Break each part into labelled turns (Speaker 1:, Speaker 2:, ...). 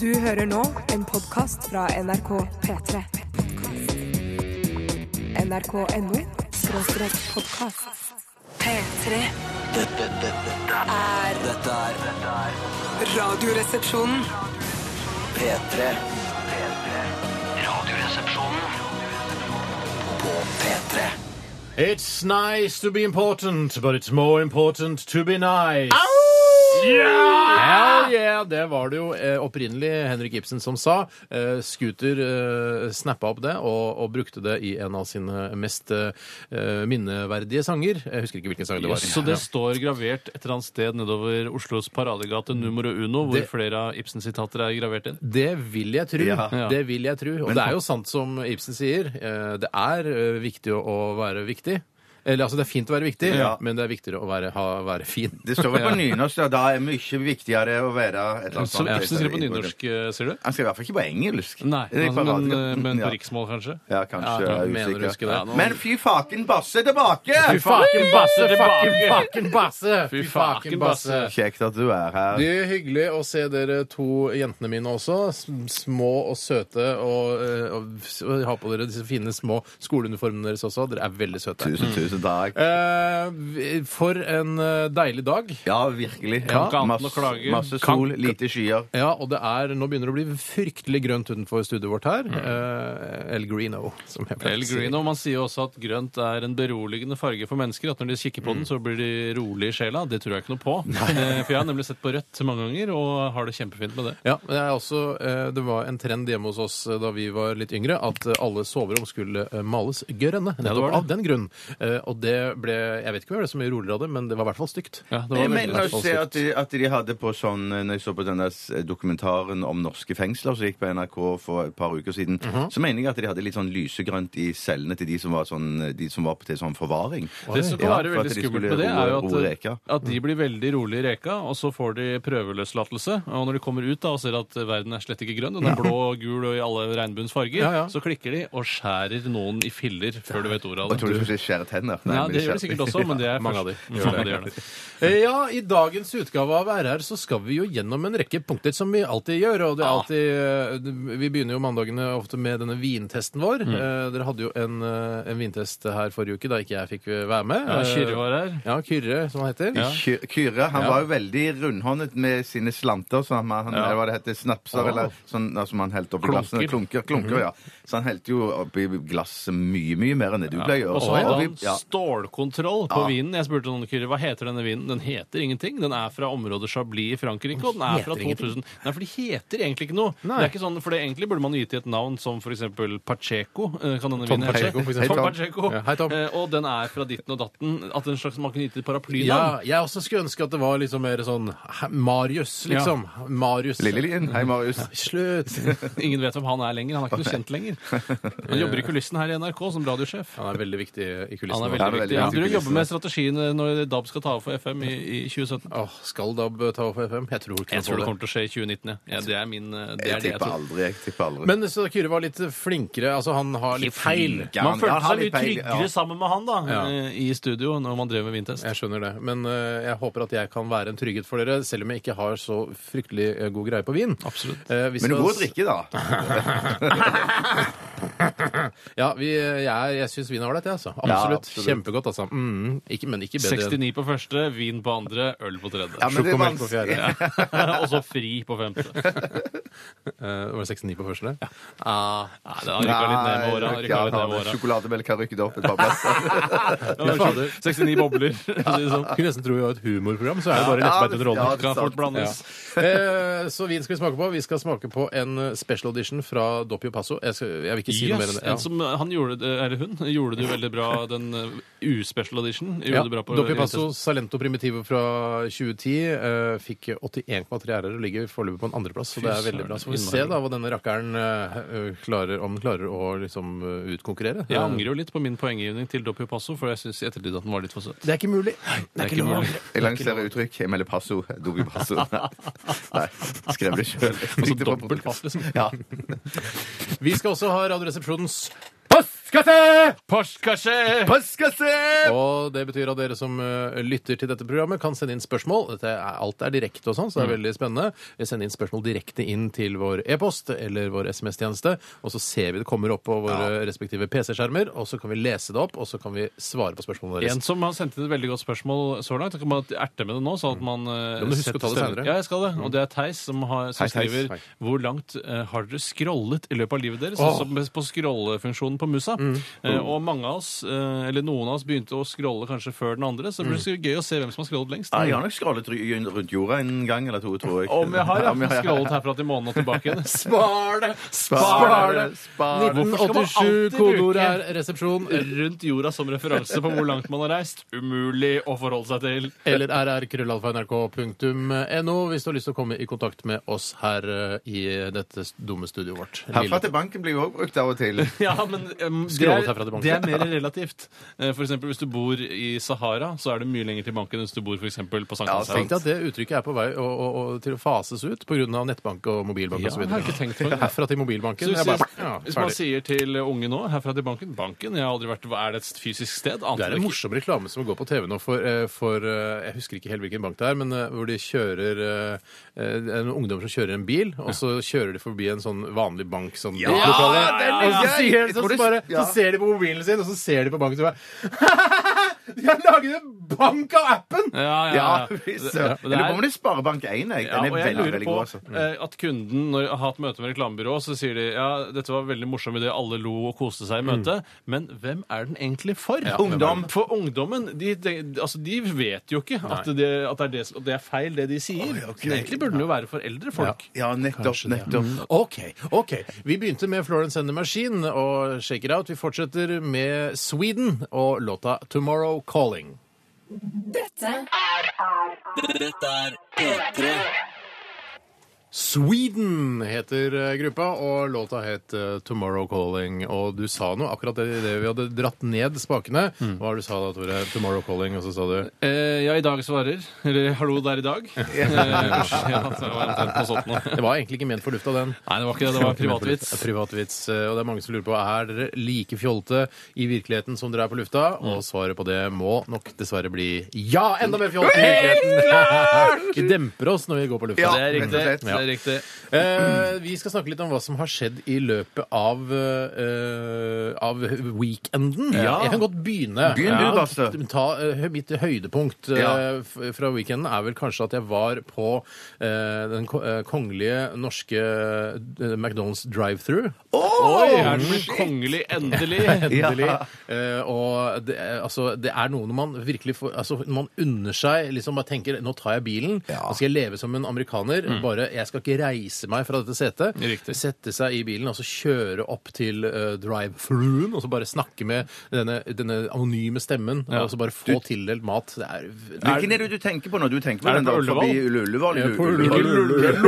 Speaker 1: Du hører nå en podkast fra NRK P3. NRK.no skråstrek podkast. P3
Speaker 2: Dette, dette, dette,
Speaker 1: er
Speaker 2: dette er dette er
Speaker 1: Radioresepsjonen.
Speaker 2: P3. P3. Radioresepsjonen på P3.
Speaker 3: It's nice to be important, but it's more important to be nice. Hell yeah! Det var det jo eh, opprinnelig Henrik Ibsen som sa. Eh, Scooter eh, snappa opp det og, og brukte det i en av sine mest eh, minneverdige sanger. Jeg husker ikke hvilken sang det var.
Speaker 4: Så det står gravert et eller annet sted nedover Oslos paradegate numero uno, hvor
Speaker 3: Det-
Speaker 4: flere av Ibsen-sitater er gravert inn.
Speaker 3: Det vil jeg tro.
Speaker 4: Ja.
Speaker 3: Det vil jeg tro. Og det er jo sant som Ibsen sier. eh, Det er eh, viktig å å være viktig. Eller altså, det er fint å være viktig,
Speaker 5: Ja.
Speaker 3: men det er viktigere å være, ha, være fin.
Speaker 5: Det står vel på nynorsk, og da er det mye viktigere å være et eller annet
Speaker 4: Som Ibsen skriver på
Speaker 5: i-
Speaker 4: nynorsk, eh, sier du?
Speaker 5: Han skrev i hvert fall ikke på engelsk.
Speaker 4: Nei,
Speaker 5: Det er
Speaker 4: men,
Speaker 5: på
Speaker 4: men,
Speaker 5: radioen.
Speaker 4: men på
Speaker 5: Ja.
Speaker 4: riksmål, kanskje?
Speaker 5: Ja, kanskje.
Speaker 3: Ja,
Speaker 5: jeg er
Speaker 3: mener du
Speaker 5: usikker.
Speaker 3: ikke det?
Speaker 5: Ja, nå- Men fy faken, Basse er tilbake!
Speaker 3: Fy faken basse, faken, faken basse!
Speaker 4: Fy faken basse.
Speaker 5: Kjekt at du er her.
Speaker 3: Det er hyggelig å se dere to jentene mine også. Sm- Små og søte. Og, eh, og, s- og ha på dere disse fine små skoleuniformene deres også. Dere er veldig søte.
Speaker 5: Tusen, tusen takk.
Speaker 3: Eh, vi- for en eh, deilig dag.
Speaker 5: Ja, virkelig.
Speaker 4: Kan ikke annet enn å
Speaker 5: masse,
Speaker 4: klage.
Speaker 5: masse
Speaker 4: Kan-
Speaker 5: sol, lite skyer.
Speaker 3: Ja, og det er, Nå begynner det å bli fryktelig grønt utenfor studioet vårt her. Eh, El Greeno, som jeg pleier
Speaker 4: Mm. El
Speaker 3: å si.
Speaker 4: Greeno, Man sier jo også at grønt er en beroligende farge for mennesker. At når de kikker på den, så blir de rolig i sjela. Det tror jeg ikke noe på. Eh, For jeg har nemlig sett på rødt mange ganger, og har det kjempefint med det.
Speaker 3: Ja, men jeg er også, eh, Det var en trend hjemme hos oss eh, da vi var litt yngre, at eh, alle soverom skulle eh, males grønne.
Speaker 4: det var
Speaker 3: Nettopp
Speaker 4: det.
Speaker 3: av den grunn. Eh, Og det ble Jeg vet ikke om jeg ble så mye roligere av det, men det var i hvert fall stygt.
Speaker 4: Ja, det var
Speaker 5: Jeg
Speaker 4: veldig
Speaker 5: mener å
Speaker 3: veldig
Speaker 5: se at de, at de hadde på sånn eh, Når jeg så på denne s- dokumentaren om norske fengsler som gikk på NRK for et par uker siden,
Speaker 4: Mhm.
Speaker 5: så mener jeg at de hadde litt sånn lysegrønt i cellene til de som var, sånn, de som var til sånn forvaring.
Speaker 4: Det som kan
Speaker 5: Ja,
Speaker 4: være
Speaker 5: for at
Speaker 4: veldig
Speaker 5: de
Speaker 4: skummelt
Speaker 5: skulle
Speaker 4: med det, er jo
Speaker 5: roe- roe
Speaker 4: at,
Speaker 5: reka. Mm.
Speaker 4: at de blir veldig rolig i reka, og så får de prøveløslatelse. Og når de kommer ut da og ser at verden er slett ikke grønn, den er blå og gul og i alle regnbuens farger,
Speaker 3: Ja, ja.
Speaker 4: så klikker de og skjærer noen i filler før du vet ordet av
Speaker 5: Og jeg tror du
Speaker 4: det.
Speaker 5: skulle si skjære tenner. Nei,
Speaker 4: Ja,
Speaker 5: men
Speaker 4: det gjør
Speaker 5: skjærer-
Speaker 4: de sikkert også, men det er
Speaker 3: Mange av de.
Speaker 4: først- Mange av de gjør det.
Speaker 3: Eh, Ja, I dagens utgave av RR så skal vi jo gjennom en rekke punkter som vi alltid gjør. og det
Speaker 4: Ah.
Speaker 3: er alltid, eh, Vi begynner jo mandagene ofte med denne vintesten vår.
Speaker 4: Mm.
Speaker 3: Eh, Dere hadde jo en, eh, en vintest her forrige uke da ikke jeg fikk eh, være med. Eh,
Speaker 4: Ja, Kyrre var her.
Speaker 3: Ja, Kyrre, som han heter.
Speaker 4: Ja.
Speaker 5: Ky- Kyrre han var jo veldig rundhåndet med sine slanter, så han, han, eller hva det heter, snapser, eller sånn altså, man helte oppi
Speaker 4: Klunker. Mhm.
Speaker 5: glassene. Klunker. klunker ja. Så han helte jo oppi glasset mye, mye mer enn det du pleier å gjøre.
Speaker 4: Og så hadde
Speaker 5: Og
Speaker 4: han
Speaker 5: vi- ja.
Speaker 4: stålkontroll på vinen. Jeg spurte noen Kyrre, hva heter denne vinen. Den heter ingenting. Den er fra området Chablis i Frankrike, og den er fra 2000. Nei, for de heter egentlig ikke noe. Det er ikke sånn, for det egentlig burde man gitt i et navn som for eksempel Pacheco. eh, Kan denne
Speaker 3: Tom
Speaker 4: vinen hete.
Speaker 3: Pacheco, for eksempel.
Speaker 4: Tom
Speaker 3: Hei, Tom.
Speaker 4: Pacheco.
Speaker 3: Ja, hei, Tom.
Speaker 4: Eh, Og den er fra ditten og datten. At en slags man kunne gitt et
Speaker 3: Ja,
Speaker 4: paraplynavn.
Speaker 3: jeg også skulle ønske at det var liksom mer sånn hæ, Marius, liksom. Marius.
Speaker 5: Lillelien. Hei, Marius.
Speaker 3: Slutt!
Speaker 4: Ingen vet hvem han er lenger. Han er ikke noe kjent lenger. Han jobber i kulissen her i NRK som radiosjef.
Speaker 3: Han er veldig viktig i
Speaker 4: Han
Speaker 3: kulissene. våre.
Speaker 4: er veldig
Speaker 5: veldig
Speaker 4: viktig. Han
Speaker 5: viktig i
Speaker 4: driver og jobber
Speaker 5: kulissene.
Speaker 4: med strategiene når DAB skal ta over for FM i, i 2017.
Speaker 3: Åh, skal DAB ta over for FM? Jeg tror ikke
Speaker 4: Jeg tror det
Speaker 3: det.
Speaker 4: kommer til å skje i 2019. Ja. Ja, det er min eh, det
Speaker 5: Jeg
Speaker 4: er det jeg
Speaker 5: tipper
Speaker 4: tror.
Speaker 5: aldri. Jeg tipper aldri.
Speaker 3: Men så Kyrre var litt flinkere. Altså, han har litt feil.
Speaker 5: Ja,
Speaker 4: Man
Speaker 5: han-
Speaker 4: følte
Speaker 5: han har
Speaker 4: seg mye
Speaker 5: litt peil,
Speaker 4: tryggere sammen med han da
Speaker 3: Ja.
Speaker 4: eh, i studio når man drev med vintest.
Speaker 3: Jeg skjønner det. Men eh, jeg håper at jeg kan være en trygghet for dere, selv om jeg ikke har så fryktelig eh, god greie på vin.
Speaker 4: Absolutt.
Speaker 3: Eh, vi
Speaker 5: Men
Speaker 3: skal-
Speaker 5: du er god å drikke, da.
Speaker 3: Ja, vi, eh, jeg, er- jeg syns vin er ålreit, jeg, altså. Absolutt.
Speaker 5: Ja, absolutt.
Speaker 3: Kjempegodt, altså. Mm, ikke, men ikke bedre enn
Speaker 4: 69 på første, vin på andre, øl på
Speaker 5: Ja,
Speaker 4: tredje.
Speaker 5: men det er
Speaker 3: Sjokomelk på fjerde.
Speaker 5: vanskelig.
Speaker 4: og så fri på femte.
Speaker 3: Eh, Var det 69 på første? Ja.
Speaker 4: Nei, det har rykka litt ned med åra.
Speaker 5: Nei,
Speaker 4: rykket
Speaker 5: ja,
Speaker 4: litt ned med
Speaker 5: han-
Speaker 4: åra.
Speaker 5: Sjokolademelk har rykket opp et par plasser.
Speaker 4: Ja,
Speaker 3: fader.
Speaker 4: 69 bobler. liksom.
Speaker 3: Kunne nesten tro vi var et humorprogram, så er det bare
Speaker 5: Ja,
Speaker 3: lettbeint
Speaker 5: det-
Speaker 3: underholdning.
Speaker 5: ja, det er
Speaker 4: Kan fort
Speaker 5: sant.
Speaker 4: blandes.
Speaker 3: Eh, så vin skal vi smake på. Vi skal smake på en eh, special edition fra Doppio Passo. Jeg, skal, jeg vil ikke si noe mer
Speaker 4: Yes,
Speaker 3: enn det.
Speaker 4: en som eh, han gjorde, det- eller hun gjorde det jo veldig bra, den eh, uspecial edition.
Speaker 3: Ja.
Speaker 4: Gjorde det bra på
Speaker 3: Doppio Passo Salento Primitivo fra 2010 eh, fikk 81,3 ærer og ligger foreløpig på en andreplass. Så det er veldig bra. Så får vi se da hva denne rakkeren eh, eh, klarer, om den klarer å liksom eh, utkonkurrere.
Speaker 4: Jeg angrer jo litt på min poenggivning til Doppio Passo, for jeg syns i ettertid at den var litt for søt.
Speaker 3: Det er ikke mulig.
Speaker 4: Det er ikke mulig.
Speaker 5: Jeg lanserer uttrykk. Jeg melder passo. Dobi passo. Nei, skrev det sjøl.
Speaker 4: Altså dobbelt pass, liksom.
Speaker 5: Ja.
Speaker 3: Vi skal også ha Radioresepsjonens Post! Postkasse!
Speaker 4: Postkasse!
Speaker 5: Postkasse!
Speaker 3: Og det betyr at dere som eh, lytter til dette programmet, kan sende inn spørsmål. Dette er, alt er direkte og sånn, så det er veldig spennende. Eh, Send inn spørsmål direkte inn til vår e-post eller vår SMS-tjeneste, og så ser vi det kommer opp på våre respektive PC-skjermer, og så kan vi lese det opp, og så kan vi svare på spørsmålene
Speaker 4: En
Speaker 3: deres.
Speaker 4: som har sendt inn et veldig godt spørmål så langt. Jeg kan bare erte med det nå. sånn at man... eh,
Speaker 3: Ja, men husk
Speaker 4: setter
Speaker 3: å ta det
Speaker 4: stemmen.
Speaker 3: senere.
Speaker 4: Ja, jeg skal det. Og det er Theis som, har, som
Speaker 5: Hei, Theis.
Speaker 4: skriver
Speaker 5: Hei.
Speaker 4: Hvor langt eh, har dere scrollet i løpet av livet deres? Sånn som på scrollefunksjonen på musa. Eh, og mange av oss, eh, eller noen av oss, begynte å scrolle kanskje før den andre. Så det blir så gøy å se hvem som har scrollet lengst.
Speaker 5: Ja, jeg har nok skrallet ry- rundt jorda en gang eller to, tror jeg.
Speaker 4: Om jeg har, ja.
Speaker 5: Om jeg har,
Speaker 4: Scrollet herfra til månen og tilbake igjen.
Speaker 3: Spar det!
Speaker 5: Spar det! Spar det!
Speaker 4: Hvorfor skal man
Speaker 3: 1987,
Speaker 4: alltid
Speaker 3: kodeordet er
Speaker 4: bruke-
Speaker 3: resepsjon
Speaker 4: Rundt jorda som referanse på hvor langt man har reist. Umulig å forholde seg til.
Speaker 3: eller rrkrøllalfa.nrk.no hvis du har lyst til å komme i kontakt med oss her eh, i dette dumme studioet vårt.
Speaker 5: Herfra til banken blir jo òg brukt av og til.
Speaker 4: Ja, men em, det,
Speaker 3: Scrollet herfra til
Speaker 4: er,
Speaker 3: banken.
Speaker 4: det er mer relativt. Eh, For eksempel, hvis du bor i Sahara, så er det mye lenger til banken enn hvis du bor for eksempel på Sankt
Speaker 5: Ja,
Speaker 4: Hanshaugen.
Speaker 3: Tenk deg at det uttrykket er på vei å, å, å, til å fases ut pga. nettbank og mobilbank
Speaker 4: Ja,
Speaker 3: osv.
Speaker 4: jeg har ikke tenkt på det.
Speaker 3: Herfra til
Speaker 4: Så
Speaker 3: mobilbanken.
Speaker 4: hvis,
Speaker 3: Jeg bare, ja,
Speaker 4: hvis man
Speaker 3: ferdig.
Speaker 4: sier til unge nå, herfra til banken Banken, jeg har aldri vært Hva er det et fysisk sted? Ante
Speaker 3: det er
Speaker 4: ikke.
Speaker 3: en morsom reklame som går på TV nå for, eh, for eh, Jeg husker ikke helt hvilken bank det er, men eh, hvor de kjører eh, eh, det er noen ungdommer som kjører en bil, og så kjører de forbi en sånn vanlig bank som ja,
Speaker 5: det er
Speaker 3: Og
Speaker 5: litt
Speaker 3: så,
Speaker 5: gøy!
Speaker 3: sier,
Speaker 5: Jeg
Speaker 3: så,
Speaker 5: tror det-
Speaker 3: bare, så
Speaker 5: ja.
Speaker 3: ser de på mobilen sin, og så ser de på banken og bare De har laget en bank av appen!
Speaker 4: Ja, ja, ja.
Speaker 5: Ja, visst.
Speaker 4: Det-
Speaker 5: Jeg
Speaker 4: det
Speaker 5: lurer
Speaker 4: er-
Speaker 5: på om det er Sparebank1. jeg. Den
Speaker 4: Ja,
Speaker 5: er
Speaker 4: og jeg
Speaker 5: veldig,
Speaker 4: lurer
Speaker 5: veldig
Speaker 4: på
Speaker 5: god. altså.
Speaker 4: eh, at kunden når jeg har hatt møte med reklamebyrå, så sier de ja, dette var en veldig morsom idé, alle lo og koste seg i
Speaker 5: Mm.
Speaker 4: møtet, men hvem er den egentlig for?
Speaker 5: Ungdom.
Speaker 4: For ungdommen, de, de, altså, de vet jo ikke at det, at, det er det, som- at det er feil det de sier. Så Egentlig burde den jo være for eldre folk.
Speaker 5: Ja, nettopp. nettopp.
Speaker 3: Ok, ok. Vi begynte med Florence and the Machine og Shake It Out. Vi fortsetter med Sweden og låta Tomorrow Calling. Sweden heter eh, gruppa, og låta het eh, Tomorrow Calling. Og du sa noe akkurat det, det vi hadde dratt ned spakene. Hva var det du sa da, Tore? Tomorrow Calling, og så sa du
Speaker 4: Eh, ja, i dag svarer. Eller hallo, det er i dag. Eh, ja, det var omtrent sånn noe sånt nå.
Speaker 3: Det var egentlig ikke ment for lufta, den.
Speaker 4: Nei, det var ikke det. Det var privatvits.
Speaker 3: Privatvits, eh, Og det er mange som lurer på er dere like fjolte i virkeligheten som dere er på lufta. Og svaret på det må nok dessverre bli ja! Enda mer fjolte i virkeligheten! Vi demper oss når vi går på lufta.
Speaker 5: Ja,
Speaker 4: Det er riktig.
Speaker 5: rett og slett.
Speaker 4: Det er riktig.
Speaker 3: Eh, vi skal snakke litt om hva som har skjedd i løpet av, eh, av weekenden.
Speaker 5: Ja.
Speaker 3: Jeg kan godt begynne.
Speaker 5: Begynn du, Basse.
Speaker 3: Ta, eh, mitt høydepunkt eh,
Speaker 5: Ja.
Speaker 3: f- fra weekenden er vel kanskje at jeg var på eh, den ko- eh, kongelige norske eh, McDonald's drive-through.
Speaker 4: Oi, er den blitt kongelig endelig?
Speaker 3: Endelig. Eh, og det, er- altså, det er noe når man virkelig får altså, Når man unner seg liksom bare tenker Nå tar jeg bilen, nå skal jeg leve som en amerikaner. Bare, Jeg skal ikke reise meg fra dette setet.
Speaker 4: Mm. Riktig.
Speaker 3: Sette seg i bilen og så kjøre opp til eh, drive-throughen og så bare snakke med denne, denne anonyme stemmen. Og så bare få tildelt mat. Det er,
Speaker 5: Hvilken er det du tenker på når du tenker på
Speaker 4: Er
Speaker 5: den
Speaker 4: det på
Speaker 5: der forbi Ullevål?
Speaker 3: Ja, på
Speaker 5: Ullevål.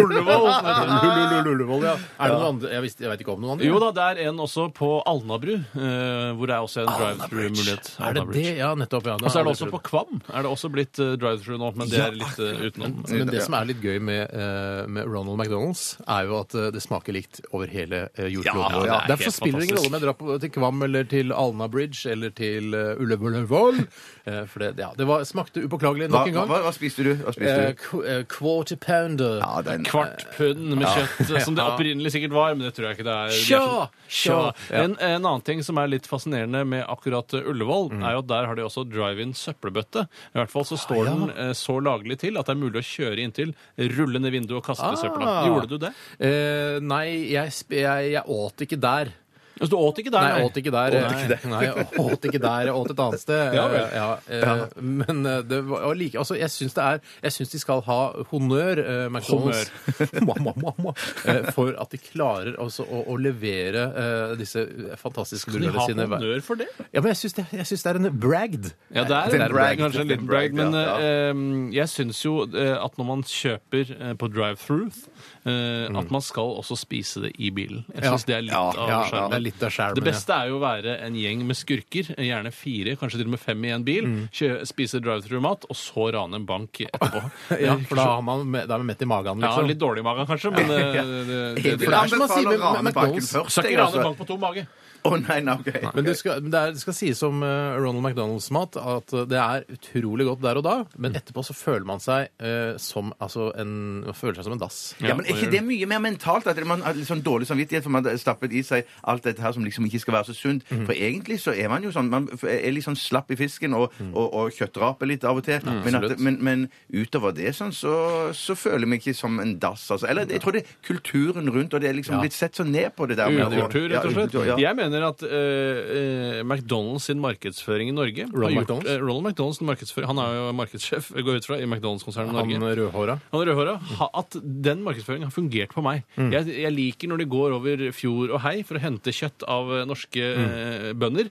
Speaker 3: Ullevål.
Speaker 4: Ullevål.
Speaker 3: Ullevål, ja. Er det noen andre? Jeg, visste, jeg vet ikke om noen andre.
Speaker 4: Jo da, det er en også på Alnabru, eh, hvor det er også en drive-through-mulighet.
Speaker 3: er det
Speaker 4: Alnabru.
Speaker 3: det? Ja, nettopp. Ja.
Speaker 4: Og så er det også på Kvam. Er det også blitt eh, drive-through nå, men det er litt eh, utenom.
Speaker 3: Altså, Men det som er litt gøy med, eh, med Ronald McDonald's, er jo at eh, det smaker likt over hele eh, jordkloden.
Speaker 4: Ja,
Speaker 3: vår.
Speaker 4: ja, det er
Speaker 3: Derfor
Speaker 4: helt
Speaker 3: spiller det ingen
Speaker 4: fantastisk.
Speaker 3: rolle om jeg drar på, til Kvam eller til Alna Bridge eller til uh, Ullevål. Eh, for det, ja, det var, smakte upåklagelig
Speaker 5: Hva,
Speaker 3: nok en gang.
Speaker 5: hva, hva spiste du? Hva spiste
Speaker 3: Eh,
Speaker 5: du?
Speaker 3: qu- eh, quarter pounder.
Speaker 5: Ja, den,
Speaker 4: Kvart pund med kjøtt, eh, som det opprinnelig sikkert var, men det tror jeg ikke det er. de er
Speaker 3: Tja!
Speaker 4: så- Tja.
Speaker 3: Ja.
Speaker 4: En, en annen ting som er litt fascinerende med akkurat eh, Ullevål, er jo at der har de også drive-in søppelbøtte. I hvert fall så står den eh, så laglig til at det er mulig å kjøre inntil, rulle ned vinduet og kaste søpla. Gjorde du det?
Speaker 3: Eh, nei, jeg, sp- jeg, jeg åt ikke der.
Speaker 4: Altså, du åt ikke der?
Speaker 3: Nei, jeg åt ikke der. Nei, jeg åt ikke der. Jeg åt et annet sted.
Speaker 4: Ja vel.
Speaker 3: Eh, ja, eh, Men eh, det var og like Altså, jeg syns det er Jeg syns de skal ha honnør, eh, McDonald's, Mwah, mwah, mwah, mwah. Eh, for at de klarer altså å, å levere eh, disse fantastiske
Speaker 4: De
Speaker 3: burgerne
Speaker 4: har
Speaker 3: sine. hver-
Speaker 4: honnør for det?
Speaker 3: Ja, men jeg syns det, jeg syns det er en bragd.
Speaker 4: Ja, det er,
Speaker 5: Det er
Speaker 4: det
Speaker 5: en
Speaker 4: er
Speaker 5: bragd.
Speaker 4: kanskje en
Speaker 5: Det er en
Speaker 4: liten bragd,
Speaker 5: bragd,
Speaker 4: men
Speaker 5: ja,
Speaker 4: eh, jeg syns jo eh, at når man kjøper eh, på drive-through, eh, at man skal også spise det i bilen. Jeg syns det er litt
Speaker 5: Ja,
Speaker 4: av
Speaker 3: Mm. Ja, det er
Speaker 4: skjermen.
Speaker 3: litt av skjermen.
Speaker 4: Det beste er jo å være en gjeng med skurker, eh, gjerne fire, kanskje til og med fem i en bil,
Speaker 3: Mm.
Speaker 4: kjø- spise drive-through-mat, og så rane en bank etterpå.
Speaker 3: ja, for da har man, da er man mett i magen,
Speaker 4: Ja,
Speaker 3: liksom.
Speaker 4: litt dårlig i magen kanskje, men eh, det, det,
Speaker 5: Jeg
Speaker 4: det,
Speaker 5: vil
Speaker 3: er som man sier
Speaker 5: anbefale
Speaker 3: med
Speaker 5: å rane banken
Speaker 3: McDonald's.
Speaker 5: først.
Speaker 4: skal
Speaker 5: jeg,
Speaker 4: ikke rane en
Speaker 5: altså.
Speaker 4: bank på tom mage.
Speaker 5: Å nei, nei, ok.
Speaker 3: Men det skal, men det er, det skal sies om eh, Ronald McDonalds mat at eh, det er utrolig godt der og da, men etterpå så føler man seg eh, som altså en man føler seg som en dass.
Speaker 5: Ja, men Er ikke det mye mer mentalt? At man har litt sånn dårlig samvittighet for man har stappet i seg alt dette her som liksom ikke skal være så sunt? For egentlig så er man jo sånn Man er litt sånn slapp i fisken og, og, og kjøttraper litt av og til. men, at,
Speaker 3: absolutt.
Speaker 5: men, men utover det sånn, så, så føler jeg meg ikke som en dass, altså. Eller jeg tror det er kulturen rundt, og det er liksom blitt sett så ned på det
Speaker 3: Mm.
Speaker 5: der. med-
Speaker 4: Ukultur, rett og
Speaker 5: Ja,
Speaker 4: slett.
Speaker 5: ukultur, ja.
Speaker 4: Jeg mener at eh, eh, McDonald's sin markedsføring i Norge har
Speaker 3: Ronald
Speaker 4: gjort-
Speaker 3: McDonald's?
Speaker 4: eh, Ronald McDonald's sin markedsføring, Han er jo markedssjef, går jeg ut fra, i McDonald's-konsernet i
Speaker 3: Han
Speaker 4: Norge.
Speaker 3: eh, rødhåra.
Speaker 4: Han rødhåra. ha- At den markedsføringen har fungert på meg. Jeg, jeg liker når de går over fjord og hei for å hente kjøtt av eh, norske eh, bønder.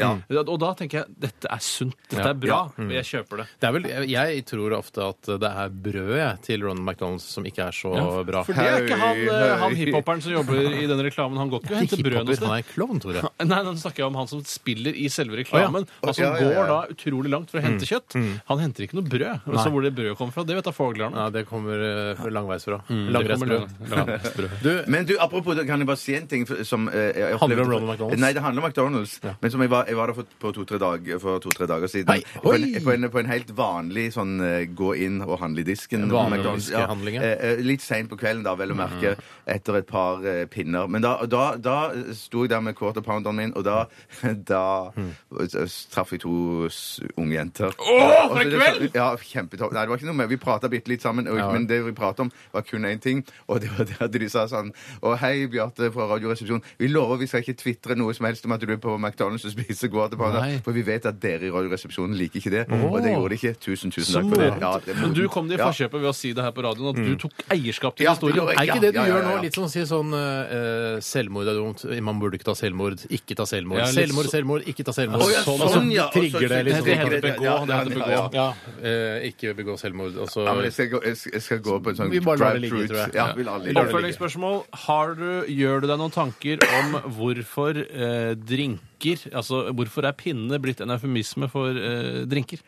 Speaker 4: Og da tenker jeg dette er sunt, dette er bra, og jeg kjøper det.
Speaker 3: Det er vel, jeg, jeg tror ofte at eh, det er brødet jeg, til Ronald McDonald's som ikke er så bra.
Speaker 4: For det er ikke han, eh, han
Speaker 5: Høy, høy.
Speaker 4: hiphoperen som jobber i den reklamen. Han går ikke og
Speaker 3: Ikke
Speaker 4: henter brød
Speaker 3: hiphopper,
Speaker 4: noe sted.
Speaker 3: han er en klovn, Tore.
Speaker 4: Nei, nå snakker jeg om han som spiller i selve reklamen,
Speaker 5: Å,
Speaker 4: og som
Speaker 5: ja, ja, ja. Mm,
Speaker 4: går da utrolig langt for å hente kjøtt. Han henter ikke noe brød. Men så hvor det brødet kommer fra, det vet da foglerne.
Speaker 3: Nei, det kommer eh, langveisfra.
Speaker 4: Mm, Det kommer
Speaker 3: Langreisbrød.
Speaker 4: lang- langreisbrød.
Speaker 3: Du,
Speaker 5: Men du, apropos det, kan jeg bare si en ting for- som eh, jeg opplevde-
Speaker 3: Handler det om Ronald McDonald's?
Speaker 5: Nei, det handler om McDonald's. Men som jeg var, jeg var der for, på to-tre dag, for to-tre dager siden.
Speaker 3: Hei,
Speaker 5: på, en,
Speaker 3: hoi!
Speaker 5: på, en, på en helt vanlig sånn eh, gå inn og handle i disken. på
Speaker 3: vanlig
Speaker 5: McDonald's.
Speaker 3: diskehandling, ja.
Speaker 5: Eh, eh, litt seint på kvelden, da, vel å
Speaker 4: Mhm.
Speaker 5: merke, etter et par eh, pinner. Men da, da, da sto jeg der med quarter pounderen min, og da, da s- traff jeg to s- unge jenter.
Speaker 4: Mm. Åh, for
Speaker 5: Og så
Speaker 4: en
Speaker 5: det så-
Speaker 4: kveld!
Speaker 5: Ja, kjempetopp. Nei, det var ikke noe mer. Vi prata bitte litt sammen, og, men det vi prata om, var kun én ting, og det var det at de sa sånn Å, hei, Bjarte fra Radioresepsjonen. Vi lover vi skal ikke tvitre noe som helst om at du er på McDonald's og spiser quarter
Speaker 4: Nei.
Speaker 5: pounder, for vi vet at dere i Radioresepsjonen liker ikke det. Og det gjorde de ikke. Tusen, tusen takk for det. Ja, det er
Speaker 4: Men du kom det i
Speaker 5: Ja. Mm.
Speaker 4: forkjøpet ved å si det her på radioen, at du tok eierskap til
Speaker 5: Ja, det gjorde
Speaker 4: historien.
Speaker 5: jeg.
Speaker 3: er ikke det du
Speaker 5: Ja, ja, ja,
Speaker 3: gjør
Speaker 5: ja.
Speaker 3: nå? Litt sånn å si sånn eh, Selvmord er dumt. Man burde ikke ta selvmord. Ikke ta selvmord.
Speaker 4: Ja, litt
Speaker 3: selvmord,
Speaker 4: så-
Speaker 3: selvmord, ikke ta selvmord.
Speaker 5: Å, ja,
Speaker 3: sånn,
Speaker 5: sånn, ja.
Speaker 3: og så trigger det
Speaker 4: Det
Speaker 5: Også-
Speaker 3: liksom.
Speaker 4: heter begå,
Speaker 5: Ja,
Speaker 4: det heter
Speaker 5: ja,
Speaker 4: begå.
Speaker 5: ja.
Speaker 3: Ja, eh, ikke begå selvmord. Og så
Speaker 5: Ja, men jeg skal, gå, jeg skal- jeg skal gå på en sånn
Speaker 3: Vi bare lar det ligge,
Speaker 5: drive-through.
Speaker 3: tror jeg.
Speaker 5: Ja, vi lar det ligge.
Speaker 4: Oppfølgingsspørsmål. Har du, gjør du deg noen tanker om hvorfor eh, drinker Altså, hvorfor er pinne blitt en eufemisme for eh, drinker?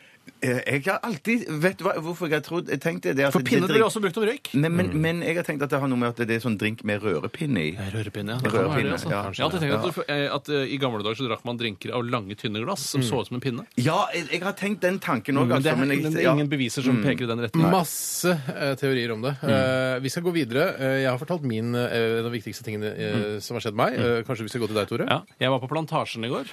Speaker 5: Eh, Jeg har alltid Vet du hva, hvorfor jeg har trodd jeg tenkte det at
Speaker 4: For
Speaker 5: det
Speaker 4: pinne
Speaker 5: drink-
Speaker 4: blir også brukt om røyk.
Speaker 5: men, men, men jeg har tenkt at det har noe med at det er sånn drink med rørepinne i.
Speaker 4: Eh, Rørepinne, ja. Det
Speaker 5: Rørepinne,
Speaker 4: kan være det, altså.
Speaker 5: ja,
Speaker 4: Jeg har alltid tenkt at, du- eh, at eh, i gamle dager så drakk man drinker av lange, tynne glass som så ut som en pinne.
Speaker 5: Ja, jeg, jeg har tenkt den tanken òg.
Speaker 4: Men Mm, det
Speaker 5: Altså,
Speaker 4: er,
Speaker 5: men jeg-
Speaker 4: men det er
Speaker 5: ja.
Speaker 4: ingen beviser som peker i den retningen.
Speaker 3: Masse eh, teorier om det. Eh, vi skal gå videre. Eh, jeg har fortalt min eh, de viktigste tingene eh, som har skjedd meg. Eh, kanskje vi skal gå til deg, Tore?
Speaker 4: Ja, jeg var på plantasjen i går.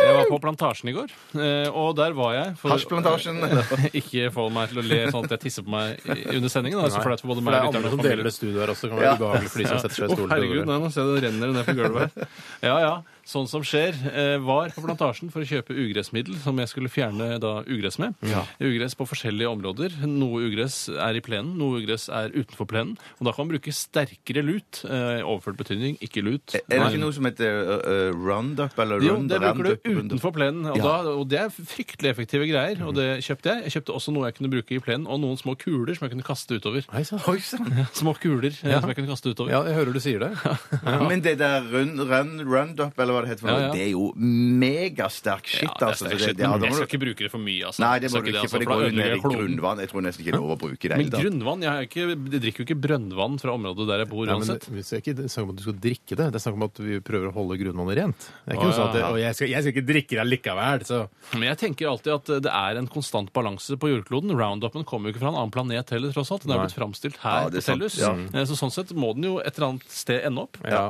Speaker 4: Jeg var på plantasjen i går, eh, og der var jeg for
Speaker 5: Hasjplantasjen.
Speaker 4: Ikke få meg til å le sånn at jeg tisser på meg i- under sendingen. da. Det er så flaut for
Speaker 3: For
Speaker 4: både meg
Speaker 3: det
Speaker 4: og
Speaker 3: er
Speaker 4: lytterne
Speaker 3: andre
Speaker 4: og
Speaker 3: som
Speaker 4: familien.
Speaker 3: deler det studioet her også. Det kan være
Speaker 5: Ja.
Speaker 3: ubehagelig for de som setter seg i
Speaker 4: Å,
Speaker 3: stolen.
Speaker 4: herregud, nei, nå ser jeg den renner ned på gulvet her. Ja, ja. Sånn som skjer. Eh, var på plantasjen for å kjøpe ugressmiddel, som jeg skulle fjerne da ugress med. Ugress på forskjellige områder. Noe ugress er i plenen, noe ugress er utenfor plenen. Og da kan man bruke sterkere lut. Eh, overført betydning, ikke lut.
Speaker 5: Er det
Speaker 4: Nei.
Speaker 5: ikke noe som heter uh, roundup eller
Speaker 4: Jo,
Speaker 5: Round-
Speaker 4: det bruker
Speaker 5: Roundup,
Speaker 4: du
Speaker 5: Roundup?
Speaker 4: utenfor plenen, og,
Speaker 5: Ja.
Speaker 4: da, og det er fryktelig effektive greier. Og det kjøpte jeg. Jeg kjøpte også noe jeg kunne bruke i plenen, og noen små kuler som jeg kunne kaste utover.
Speaker 3: Hei sann.
Speaker 5: Oi sann!
Speaker 4: Små kuler eh, som jeg kunne kaste utover.
Speaker 3: Ja, jeg hører du sier det.
Speaker 5: Men det der run, run, roundup, eller hva det heter, for noe,
Speaker 4: Ja, ja.
Speaker 5: det er jo megasterk shit,
Speaker 4: Ja, det er
Speaker 5: altså.
Speaker 4: sterk
Speaker 5: så det-
Speaker 4: shit,
Speaker 5: ja, da
Speaker 4: men
Speaker 5: må
Speaker 4: jeg
Speaker 5: du-
Speaker 4: skal ikke bruke det for mye. Altså.
Speaker 5: Nei, det
Speaker 4: Skal
Speaker 5: må du ikke,
Speaker 4: altså,
Speaker 5: for det
Speaker 4: da
Speaker 5: går jo ned i
Speaker 4: ødelegger jeg kloden.
Speaker 5: grunnvann. Jeg tror nesten ikke det er lov å bruke det. i
Speaker 4: Men
Speaker 5: det hele tatt.
Speaker 4: grunnvann, jeg, er ikke, jeg drikker jo ikke brønnvann fra området der jeg bor
Speaker 3: Ja, men det
Speaker 4: uansett.
Speaker 3: det er ikke snakk om at du skal drikke det, det er snakk om at vi prøver å holde grunnvannet rent. Det er ikke
Speaker 4: Å,
Speaker 3: noe sånn at det,
Speaker 4: ja.
Speaker 3: «Å, jeg, skal, 'Jeg skal ikke drikke det likevel', så
Speaker 4: Men jeg tenker alltid at det er en konstant balanse på jordkloden. Roundupen kommer jo ikke fra en annen planet heller, tross alt. Den er blitt framstilt her
Speaker 5: Ja, det
Speaker 4: på
Speaker 5: er sant.
Speaker 4: Tellus.
Speaker 5: Ja.
Speaker 4: Eh, Så sånn sett må den jo et eller annet sted ende opp.
Speaker 3: ja.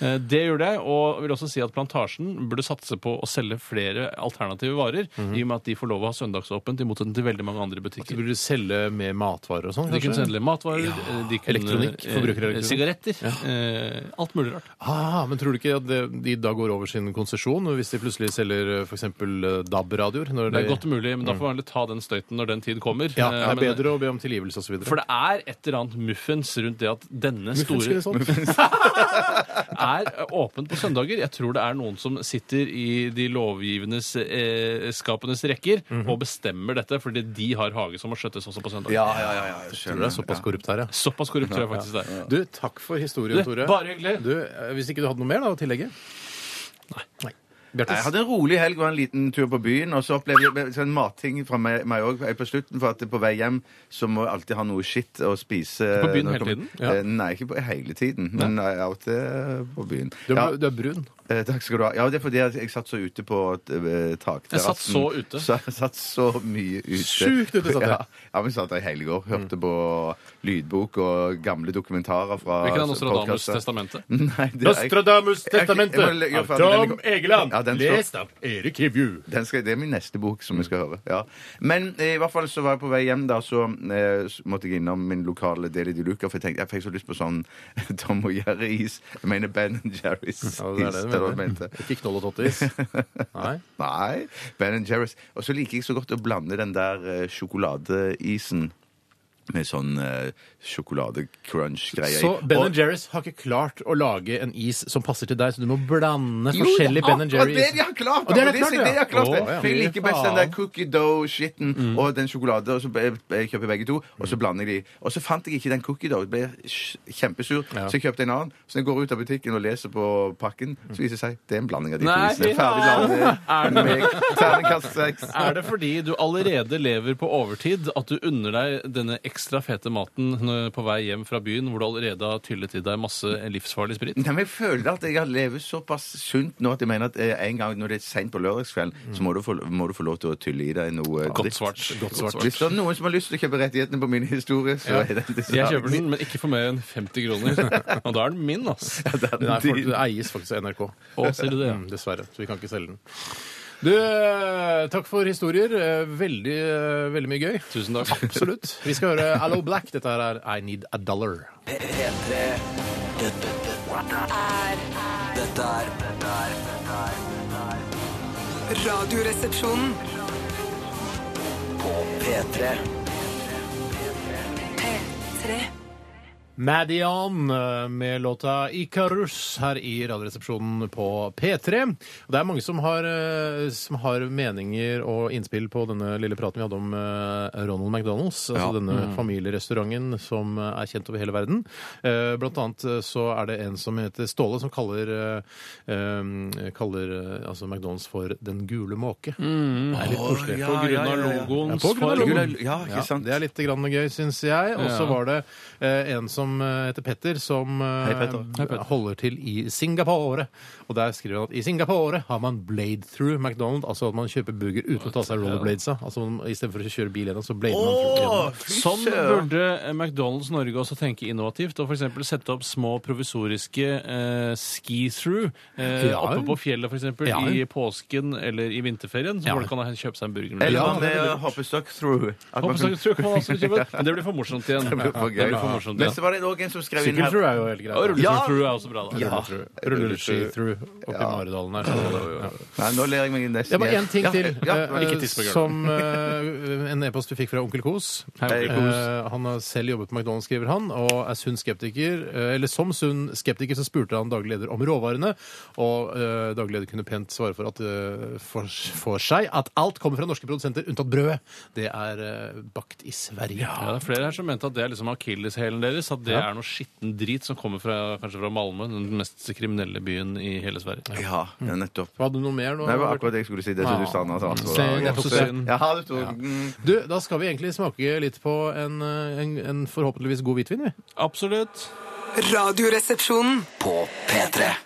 Speaker 4: Eh, Det gjør jeg, og jeg vil også si at Plantasjen burde satse på å selge flere alternative varer, i og med at de får lov å ha søndagsåpent, i motsetning til veldig mange andre
Speaker 3: Så
Speaker 4: butikker.
Speaker 3: burde du selge med matvarer og sånn,
Speaker 4: De kunne
Speaker 3: kanskje?
Speaker 4: selge matvarer, eh, de kunne,
Speaker 3: Elektronikk,
Speaker 4: eh,
Speaker 3: forbrukerelektronikk.
Speaker 4: Sigaretter. eh, Alt mulig rart.
Speaker 3: Ah, men tror du ikke at det, de da går over sin konsesjon, hvis de plutselig selger eh, f.eks. DAB-radioer? når
Speaker 4: Det er
Speaker 3: de-
Speaker 4: godt mulig, men da får man heller ta den støyten når den tid kommer.
Speaker 3: Mm. Ja,
Speaker 4: Eh,
Speaker 3: det er
Speaker 4: men-
Speaker 3: bedre å be om tilgivelse osv.
Speaker 4: For det er et eller annet muffens rundt det at denne store er åpen på søndager. Jeg tror det er noen som sitter i de lovgivendes eh, skapenes rekker
Speaker 3: Mhm.
Speaker 4: og bestemmer dette, fordi de har hage som må skjøttes også på søndag.
Speaker 5: Ja, ja, ja. ja jeg
Speaker 3: Det
Speaker 5: skjønner.
Speaker 3: er såpass korrupt her, ja.
Speaker 4: Såpass korrupt tror jeg faktisk det er.
Speaker 3: Du, takk for historien,
Speaker 4: Du,
Speaker 3: Tore.
Speaker 4: bare hyggelig.
Speaker 3: Du, eh, hvis ikke du hadde noe mer da, å tillegge? Nei. Bjarte,
Speaker 5: Jeg hadde en rolig helg og en liten tur på byen, og så opplevde jeg en matting fra meg meg òg på slutten, for at på vei hjem så må jeg alltid ha noe skitt å spise.
Speaker 4: På byen
Speaker 5: når jeg
Speaker 4: hele
Speaker 5: kommer-
Speaker 4: tiden? Ja.
Speaker 5: Eh, Nei, ikke på hele tiden, men jeg er alltid på byen.
Speaker 3: du, er,
Speaker 5: Ja.
Speaker 3: br- du er brun.
Speaker 5: Eh, takk skal du ha. Ja, det er fordi jeg, jeg satt så ute på eh, takterrassen.
Speaker 4: Jeg satt så ute?
Speaker 5: Så jeg satt så mye ute.
Speaker 3: Sjukt ute satt jeg.
Speaker 5: Ja, ja men satt der i hele går. Hørte på lydbok og gamle dokumentarer fra
Speaker 4: Hvilken er Nostradamus'
Speaker 5: podcaster.
Speaker 4: testamentet?
Speaker 5: Nei, det er ikke-
Speaker 3: Nostradamus'
Speaker 5: Jeg- jeg-
Speaker 3: testamente
Speaker 5: jeg må legge
Speaker 3: av
Speaker 5: fra meg
Speaker 3: Tom
Speaker 5: den.
Speaker 3: Egeland,
Speaker 5: Ja, den står-
Speaker 3: lest av Erik Hivju.
Speaker 5: den skal, det er min neste bok som vi skal høre. Ja. Men eh, i hvert fall så var jeg på vei hjem, da, så eh, s- måtte jeg innom min lokale Deli de Luca, for jeg tenkte jeg fikk så lyst på sånn Tom og Jerry-is. Jeg mener Ben Jerry's.
Speaker 3: Ja, det er det
Speaker 5: is,
Speaker 3: du
Speaker 5: det var det jeg
Speaker 3: mener.
Speaker 5: mente.
Speaker 3: Ikke knoll og tottis. Nei.
Speaker 5: Nei. Ben Jerry's. Og så liker jeg så godt å blande den der eh, sjokoladeisen med sånn eh, sjokolade-crunch-greie.
Speaker 3: Så
Speaker 5: i.
Speaker 3: Ben
Speaker 5: Og-
Speaker 3: Jerry's har ikke klart å lage en is som passer til deg, så du må blande
Speaker 5: Jo,
Speaker 3: forskjellige
Speaker 5: ja,
Speaker 3: Ben
Speaker 5: Og det de
Speaker 3: Jerry's.
Speaker 5: har klart!
Speaker 3: Og det er
Speaker 5: da,
Speaker 3: det
Speaker 5: for
Speaker 3: klart, ja.
Speaker 5: det de har klart det.
Speaker 3: Å, ja. Mm.
Speaker 5: For Jeg liker best den der cookie dough-skitten og den sjokolade, og så be- jeg kjøper begge to, og så blander jeg de. Og så fant jeg ikke den cookie dough. Jeg Ble sj- kjempesur,
Speaker 3: Ja.
Speaker 5: så jeg kjøpte en annen. Så når jeg går ut av butikken og leser på pakken,
Speaker 3: Mm.
Speaker 5: så viser det seg det er en blanding av de to
Speaker 4: Nei,
Speaker 5: isene.
Speaker 4: ja.
Speaker 5: Ferdig
Speaker 4: Er
Speaker 5: blandet. Meg. Terningkast seks.
Speaker 4: Er det fordi du allerede lever på overtid at du unner deg denne ekstra fete maten når- på vei hjem fra byen hvor du allerede har tyllet i deg masse livsfarlig sprit?
Speaker 5: Nei, men Jeg føler at jeg har levet såpass sunt nå at jeg mener at eh, en gang når det er seint på lørdagskvelden, så må du, få, må du få lov til å tylle i deg noe eh,
Speaker 4: Godt
Speaker 5: dritt.
Speaker 4: svart. Godt svart.
Speaker 5: Hvis det er noen som har lyst til å kjøpe rettighetene på min historie, så er det det.
Speaker 4: Jeg kjøper den, men ikke for mer enn 50 kroner. Og da er den min, ass.
Speaker 3: Den er for, det eies faktisk av NRK.
Speaker 4: Å, ser du det, ja.
Speaker 3: Mm, Dessverre. Så vi kan ikke selge den. Du, eh, takk for historier. Eh, Veldig, eh, veldig mye gøy.
Speaker 4: Tusen takk.
Speaker 3: Absolutt. Vi skal høre Allo Black. Dette her er I Need a Dollar.
Speaker 2: P- P3 Dette dette
Speaker 1: Er
Speaker 2: dette er dette er- dette er
Speaker 1: Radioresepsjonen
Speaker 2: På P3
Speaker 1: P3
Speaker 3: Madion eh, med låta Ikarus her i Radioresepsjonen på P3. Og Det er mange som har, eh, som har meninger og innspill på denne lille praten vi hadde om eh, Ronald McDonald's, altså denne familierestauranten som eh, er kjent over hele verden. Eh, Blant annet eh, så er det en som heter Ståle, som kaller, eh, eh, kaller eh, altså McDonald's for Den gule måke. Det er litt koselig.
Speaker 4: På grunn av logoen.
Speaker 3: Ja, på grunn av
Speaker 4: farge.
Speaker 3: logoen.
Speaker 5: Ja, ikke sant?
Speaker 3: Det er litt grann gøy, syns jeg. Og så
Speaker 4: Ja.
Speaker 3: var det eh, en som eh, heter Petter, som eh,
Speaker 5: Hei, Petter.
Speaker 4: Hei, Petter.
Speaker 3: holder til i Singapore. Og der skriver han at i Singapore har man blade through McDonald's, altså at man kjøper burger uten å ta seg rollerbladesa. Altså istedenfor å kjøre bil gjennom, så blader man through. gjennom.
Speaker 4: Sånn burde McDonald's Norge også tenke innovativt og f.eks. sette opp små provisoriske eh, ski-through eh,
Speaker 3: Ja.
Speaker 4: oppe på fjellet for eksempel,
Speaker 3: Ja.
Speaker 4: i påsken eller i vinterferien. Så
Speaker 3: Ja.
Speaker 4: folk kan kjøpe seg en burger. med
Speaker 5: Eller
Speaker 4: det.
Speaker 5: om det er hoppestock-through. At man-
Speaker 4: Hoppestang tror jeg kan man også kjøpe. Men det blir for morsomt igjen.
Speaker 5: Det blir for gøy.
Speaker 4: blir for morsomt
Speaker 5: Men
Speaker 4: igjen.
Speaker 5: så var det òg en som skrev inn
Speaker 3: Sykkelthrough
Speaker 5: her
Speaker 3: er jo helt
Speaker 4: Og
Speaker 3: greit. da.
Speaker 5: Ja.
Speaker 4: Rulleski-through er også bra, da.
Speaker 5: Ja.
Speaker 3: Rulleski-through oppi Maridalen her. Ja.
Speaker 5: Nei, nå ler jeg meg inn
Speaker 3: Det
Speaker 5: nesten
Speaker 3: var én ting
Speaker 5: Ja,
Speaker 3: til
Speaker 5: Ja,
Speaker 3: eh,
Speaker 4: ikke tiss på gulvet.
Speaker 3: som eh, en e-post vi fikk fra Onkel Kos.
Speaker 4: Hei, Onkel Kos.
Speaker 3: Eh, han har selv jobbet på McDonald's, skriver han, og er sunn skeptiker. eh, eller som sunn skeptiker så spurte han daglig leder om råvarene, og eh, daglig leder kunne pent svare for, at, eh, for, for seg at alt kommer fra norske produsenter, unntatt brødet. Det er eh, bakt i Sverige.
Speaker 4: Ja, det er flere her som mente at det er liksom akilleshælen deres. At det er noe skitten drit som kommer fra, kanskje fra Malmö, den mest kriminelle byen i hele Sverige.
Speaker 5: Ja, ja, nettopp.
Speaker 3: Hadde du noe mer nå?
Speaker 5: Nei, Det var akkurat det jeg skulle si. Det som du sa nå. så-
Speaker 3: Synd,
Speaker 5: Jeg tok det.
Speaker 4: synd.
Speaker 5: Ja, du tok den.
Speaker 3: Du, Da skal vi egentlig smake litt på en, eh, en, en forhåpentligvis god hvitvin, vi.
Speaker 4: Absolutt.
Speaker 1: Radioresepsjonen
Speaker 2: På P3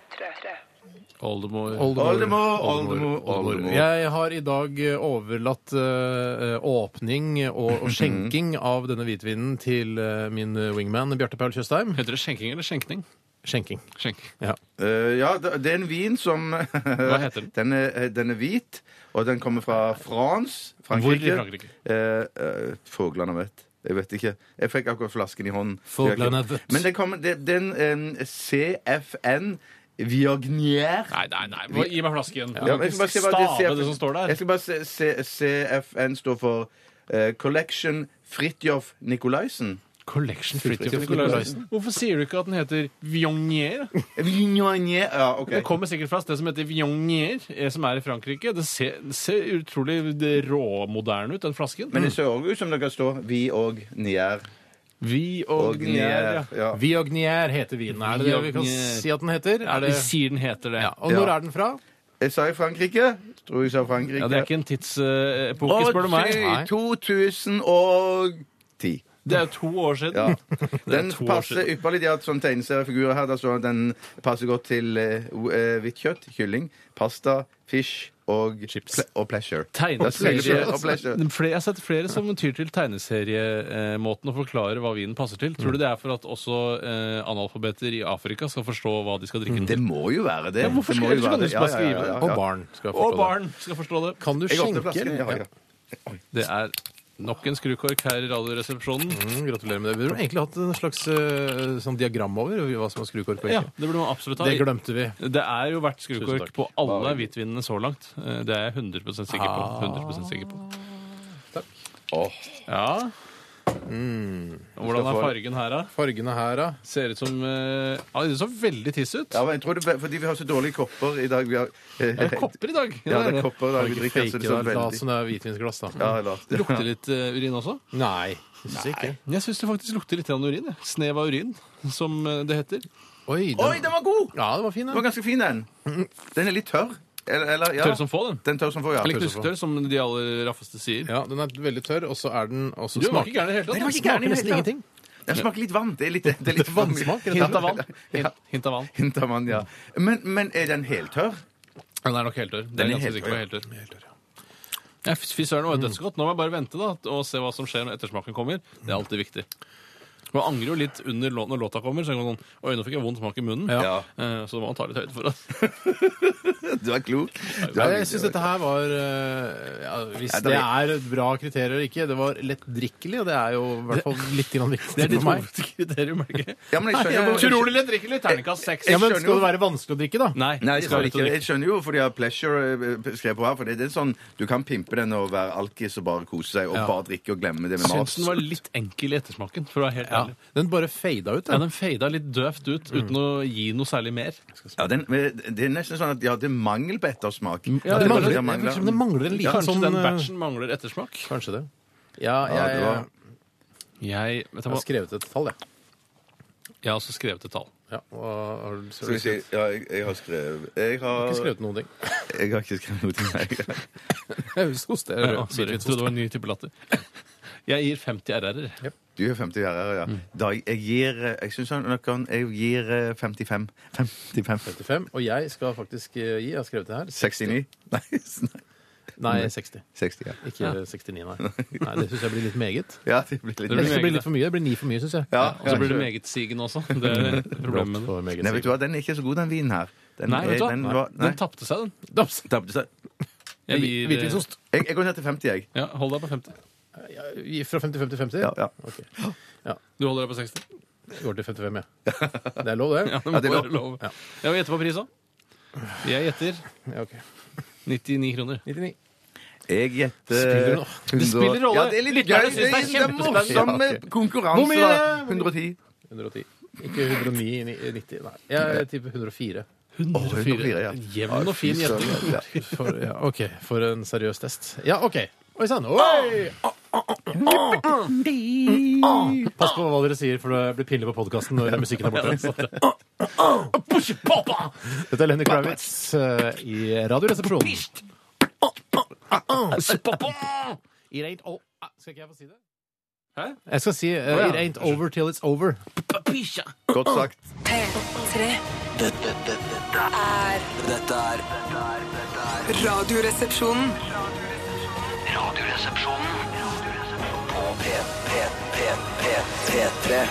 Speaker 4: Oldemor.
Speaker 5: Oldemor, oldemor, oldemor.
Speaker 3: Jeg har i dag eh, overlatt eh, åpning og, og skjenking av denne hvitvinen til eh, min wingman Bjarte Paul Tjøstheim.
Speaker 4: Heter det skjenking eller skjenkning?
Speaker 3: Skjenking.
Speaker 4: Skjenk.
Speaker 3: Ja.
Speaker 5: Eh, ja, det det er en vin som Hva
Speaker 4: heter den?
Speaker 5: Den er, eh, den er hvit, og den kommer fra France.
Speaker 4: Hvor i Frankrike?
Speaker 5: Eh, eh, Fuglene vet. Jeg vet ikke. Jeg fikk akkurat flasken i hånden.
Speaker 3: Fuglene
Speaker 5: Jeg har ikke-
Speaker 3: vet.
Speaker 5: Men det, kommer, det, det er en eh, CFN Viognier.
Speaker 4: Nei, nei, nei. Bare Gi meg flasken.
Speaker 5: Ja, men jeg skal bare se hva det-
Speaker 4: Stave det som står
Speaker 5: Jeg
Speaker 4: der.
Speaker 5: skal bare se, se, CFN står for eh, Collection Fridtjof Nicolaisen.
Speaker 4: Collection Fridtjof
Speaker 3: Fridtjof
Speaker 4: Nicolaisen. Hvorfor sier du ikke at den heter Viognier?
Speaker 5: Viognier. Ja, OK.
Speaker 4: Det kommer sikkert fra et sted som heter Viognier, eh, som er i Frankrike. Det ser, det ser utrolig råmoderne ut, den flasken.
Speaker 5: Men det ser òg ut som det kan stå Vi og Nier.
Speaker 4: Viognier, ja.
Speaker 5: Ja.
Speaker 3: Viognier heter vinen. Er det det vi kan
Speaker 4: Viognier.
Speaker 3: si at den heter? Er
Speaker 4: Vi
Speaker 3: det...
Speaker 4: sier den heter det.
Speaker 3: ja. Og når
Speaker 5: Ja.
Speaker 3: er den fra?
Speaker 5: Jeg sa i Frankrike. Tror jeg sa Frankrike.
Speaker 4: Ja, det er ikke en tidsepoke, spør du meg.
Speaker 5: Å, ty- 2010.
Speaker 4: Det er jo to år siden.
Speaker 5: Ja.
Speaker 4: Det
Speaker 5: Den
Speaker 4: er to år
Speaker 5: passer
Speaker 4: siden.
Speaker 5: ypperlig. De har hatt sånn tegneseriefigurer her. da, Så den passer godt til eh, o- eh, hvitt kjøtt, kylling, pasta, fish og,
Speaker 4: Chips.
Speaker 5: ple og pleasure.
Speaker 4: Tegneserie
Speaker 5: Og pleasure.
Speaker 4: Fle- Jeg har sett flere som tyr til tegneseriemåten å forklare hva vinen passer til. Tror du det er for at også eh, analfabeter i Afrika skal forstå hva de skal drikke den
Speaker 5: Det
Speaker 4: til?
Speaker 5: må jo være det.
Speaker 4: Ja, hvorfor skal-
Speaker 5: Det må jo
Speaker 4: ellers kan
Speaker 5: være
Speaker 4: du
Speaker 5: det.
Speaker 4: bare skrive det.
Speaker 3: Og barn skal forstå
Speaker 4: Og barn skal forstå det.
Speaker 3: Kan du
Speaker 5: Jeg åpner
Speaker 3: skjenke?
Speaker 5: flasken. Ja,
Speaker 3: eller?
Speaker 5: ja.
Speaker 4: Det er nok en skrukork her i Radioresepsjonen.
Speaker 3: Mm, gratulerer med det. Vi burde egentlig hatt en slags eh, sånn diagram over hva som er skrukork og
Speaker 4: Ja,
Speaker 3: ikke.
Speaker 4: det burde man absolutt ha.
Speaker 3: Det glemte vi.
Speaker 4: Det er jo vært skrukork
Speaker 3: Tusen takk.
Speaker 4: på alle hvitvinene så langt. Eh, Det er jeg 100 sikker på. 100 sikker på.
Speaker 5: Åh.
Speaker 4: Ja. Hvordan er fargen her, da?
Speaker 3: Fargene her, da?
Speaker 4: Ser ut som eh, ja, Det så veldig tiss ut.
Speaker 5: Ja, men jeg tror det, fordi vi har så dårlige kopper i dag. Vi har, eh,
Speaker 4: Det er kopper i dag.
Speaker 5: Ja, det
Speaker 4: det.
Speaker 5: er kopper i dag. Vi
Speaker 3: Ikke
Speaker 5: drikker så
Speaker 3: fake
Speaker 5: det er
Speaker 3: det. La oss
Speaker 5: veldig.
Speaker 3: som det er hvitvinsglass, da.
Speaker 5: Ja, la oss det.
Speaker 4: Lukter litt eh, urin også?
Speaker 3: Nei. Synes ikke.
Speaker 4: Jeg syns det faktisk lukter litt grann urin. jeg. Snev av urin, som eh, det heter.
Speaker 3: Oi, den,
Speaker 5: Oi, den var god!
Speaker 3: Ja, den var fin,
Speaker 5: Den var
Speaker 3: den.
Speaker 5: ganske fin, den. Den er litt tørr. Eller, eller ja.
Speaker 4: Tørr som få, den.
Speaker 5: Den tør som får, ja.
Speaker 4: Eller knusktørr, som de aller raffeste sier.
Speaker 3: Ja, den er veldig tørr, og så er den også
Speaker 4: Du var ikke gæren i det hele tatt.
Speaker 5: var ikke
Speaker 4: Smaker
Speaker 5: gæren i det
Speaker 4: nesten
Speaker 5: hele tatt.
Speaker 4: ingenting.
Speaker 5: Den smaker litt vann. Det er litt, det er litt
Speaker 3: vannsmak, rett og
Speaker 4: Hint av vann.
Speaker 5: Ja.
Speaker 4: Hint, hint av vann.
Speaker 5: Hint av vann, ja. Men, men er den heltørr?
Speaker 4: Den er nok helt tørr. Det er
Speaker 5: Den er
Speaker 4: jeg ganske
Speaker 5: helt
Speaker 4: sikker på helt tørr. Ja, fy- fy søren, det var jo dødsgodt. Nå må jeg bare vente da, og se hva som skjer når ettersmaken kommer. Det er alltid viktig. Man angrer jo litt under lå når låta kommer. Så tenker man sånn, Oi, nå fikk jeg vond smak i munnen.
Speaker 5: Ja.
Speaker 4: Eh, Så da må man ta litt høyde for det.
Speaker 5: Du er klok. Du
Speaker 3: Ja,
Speaker 5: er-
Speaker 3: jeg syns dette her var eh, ja, Hvis
Speaker 5: Nei, det
Speaker 3: det
Speaker 5: er-
Speaker 3: er et bra kriterier eller ikke. Det var lettdrikkelig, og det er jo i hvert fall litt grann viktig
Speaker 4: Det er
Speaker 3: for
Speaker 4: ditt
Speaker 3: meg.
Speaker 4: hovedkriterium, er det ikke?
Speaker 5: Ja, men jeg skjønner jo
Speaker 4: Utrolig lett drikke litt. Terningkast seks.
Speaker 3: Ja, men
Speaker 5: skjønner
Speaker 3: Skal
Speaker 5: jo-
Speaker 3: det være vanskelig å drikke, da?
Speaker 4: Nei,
Speaker 5: Nei,
Speaker 4: det
Speaker 5: jeg,
Speaker 4: skal
Speaker 5: skjønner
Speaker 4: være lett å
Speaker 5: ikke.
Speaker 4: drikke.
Speaker 5: jeg skrev jo fordi jeg har pleasure eh, skrevet på her. For det er sånn, Du kan pimpe den og være alkis og bare kose seg og bare drikke og glemme det med
Speaker 4: Jeg
Speaker 5: mas.
Speaker 4: syns den var litt enkel i ettersmaken, for å være helt
Speaker 3: Ja.
Speaker 4: ærlig.
Speaker 3: Den bare fada ut,
Speaker 4: Ja,
Speaker 3: den.
Speaker 4: Den fada litt døvt ut uten å gi noe særlig mer.
Speaker 5: Ja, den, men det er nesten sånn at de hadde mangel på ettersmak.
Speaker 3: Ja,
Speaker 4: det
Speaker 3: det, mangler, det,
Speaker 4: mangler-
Speaker 3: virker som det mangler en liten
Speaker 4: Kanskje
Speaker 3: sånn
Speaker 4: den
Speaker 3: eh,
Speaker 4: batchen mangler ettersmak?
Speaker 3: Kanskje det. Ja, jeg,
Speaker 5: Ja, det var-
Speaker 3: jeg,
Speaker 4: Jeg, vet du
Speaker 3: har
Speaker 4: hva?
Speaker 3: skrevet et tall, jeg.
Speaker 4: jeg har også skrevet et tall.
Speaker 3: Ja, og har du
Speaker 5: Skal vi si, ja, jeg, jeg har skrevet Jeg har,
Speaker 3: ikke skrevet noen ting.
Speaker 5: Jeg har ikke skrevet noe til meg.
Speaker 3: Jeg husker hos det.
Speaker 4: Ja, sorry. Jeg trodde det var en ny type latter. Jeg gir 50 RR-er.
Speaker 5: Du er 50 år, ja. Da, jeg gir eh, Jeg syns han kan Jeg gir eh, 55. 55.
Speaker 3: 55, og jeg skal faktisk eh, gi Jeg har skrevet det her.
Speaker 5: 69? Nei, s- nei,
Speaker 3: Nei, 60.
Speaker 5: 60. Ja,
Speaker 3: Ikke 69, nei. nei det syns jeg blir litt meget.
Speaker 5: ja det blir
Speaker 3: Jeg
Speaker 5: litt
Speaker 3: synes
Speaker 4: meget,
Speaker 3: det blir
Speaker 4: det.
Speaker 3: litt for mye. Det blir ni for mye, syns jeg.
Speaker 5: ja,
Speaker 4: Og så blir det
Speaker 5: kanskje.
Speaker 4: megetsigende også. Det er problemet med det.
Speaker 3: For meget
Speaker 5: Nei, vet du hva, den er ikke så god, den vinen her. Den,
Speaker 4: Nei, vet du
Speaker 5: er- Den,
Speaker 4: hva?
Speaker 5: var- nei.
Speaker 4: Den tapte seg, den.
Speaker 3: Daps.
Speaker 5: Tapte seg.
Speaker 4: Jeg gir eh,
Speaker 3: Hvitvinsost.
Speaker 5: Jeg, jeg går ned til 50, jeg.
Speaker 4: Ja, hold deg på 50.
Speaker 3: Ja, vi- Fra 55 til 50?
Speaker 5: Ja, ja.
Speaker 3: Ok.
Speaker 4: Du holder deg på 60.
Speaker 3: Jeg går til 55, ja. Det er lov, det?
Speaker 4: Ja, det
Speaker 5: Ja,
Speaker 4: må
Speaker 5: det er
Speaker 4: være lov. Jeg vil gjette på prisen. Jeg gjetter
Speaker 3: Ja, ok.
Speaker 4: 99 kroner.
Speaker 3: 99.
Speaker 5: Jeg gjetter
Speaker 3: Spiller det nå?
Speaker 5: 100
Speaker 4: Det spiller rolle.
Speaker 5: Ja, det er litt
Speaker 4: Lytterne
Speaker 5: gøy.
Speaker 4: synes
Speaker 5: Det
Speaker 4: det
Speaker 5: er,
Speaker 4: er
Speaker 5: det er
Speaker 4: kjempespennende.
Speaker 5: morsomme
Speaker 3: Hvor
Speaker 5: konkurranse.
Speaker 3: mye
Speaker 5: da.
Speaker 3: er det?
Speaker 5: 110.
Speaker 3: 110. Ikke 109 ni- 90, nei. Jeg tipper 104.
Speaker 5: Å, 104, ja.
Speaker 4: Jevn og fin
Speaker 5: Ja, fy
Speaker 4: gjetting.
Speaker 5: søren, ja.
Speaker 3: For, ja, OK, for en seriøs test. Ja, OK. Oi sann! Oi! Ah, ah, ah, ah. Ah. Pass på hva dere sier, for det blir pinlig på podkasten når musikken er borte. Dette er Lenny Kravitz eh, i Radioresepsjonen.
Speaker 4: ah,
Speaker 3: It ain't o- Ah, Skal ikke jeg få si det?
Speaker 4: Hæ?
Speaker 3: Jeg skal si eh,
Speaker 4: ja.
Speaker 3: It ain't over till it's over.
Speaker 5: Godt sagt.
Speaker 1: P3
Speaker 2: Dette, dette, dette er Dette er dette er- dette er
Speaker 1: Radioresepsjonen.
Speaker 2: Radioresepsjonen På P, P, P, P, P3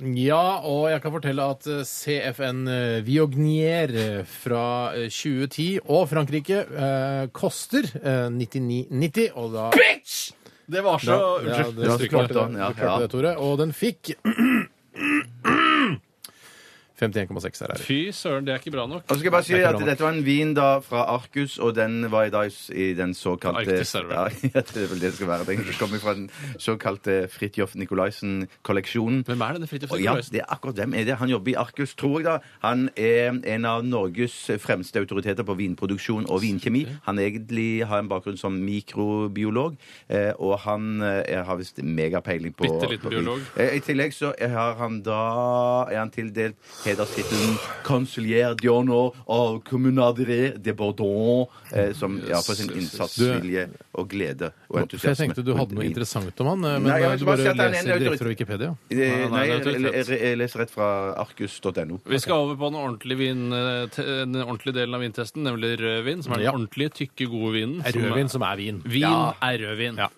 Speaker 3: Ja, og jeg kan fortelle at eh, CFN eh, Viognier eh, fra eh, 2010 og Frankrike eh, koster eh, 99,90, og da
Speaker 4: Det var så
Speaker 3: Ja,
Speaker 4: Unnskyld.
Speaker 3: Ja, det, du klarte
Speaker 5: den,
Speaker 3: det,
Speaker 5: ja,
Speaker 3: du klarte
Speaker 5: ja.
Speaker 3: det, Tore. Og den fikk 51,6 her.
Speaker 4: Fy søren, det er ikke bra nok.
Speaker 5: Og så skal jeg bare si
Speaker 3: Det er
Speaker 5: at
Speaker 3: ikke bra
Speaker 5: Dette var en vin da fra Arcus, og den var i dag i den såkalte
Speaker 4: Arktis, er det vel?
Speaker 5: Ja, det er vel det det skal være. Den kommer fra den såkalte Fridtjof Nicolaisen-kolleksjonen.
Speaker 4: Hvem er denne Fridtjof
Speaker 5: Og Ja,
Speaker 4: Nicolaisen?
Speaker 5: det er akkurat dem. Er det. Han jobber i Arcus, tror jeg. da. Han er en av Norges fremste autoriteter på vinproduksjon og vinkjemi. Han egentlig har en bakgrunn som mikrobiolog, eh, og han eh, har visst megapeiling på
Speaker 4: Bitte liten
Speaker 5: på vin.
Speaker 4: biolog.
Speaker 5: Eh, I tillegg så har han da er han tildelt hederstittelen Consulier d'honneur og Communadre de Bordeaux, eh, som ja, for sin innsatsvilje og glede og
Speaker 3: For jeg
Speaker 5: entusiasme.
Speaker 3: tenkte du hadde noe interessant om han, eh, men
Speaker 5: Nei, jeg vil
Speaker 3: du
Speaker 5: bare si
Speaker 3: bare
Speaker 5: at han er en
Speaker 3: leser direkte
Speaker 5: autoritet.
Speaker 3: fra Wikipedia.
Speaker 5: Eh, Nei, jeg,
Speaker 4: Nei, nei,
Speaker 5: jeg, jeg leser rett fra arkus.no.
Speaker 4: Vi skal over på den ordentlige, vin, eh, te- den ordentlige delen av vintesten, nemlig rødvin. Som er den
Speaker 3: Ja.
Speaker 4: ordentlige, tykke, gode vinen. som er-
Speaker 3: Rødvin som er vin.
Speaker 4: Vin er rødvin.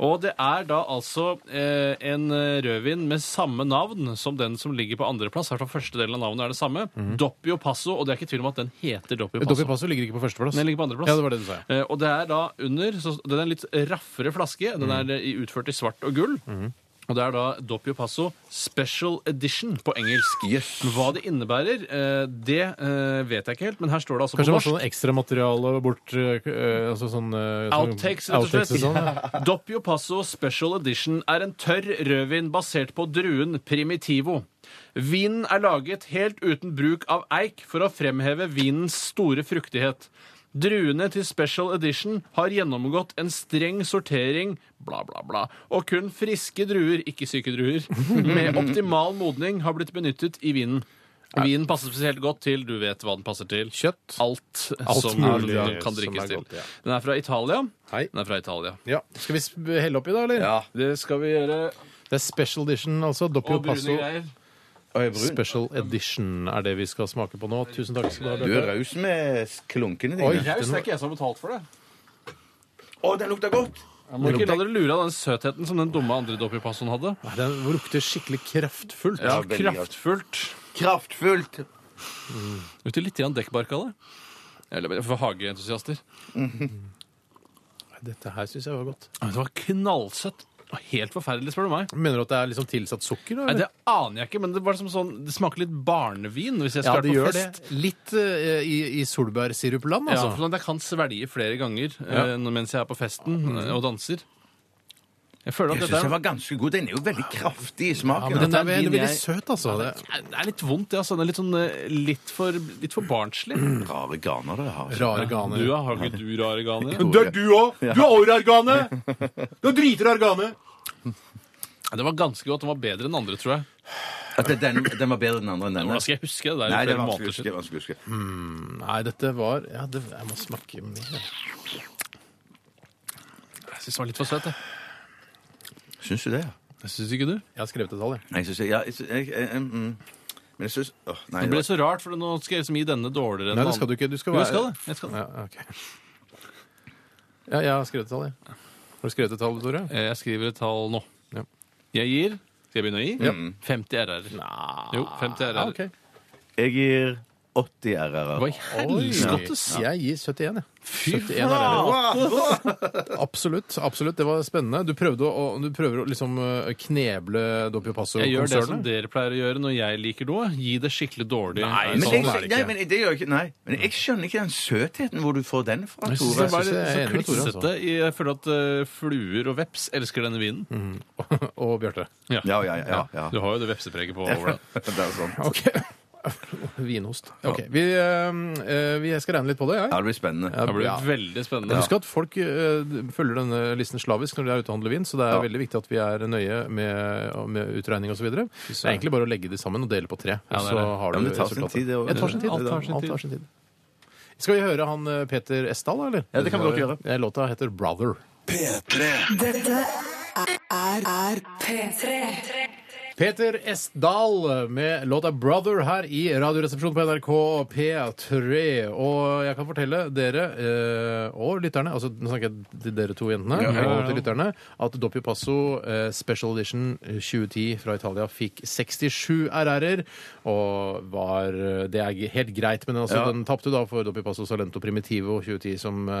Speaker 4: Og det er da altså eh, en rødvin med samme navn som den som ligger på andreplass. Her fra første delen av navnet er det samme.
Speaker 3: Mhm.
Speaker 4: Doppio Passo, og det er ikke tvil om at den heter Doppio Passo.
Speaker 3: Doppi Passo ligger ikke på førsteplass.
Speaker 4: Den ligger på andreplass.
Speaker 3: Ja, det var det du sa. ja.
Speaker 4: Eh, og det er da under så Den er en litt raffere flaske. Den
Speaker 3: Mhm.
Speaker 4: er eh, i- utført i svart og gull. Og det er da Doppio Passo Special Edition på engelsk.
Speaker 5: Yes.
Speaker 4: Men Hva det innebærer, eh, det eh, vet jeg ikke helt, men her står det altså
Speaker 3: Kanskje det
Speaker 4: på
Speaker 3: var
Speaker 4: norsk.
Speaker 3: sånn ekstramateriale bort eh, eh, altså sånn, eh, sånn-
Speaker 4: Outtakes, rett og slett.
Speaker 3: outtakes og sånn. ja.
Speaker 4: Doppio Passo Special Edition er en tørr rødvin basert på druen Primitivo. Vinen er laget helt uten bruk av eik for å fremheve vinens store fruktighet. Druene til Special Edition har gjennomgått en streng sortering, bla, bla, bla, og kun friske druer, ikke syke druer, med optimal modning har blitt benyttet i vinen. Vinen passer spesielt godt til Du vet hva den passer til.
Speaker 3: Kjøtt.
Speaker 4: Alt,
Speaker 3: Alt
Speaker 4: som
Speaker 3: mulig,
Speaker 4: den
Speaker 3: ja, som
Speaker 4: kan
Speaker 3: er
Speaker 4: drikkes til.
Speaker 3: godt, ja.
Speaker 4: Den er fra Italia.
Speaker 3: Hei.
Speaker 4: Den er fra Italia.
Speaker 3: Ja. Skal vi sp- helle oppi, da, eller?
Speaker 4: Det skal vi gjøre.
Speaker 3: Det er special edition, altså. Doppio
Speaker 4: Og brune
Speaker 3: Passo
Speaker 4: greier.
Speaker 5: Oi, brun.
Speaker 3: special edition er det vi skal smake på nå. Tusen takk skal du ha,
Speaker 5: Du er
Speaker 3: Bjarte.
Speaker 5: raus med klunkene
Speaker 3: Oi.
Speaker 5: dine.
Speaker 4: Jeg husker ikke jeg som har betalt for det.
Speaker 5: Å, den lukter godt!
Speaker 4: Jeg må ikke la dere lure av den søtheten som den dumme andre doppipassoen hadde.
Speaker 3: Nei, Den lukter skikkelig kraftfullt.
Speaker 4: Ja,
Speaker 5: Ja, veldig godt.
Speaker 4: kraftfullt.
Speaker 5: Kraftfullt!
Speaker 4: Ute litt grann dekkbark av det. Eller for hageentusiaster.
Speaker 3: Dette her syns jeg var godt.
Speaker 4: Det var knallsøtt. Og Helt forferdelig, spør du meg.
Speaker 3: Mener du at det er liksom tilsatt sukker? Da,
Speaker 4: Nei,
Speaker 3: eller?
Speaker 4: Det aner jeg ikke, men det var som sånn, det smaker litt barnevin hvis jeg
Speaker 3: ja,
Speaker 4: skal
Speaker 3: det
Speaker 4: på
Speaker 3: gjør
Speaker 4: fest.
Speaker 3: det. Litt eh, i, i solbærsirupland,
Speaker 4: Ja,
Speaker 3: altså.
Speaker 4: for sånn at jeg kan svelge flere ganger eh, når- mens jeg er på festen eh, og danser. Jeg føler at
Speaker 5: Mm. Jeg
Speaker 4: dette
Speaker 5: syns
Speaker 4: er,
Speaker 5: den var ganske god. Den er jo veldig kraftig i
Speaker 3: Ja,
Speaker 5: smaken.
Speaker 3: men den
Speaker 5: altså.
Speaker 3: er veldig,
Speaker 4: vin
Speaker 3: veldig
Speaker 4: jeg-
Speaker 3: søt, altså. Det
Speaker 4: det er litt vondt, det. Altså. Det er litt, sånn, eh, litt, for, litt for barnslig.
Speaker 5: Rare ganer dere har.
Speaker 3: rare
Speaker 4: Du,
Speaker 3: ganer.
Speaker 4: ja, har ikke du rare ganer?
Speaker 3: Men det er du òg! Du er orargane! Du er dritrargane!
Speaker 4: Ja, Det var ganske godt. Den var bedre enn andre, tror jeg.
Speaker 5: At det- den, den var bedre enn den andre enn denne.
Speaker 4: Hvordan skal jeg huske det? Det er
Speaker 5: Nei,
Speaker 4: jo
Speaker 5: det er
Speaker 4: flere
Speaker 5: vanskelig å
Speaker 4: måneder
Speaker 5: huske.
Speaker 4: siden.
Speaker 5: vanskelig å huske.
Speaker 3: Nei, dette var Ja, det, jeg må smake mer.
Speaker 4: Jeg synes den var litt for søt, jeg.
Speaker 5: Syns du det? ja?
Speaker 4: Syns ikke du?
Speaker 3: Jeg har skrevet et tall, jeg.
Speaker 5: Nei, jeg syns ja, jeg, sy- jeg, jeg, jeg, mm. Men jeg syns åh, Nei,
Speaker 4: Det
Speaker 5: det
Speaker 4: ble
Speaker 5: var-
Speaker 4: så rart, for nå skal jeg liksom gi denne dårligere enn
Speaker 3: Nei, det skal du ikke. Du skal
Speaker 4: Jo,
Speaker 3: være
Speaker 4: jeg skal det. Jeg skal det.
Speaker 3: Ja, ok. Ja, jeg har skrevet et tall, jeg. Har du skrevet et tall, Tore?
Speaker 4: Eh, Jeg skriver et tall nå.
Speaker 3: Ja.
Speaker 4: Jeg gir Skal jeg begynne å gi?
Speaker 5: Ja.
Speaker 4: 50 RR. Jo, 50 RR.
Speaker 3: Ja, Ah, ok.
Speaker 5: jeg gir 80 RR.
Speaker 4: Hva i helvete?
Speaker 3: Oi. Jeg gir 71, jeg.
Speaker 4: Fy
Speaker 3: 71 er det. Sånn Absolutt. absolutt, Det var spennende. Du prøvde å, du prøver å liksom eh, kneble Doppio
Speaker 4: Jeg gjør det som
Speaker 3: Passo-konsernet.
Speaker 4: dere pleier å gjøre når jeg liker noe. Gi det skikkelig dårlig.
Speaker 3: Nei,
Speaker 5: Men,
Speaker 3: Sånn
Speaker 5: jeg,
Speaker 3: er det
Speaker 5: nei,
Speaker 3: ikke.
Speaker 5: men det gjør jeg ikke Nei, men jeg skjønner ikke den søtheten hvor du får den fra,
Speaker 3: Jeg synes
Speaker 4: Det
Speaker 5: Tore.
Speaker 3: det
Speaker 4: var litt
Speaker 3: jeg er
Speaker 4: så
Speaker 3: enig med Tore, altså.
Speaker 4: klissete. Jeg føler at eh, fluer og veps elsker denne vinen.
Speaker 3: Mhm. Og Bjarte.
Speaker 5: Ja, ja, ja. ja,
Speaker 4: Du har jo det vepsepreget på over deg.
Speaker 5: Det er sånn.
Speaker 3: Ok. Vinost. Ok, vi, eh, eh, vi, Jeg skal regne litt på det, jeg.
Speaker 5: Ja, det blir spennende.
Speaker 4: Det blir
Speaker 3: Ja.
Speaker 4: veldig spennende.
Speaker 3: Husk at folk eh, følger denne listen slavisk når de er ute og handler vin, så det er
Speaker 5: Ja.
Speaker 3: veldig viktig at vi er nøye med, med utregning osv. Det er egentlig bare å legge de sammen og dele på tre.
Speaker 4: Ja,
Speaker 3: og
Speaker 4: det er
Speaker 3: så
Speaker 4: det.
Speaker 3: har
Speaker 5: Ja,
Speaker 3: du
Speaker 5: men det tar sin
Speaker 3: resultatet.
Speaker 5: tid, det å-
Speaker 3: Ja, det tar sin tid.
Speaker 4: Alt tar sin
Speaker 3: Alt
Speaker 4: tid.
Speaker 3: tar sin tid. Skal vi høre han eh, Peter Esdal, da, eller?
Speaker 5: Ja, det kan vi godt gjøre.
Speaker 3: Eh, Låta heter 'Brother'.
Speaker 2: P3
Speaker 1: Dette er, er P3.
Speaker 3: Peter Esdal med låta 'Brother' her i Radioresepsjonen på NRK P3. Og jeg kan fortelle dere eh, og lytterne, altså nå snakker jeg til dere to jentene, og til lytterne, at Doppio Passo eh, Special Edition 2010 fra Italia fikk 67 RR-er, og var eh, Det er helt greit, men altså, den tapte da for Doppio Passo Salento Primitivo 2010, som eh,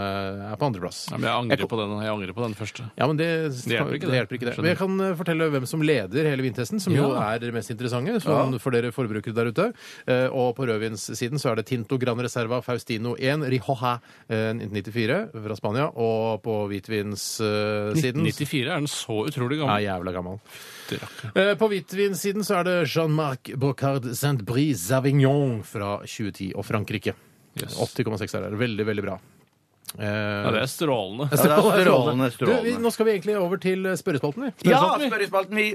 Speaker 3: er på andreplass.
Speaker 4: Ja, men jeg angrer på den. Jeg angrer på den første.
Speaker 3: Ja, men det, det
Speaker 4: hjelper
Speaker 3: hjelper ikke
Speaker 4: ikke det.
Speaker 3: det. Men jeg kan eh, fortelle hvem som leder hele vintesten, som jo
Speaker 4: Ja.
Speaker 3: er det mest interessante sånn, for dere forbrukere der ute. Eh, og på rødvinssiden så er det Tinto Gran Reserva Faustino 1 Rijoja eh, 1994 fra Spania. Og på hvitvinssiden
Speaker 4: 94 er den så utrolig
Speaker 3: ja,
Speaker 4: gammel.
Speaker 3: jævla gammal.
Speaker 4: Fytti rakker.
Speaker 3: Eh, På hvitvinssiden så er det Jean-Marc Bocard Saint-Brice Savignon fra 2010 og Frankrike.
Speaker 4: Yes.
Speaker 3: 80,6 er det. Veldig, veldig bra.
Speaker 4: Ja, det
Speaker 3: Eh,
Speaker 4: er strålende.
Speaker 5: Ja, det er
Speaker 3: Du, vi,
Speaker 5: strålende, strålende.
Speaker 3: eh,
Speaker 5: sånn?
Speaker 3: nå skal vi egentlig over til spørrespalten, vi.
Speaker 5: Ja, spør i spalten, vi!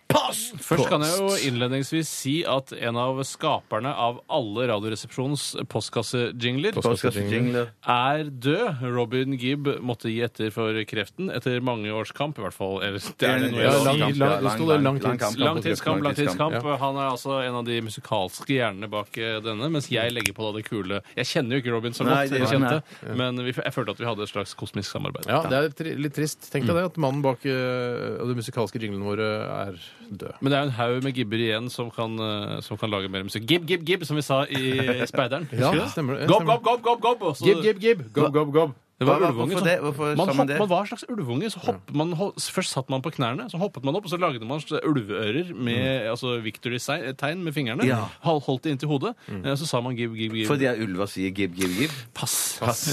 Speaker 4: Først kan jeg jo innledningsvis si at en av skaperne av alle Radioresepsjonens postkassejingler
Speaker 5: Postkassejingler.
Speaker 4: er død. Robin Gibb måtte gi etter for kreften etter mange års kamp, i hvert fall. Eller, det er det noe
Speaker 3: Ja,
Speaker 4: jeg
Speaker 3: lang-
Speaker 4: sier.
Speaker 3: lang- det sto det langtids-
Speaker 4: Langtidskamp, langtidskamp. Han er altså en av de musikalske hjernene bak eh, denne, mens jeg legger på da det kule Jeg kjenner jo ikke Robin så
Speaker 5: Nei,
Speaker 4: godt,
Speaker 5: det
Speaker 4: jeg
Speaker 5: gjør han,
Speaker 4: kjente, men vi, jeg følte at vi hadde et slags kosmisk samarbeid.
Speaker 3: Ja, det er tri litt trist. Tenk deg det, at mannen bak eh, og de musikalske jinglene våre er død.
Speaker 4: Men det er jo en haug med gibber igjen som kan, eh, som kan lage mer musikk. Gibb, gibb, gibb, som vi sa i Speideren.
Speaker 3: Ja,
Speaker 4: Husker du det?
Speaker 5: Eh,
Speaker 3: stemmer det.
Speaker 4: Gobb,
Speaker 3: Stemmer
Speaker 4: gobb, gobb, gobb, gobb! og så-
Speaker 3: Gib, gib, gib! Gob, gob, gob!
Speaker 4: Det var
Speaker 5: Hva- hva-
Speaker 4: ulveunger.
Speaker 5: hvorfor det? Hvorfor
Speaker 4: sånn. Man,
Speaker 5: sa man
Speaker 4: hopp,
Speaker 5: det?
Speaker 4: man var en slags ulvunge. Så, hopp, man, hol- først satt man på knærne, så hoppet man opp, og så lagde man sl- ulveører med altså victory-tegn med fingrene.
Speaker 5: Mm. Ja. Mm.
Speaker 4: Hol- Holdt det inntil hodet. eh, Så sa man gib, gib, gib.
Speaker 5: Fordi at ulver sier gib, gib, gib.
Speaker 4: Pass.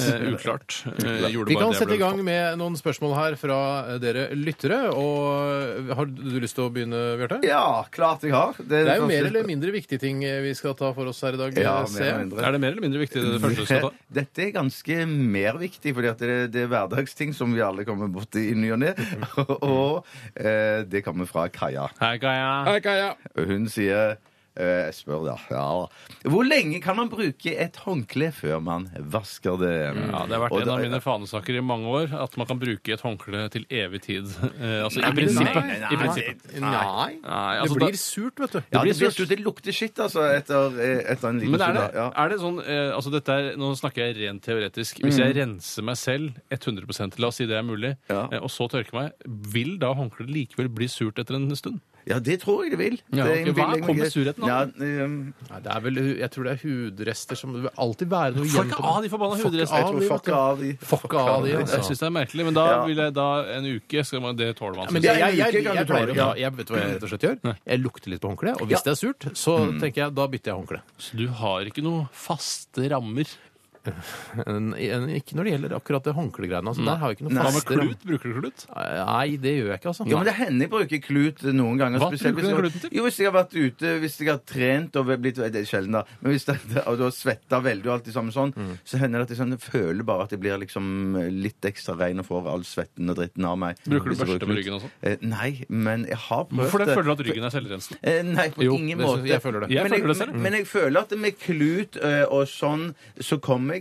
Speaker 4: Eh, uklart. Eh, gjorde
Speaker 3: Vi
Speaker 4: bare
Speaker 3: kan
Speaker 4: det jeg
Speaker 3: sette i
Speaker 4: ble-
Speaker 3: gang med noen spørsmål her fra eh, dere lyttere. Og eh, har du lyst til å begynne, Bjarte?
Speaker 5: Ja, klart jeg har.
Speaker 3: Det er jo mer eller mindre viktige ting eh, vi skal ta for oss her i dag.
Speaker 5: ja,
Speaker 3: eh,
Speaker 5: mer eller
Speaker 3: se.
Speaker 5: mindre.
Speaker 4: Er det mer eller mindre viktig, det, det første du skal ta?
Speaker 5: Dette er ganske mer viktig, fordi at det, det er hverdagsting som vi alle kommer borti i ny og ne. Og eh, det kommer fra Kaja.
Speaker 4: Hei, Kaja.
Speaker 3: Hei, Kaja.
Speaker 5: Hun sier eh, Jeg spør, da. Ja. Hvor lenge kan man bruke et håndkle før man vasker det?
Speaker 4: Ja, det har vært
Speaker 5: Og
Speaker 4: en av
Speaker 5: da-
Speaker 4: mine fanesaker i mange år at man kan bruke et håndkle til evig tid. Eh, altså, i
Speaker 5: men nei,
Speaker 4: prinsippet.
Speaker 5: nei, nei,
Speaker 4: I prinsippet.
Speaker 3: Nei.
Speaker 4: Nei,
Speaker 3: Det
Speaker 4: altså, da-
Speaker 3: blir surt, vet du.
Speaker 5: Ja, det,
Speaker 4: blir
Speaker 5: blir
Speaker 4: surt.
Speaker 5: surt. det lukter skitt, altså, etter, etter en liten
Speaker 4: Men er det,
Speaker 5: stund, da. Ja.
Speaker 4: er det sånn eh, altså dette er, Nå snakker jeg rent teoretisk. Hvis jeg renser meg selv 100 la oss si det er mulig,
Speaker 5: Mm. Ja.
Speaker 4: eh, og så tørker meg, vil da håndkleet likevel bli surt etter en stund?
Speaker 5: ja, det tror jeg det vil.
Speaker 4: Ja,
Speaker 5: det er en
Speaker 4: ok, hva
Speaker 5: vill-
Speaker 4: kommer surheten av?
Speaker 5: Ja, um,
Speaker 3: Nei, det er vel, jeg tror det er hudrester som Det vil alltid være noe
Speaker 4: Får
Speaker 3: igjen
Speaker 4: ikke
Speaker 3: på
Speaker 4: av de forbanna
Speaker 5: jeg
Speaker 4: hudrestene!
Speaker 5: tror fuck av de.
Speaker 3: Fuck av de, altså.
Speaker 4: Jeg syns det er merkelig, men da
Speaker 5: Ja.
Speaker 4: vil jeg da en uke skal man, Det tåler man.
Speaker 3: Men
Speaker 4: synes jeg.
Speaker 3: jeg, jeg, jeg,
Speaker 5: uke
Speaker 3: jeg,
Speaker 5: kan du
Speaker 3: pleier å
Speaker 5: tåle,
Speaker 3: ta
Speaker 5: ja.
Speaker 3: Jeg vet hva jeg rett og slett gjør. Jeg lukter litt på håndkleet, og hvis det er surt, så
Speaker 4: Mm.
Speaker 3: tenker jeg da bytter jeg håndkle.
Speaker 4: Så du har ikke noe faste rammer.
Speaker 3: En- en- Ikke når det gjelder akkurat det håndklegreiene. Altså, der har jeg ikke noe
Speaker 4: Hva med
Speaker 3: faste ram-
Speaker 4: klut? Bruker du klut?
Speaker 3: Nei, det gjør jeg ikke, altså.
Speaker 5: Jo, men det hender jeg bruker klut eh, noen ganger.
Speaker 4: Hva
Speaker 5: spesielt
Speaker 4: bruker du
Speaker 5: hvis jeg-
Speaker 4: kluten til?
Speaker 5: Jo, Hvis jeg har vært ute, hvis jeg har trent og blitt Det er sjelden, da. Men hvis det, og du har svetta veldig og alt det samme sånn,
Speaker 4: Mm.
Speaker 5: så hender det at jeg sånn, jeg føler bare at jeg blir liksom litt ekstra rein og får all svetten og dritten av meg.
Speaker 4: Bruker du
Speaker 5: Hvis jeg
Speaker 4: børste
Speaker 5: klut.
Speaker 4: med ryggen og sånn?
Speaker 5: Eh, nei, men jeg har prøvd
Speaker 4: Hvorfor det? føler du at ryggen er selvrensende?
Speaker 5: Eh, Nei, på
Speaker 3: Jo,
Speaker 5: ingen
Speaker 3: det
Speaker 5: måte.
Speaker 3: synes jeg- jeg føler det.
Speaker 4: Jeg
Speaker 5: men,
Speaker 4: føler det selv.
Speaker 5: men, men jeg føler at med klut eh, og sånn, så kommer jeg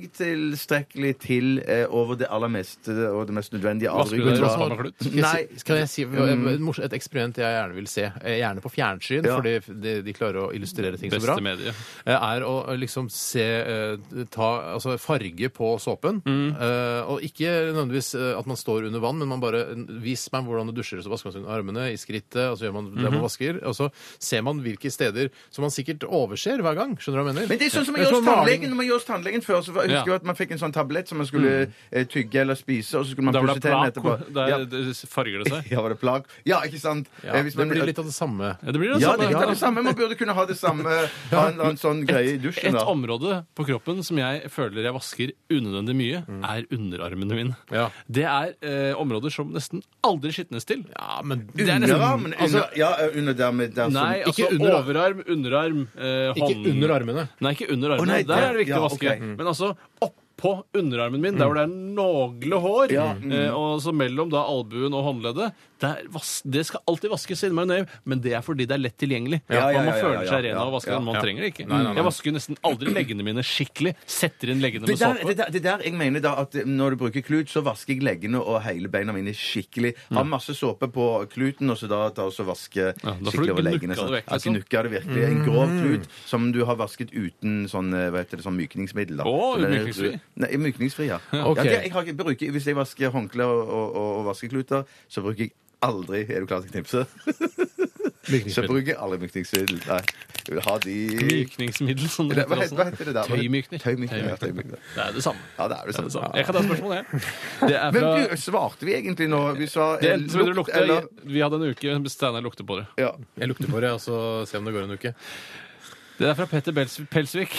Speaker 5: tilstrekkelig til eh, over det aller meste og det mest nødvendige av
Speaker 4: Vasker du deg i
Speaker 5: ryggen.
Speaker 4: rumpa med klut? Mm.
Speaker 3: Skal jeg, si-
Speaker 5: Nei.
Speaker 3: skal jeg si et mors- et eksperiment jeg gjerne vil se, eh, gjerne på fjernsyn,
Speaker 5: Ja.
Speaker 3: fordi de, de klarer å illustrere ting så bra,
Speaker 4: Beste medie.
Speaker 3: eh, er å liksom se eh, ta, altså farge på såpen.
Speaker 5: Mm.
Speaker 3: Eh, Og ikke nødvendigvis eh, at man står under vann, men man bare vis meg hvordan du dusjer, så vasker man seg under armene, i skrittet, og så gjør man det man
Speaker 5: Mhm.
Speaker 3: vasker, og så ser man hvilke steder som man sikkert overser hver gang. Skjønner du hva jeg mener?
Speaker 5: Men det er sånn som man
Speaker 3: Det er
Speaker 5: gjør hos
Speaker 3: sånn maling.
Speaker 5: tannlegen. Når man gjør hos tannlegen før, så husker
Speaker 4: Ja.
Speaker 5: jeg at man fikk en sånn tablett som man skulle eh, tygge eller spise, og så skulle man
Speaker 4: Da var
Speaker 5: pusse
Speaker 4: det
Speaker 5: tennene
Speaker 4: plako.
Speaker 5: etterpå.
Speaker 4: Der
Speaker 5: Ja.
Speaker 4: det farger det seg.
Speaker 5: ja, var det plak? Ja, ikke sant?
Speaker 3: Ja,
Speaker 5: Eh, hvis
Speaker 3: det
Speaker 5: man-
Speaker 3: blir litt av det samme.
Speaker 4: Ja, det blir det
Speaker 5: ja,
Speaker 4: samme.
Speaker 5: det er litt av det samme. Man burde kunne ha det samme, ha en, ha en sånn greie i dusjen.
Speaker 4: Et
Speaker 5: da.
Speaker 4: område på kroppen som jeg føler jeg vasker unødvendig mye,
Speaker 5: Mm.
Speaker 4: er underarmene mine.
Speaker 3: Ja.
Speaker 4: Det er eh, områder som nesten aldri skitnes til.
Speaker 3: Ja, men
Speaker 4: Det er nesten-
Speaker 5: Underarmen? Under, ja, under der med der som
Speaker 4: Nei, altså
Speaker 3: Ikke under-
Speaker 4: overarm, underarm, eh, hånd
Speaker 3: ikke under armene.
Speaker 4: Nei, ikke under armene.
Speaker 5: Å, nei,
Speaker 4: der er det viktig
Speaker 5: ja,
Speaker 4: å vaske.
Speaker 5: ok. Mm.
Speaker 4: Men altså oppå underarmen min, der hvor det er nogle hår,
Speaker 5: Ja, mm.
Speaker 4: eh, og så mellom da albuen og håndleddet der vas Det skal alltid vaskes i majonev, men det er fordi det er lett tilgjengelig.
Speaker 5: Ja, ja,
Speaker 4: man må
Speaker 5: ja, ja,
Speaker 4: føle seg
Speaker 5: ja,
Speaker 4: ren av å
Speaker 5: ja,
Speaker 4: vaske
Speaker 5: ja,
Speaker 4: den. Man
Speaker 3: ja.
Speaker 4: trenger det ikke.
Speaker 3: Nei, nei, nei.
Speaker 4: Jeg vasker nesten aldri leggene mine skikkelig. Setter inn leggene med
Speaker 5: Det der,
Speaker 4: såpe.
Speaker 5: det, der, det der jeg mener da at eh, når du bruker klut, så vasker jeg leggene og hele beina mine skikkelig. Har masse såpe på kluten, og så da tar jeg også vaske
Speaker 4: Mm. da får du
Speaker 5: skikkelig over
Speaker 4: gnukka
Speaker 5: leggene.
Speaker 4: det
Speaker 5: Sånn.
Speaker 4: vekk,
Speaker 5: Ja,
Speaker 4: liksom. Mm.
Speaker 5: gnukka det virkelig. En grov klut som du har vasket uten sånn, eh, hva heter det, sånn mykningsmiddel. Da.
Speaker 4: Å,
Speaker 5: Så den er-
Speaker 4: mykningsfri.
Speaker 5: Nei, mykningsfri, ja.
Speaker 3: Ok.
Speaker 5: ja det, jeg har ikke, bruker, hvis jeg vasker håndklær og, og, og, og vaskekluter, så bruker jeg aldri Er du klar til å knipse? Så
Speaker 3: Mykningsmiddel.
Speaker 5: bruker jeg aldri mykningsmiddel. Nei. Jeg vil ha de
Speaker 4: Mykningsmiddel, som det
Speaker 5: Hva
Speaker 4: heter.
Speaker 5: heter, hva heter det der?
Speaker 4: Tøymykner.
Speaker 5: Tøymykner, ja, tøymykner.
Speaker 4: Det er det samme.
Speaker 5: Ja, det er
Speaker 4: Det
Speaker 5: det
Speaker 4: er
Speaker 5: samme.
Speaker 4: det samme. Jeg kan ta et spørsmål, jeg. Det er
Speaker 5: Men
Speaker 4: fra
Speaker 5: du, svarte vi egentlig nå? Vi sa
Speaker 4: det,
Speaker 5: eh,
Speaker 4: som dere
Speaker 5: lukt,
Speaker 4: lukter,
Speaker 5: eller
Speaker 4: Vi hadde en uke med Steinar lukter på det.
Speaker 5: ja.
Speaker 3: Jeg lukter på det, og så se om det går en uke.
Speaker 4: Det er fra Petter Bels Pelsvik.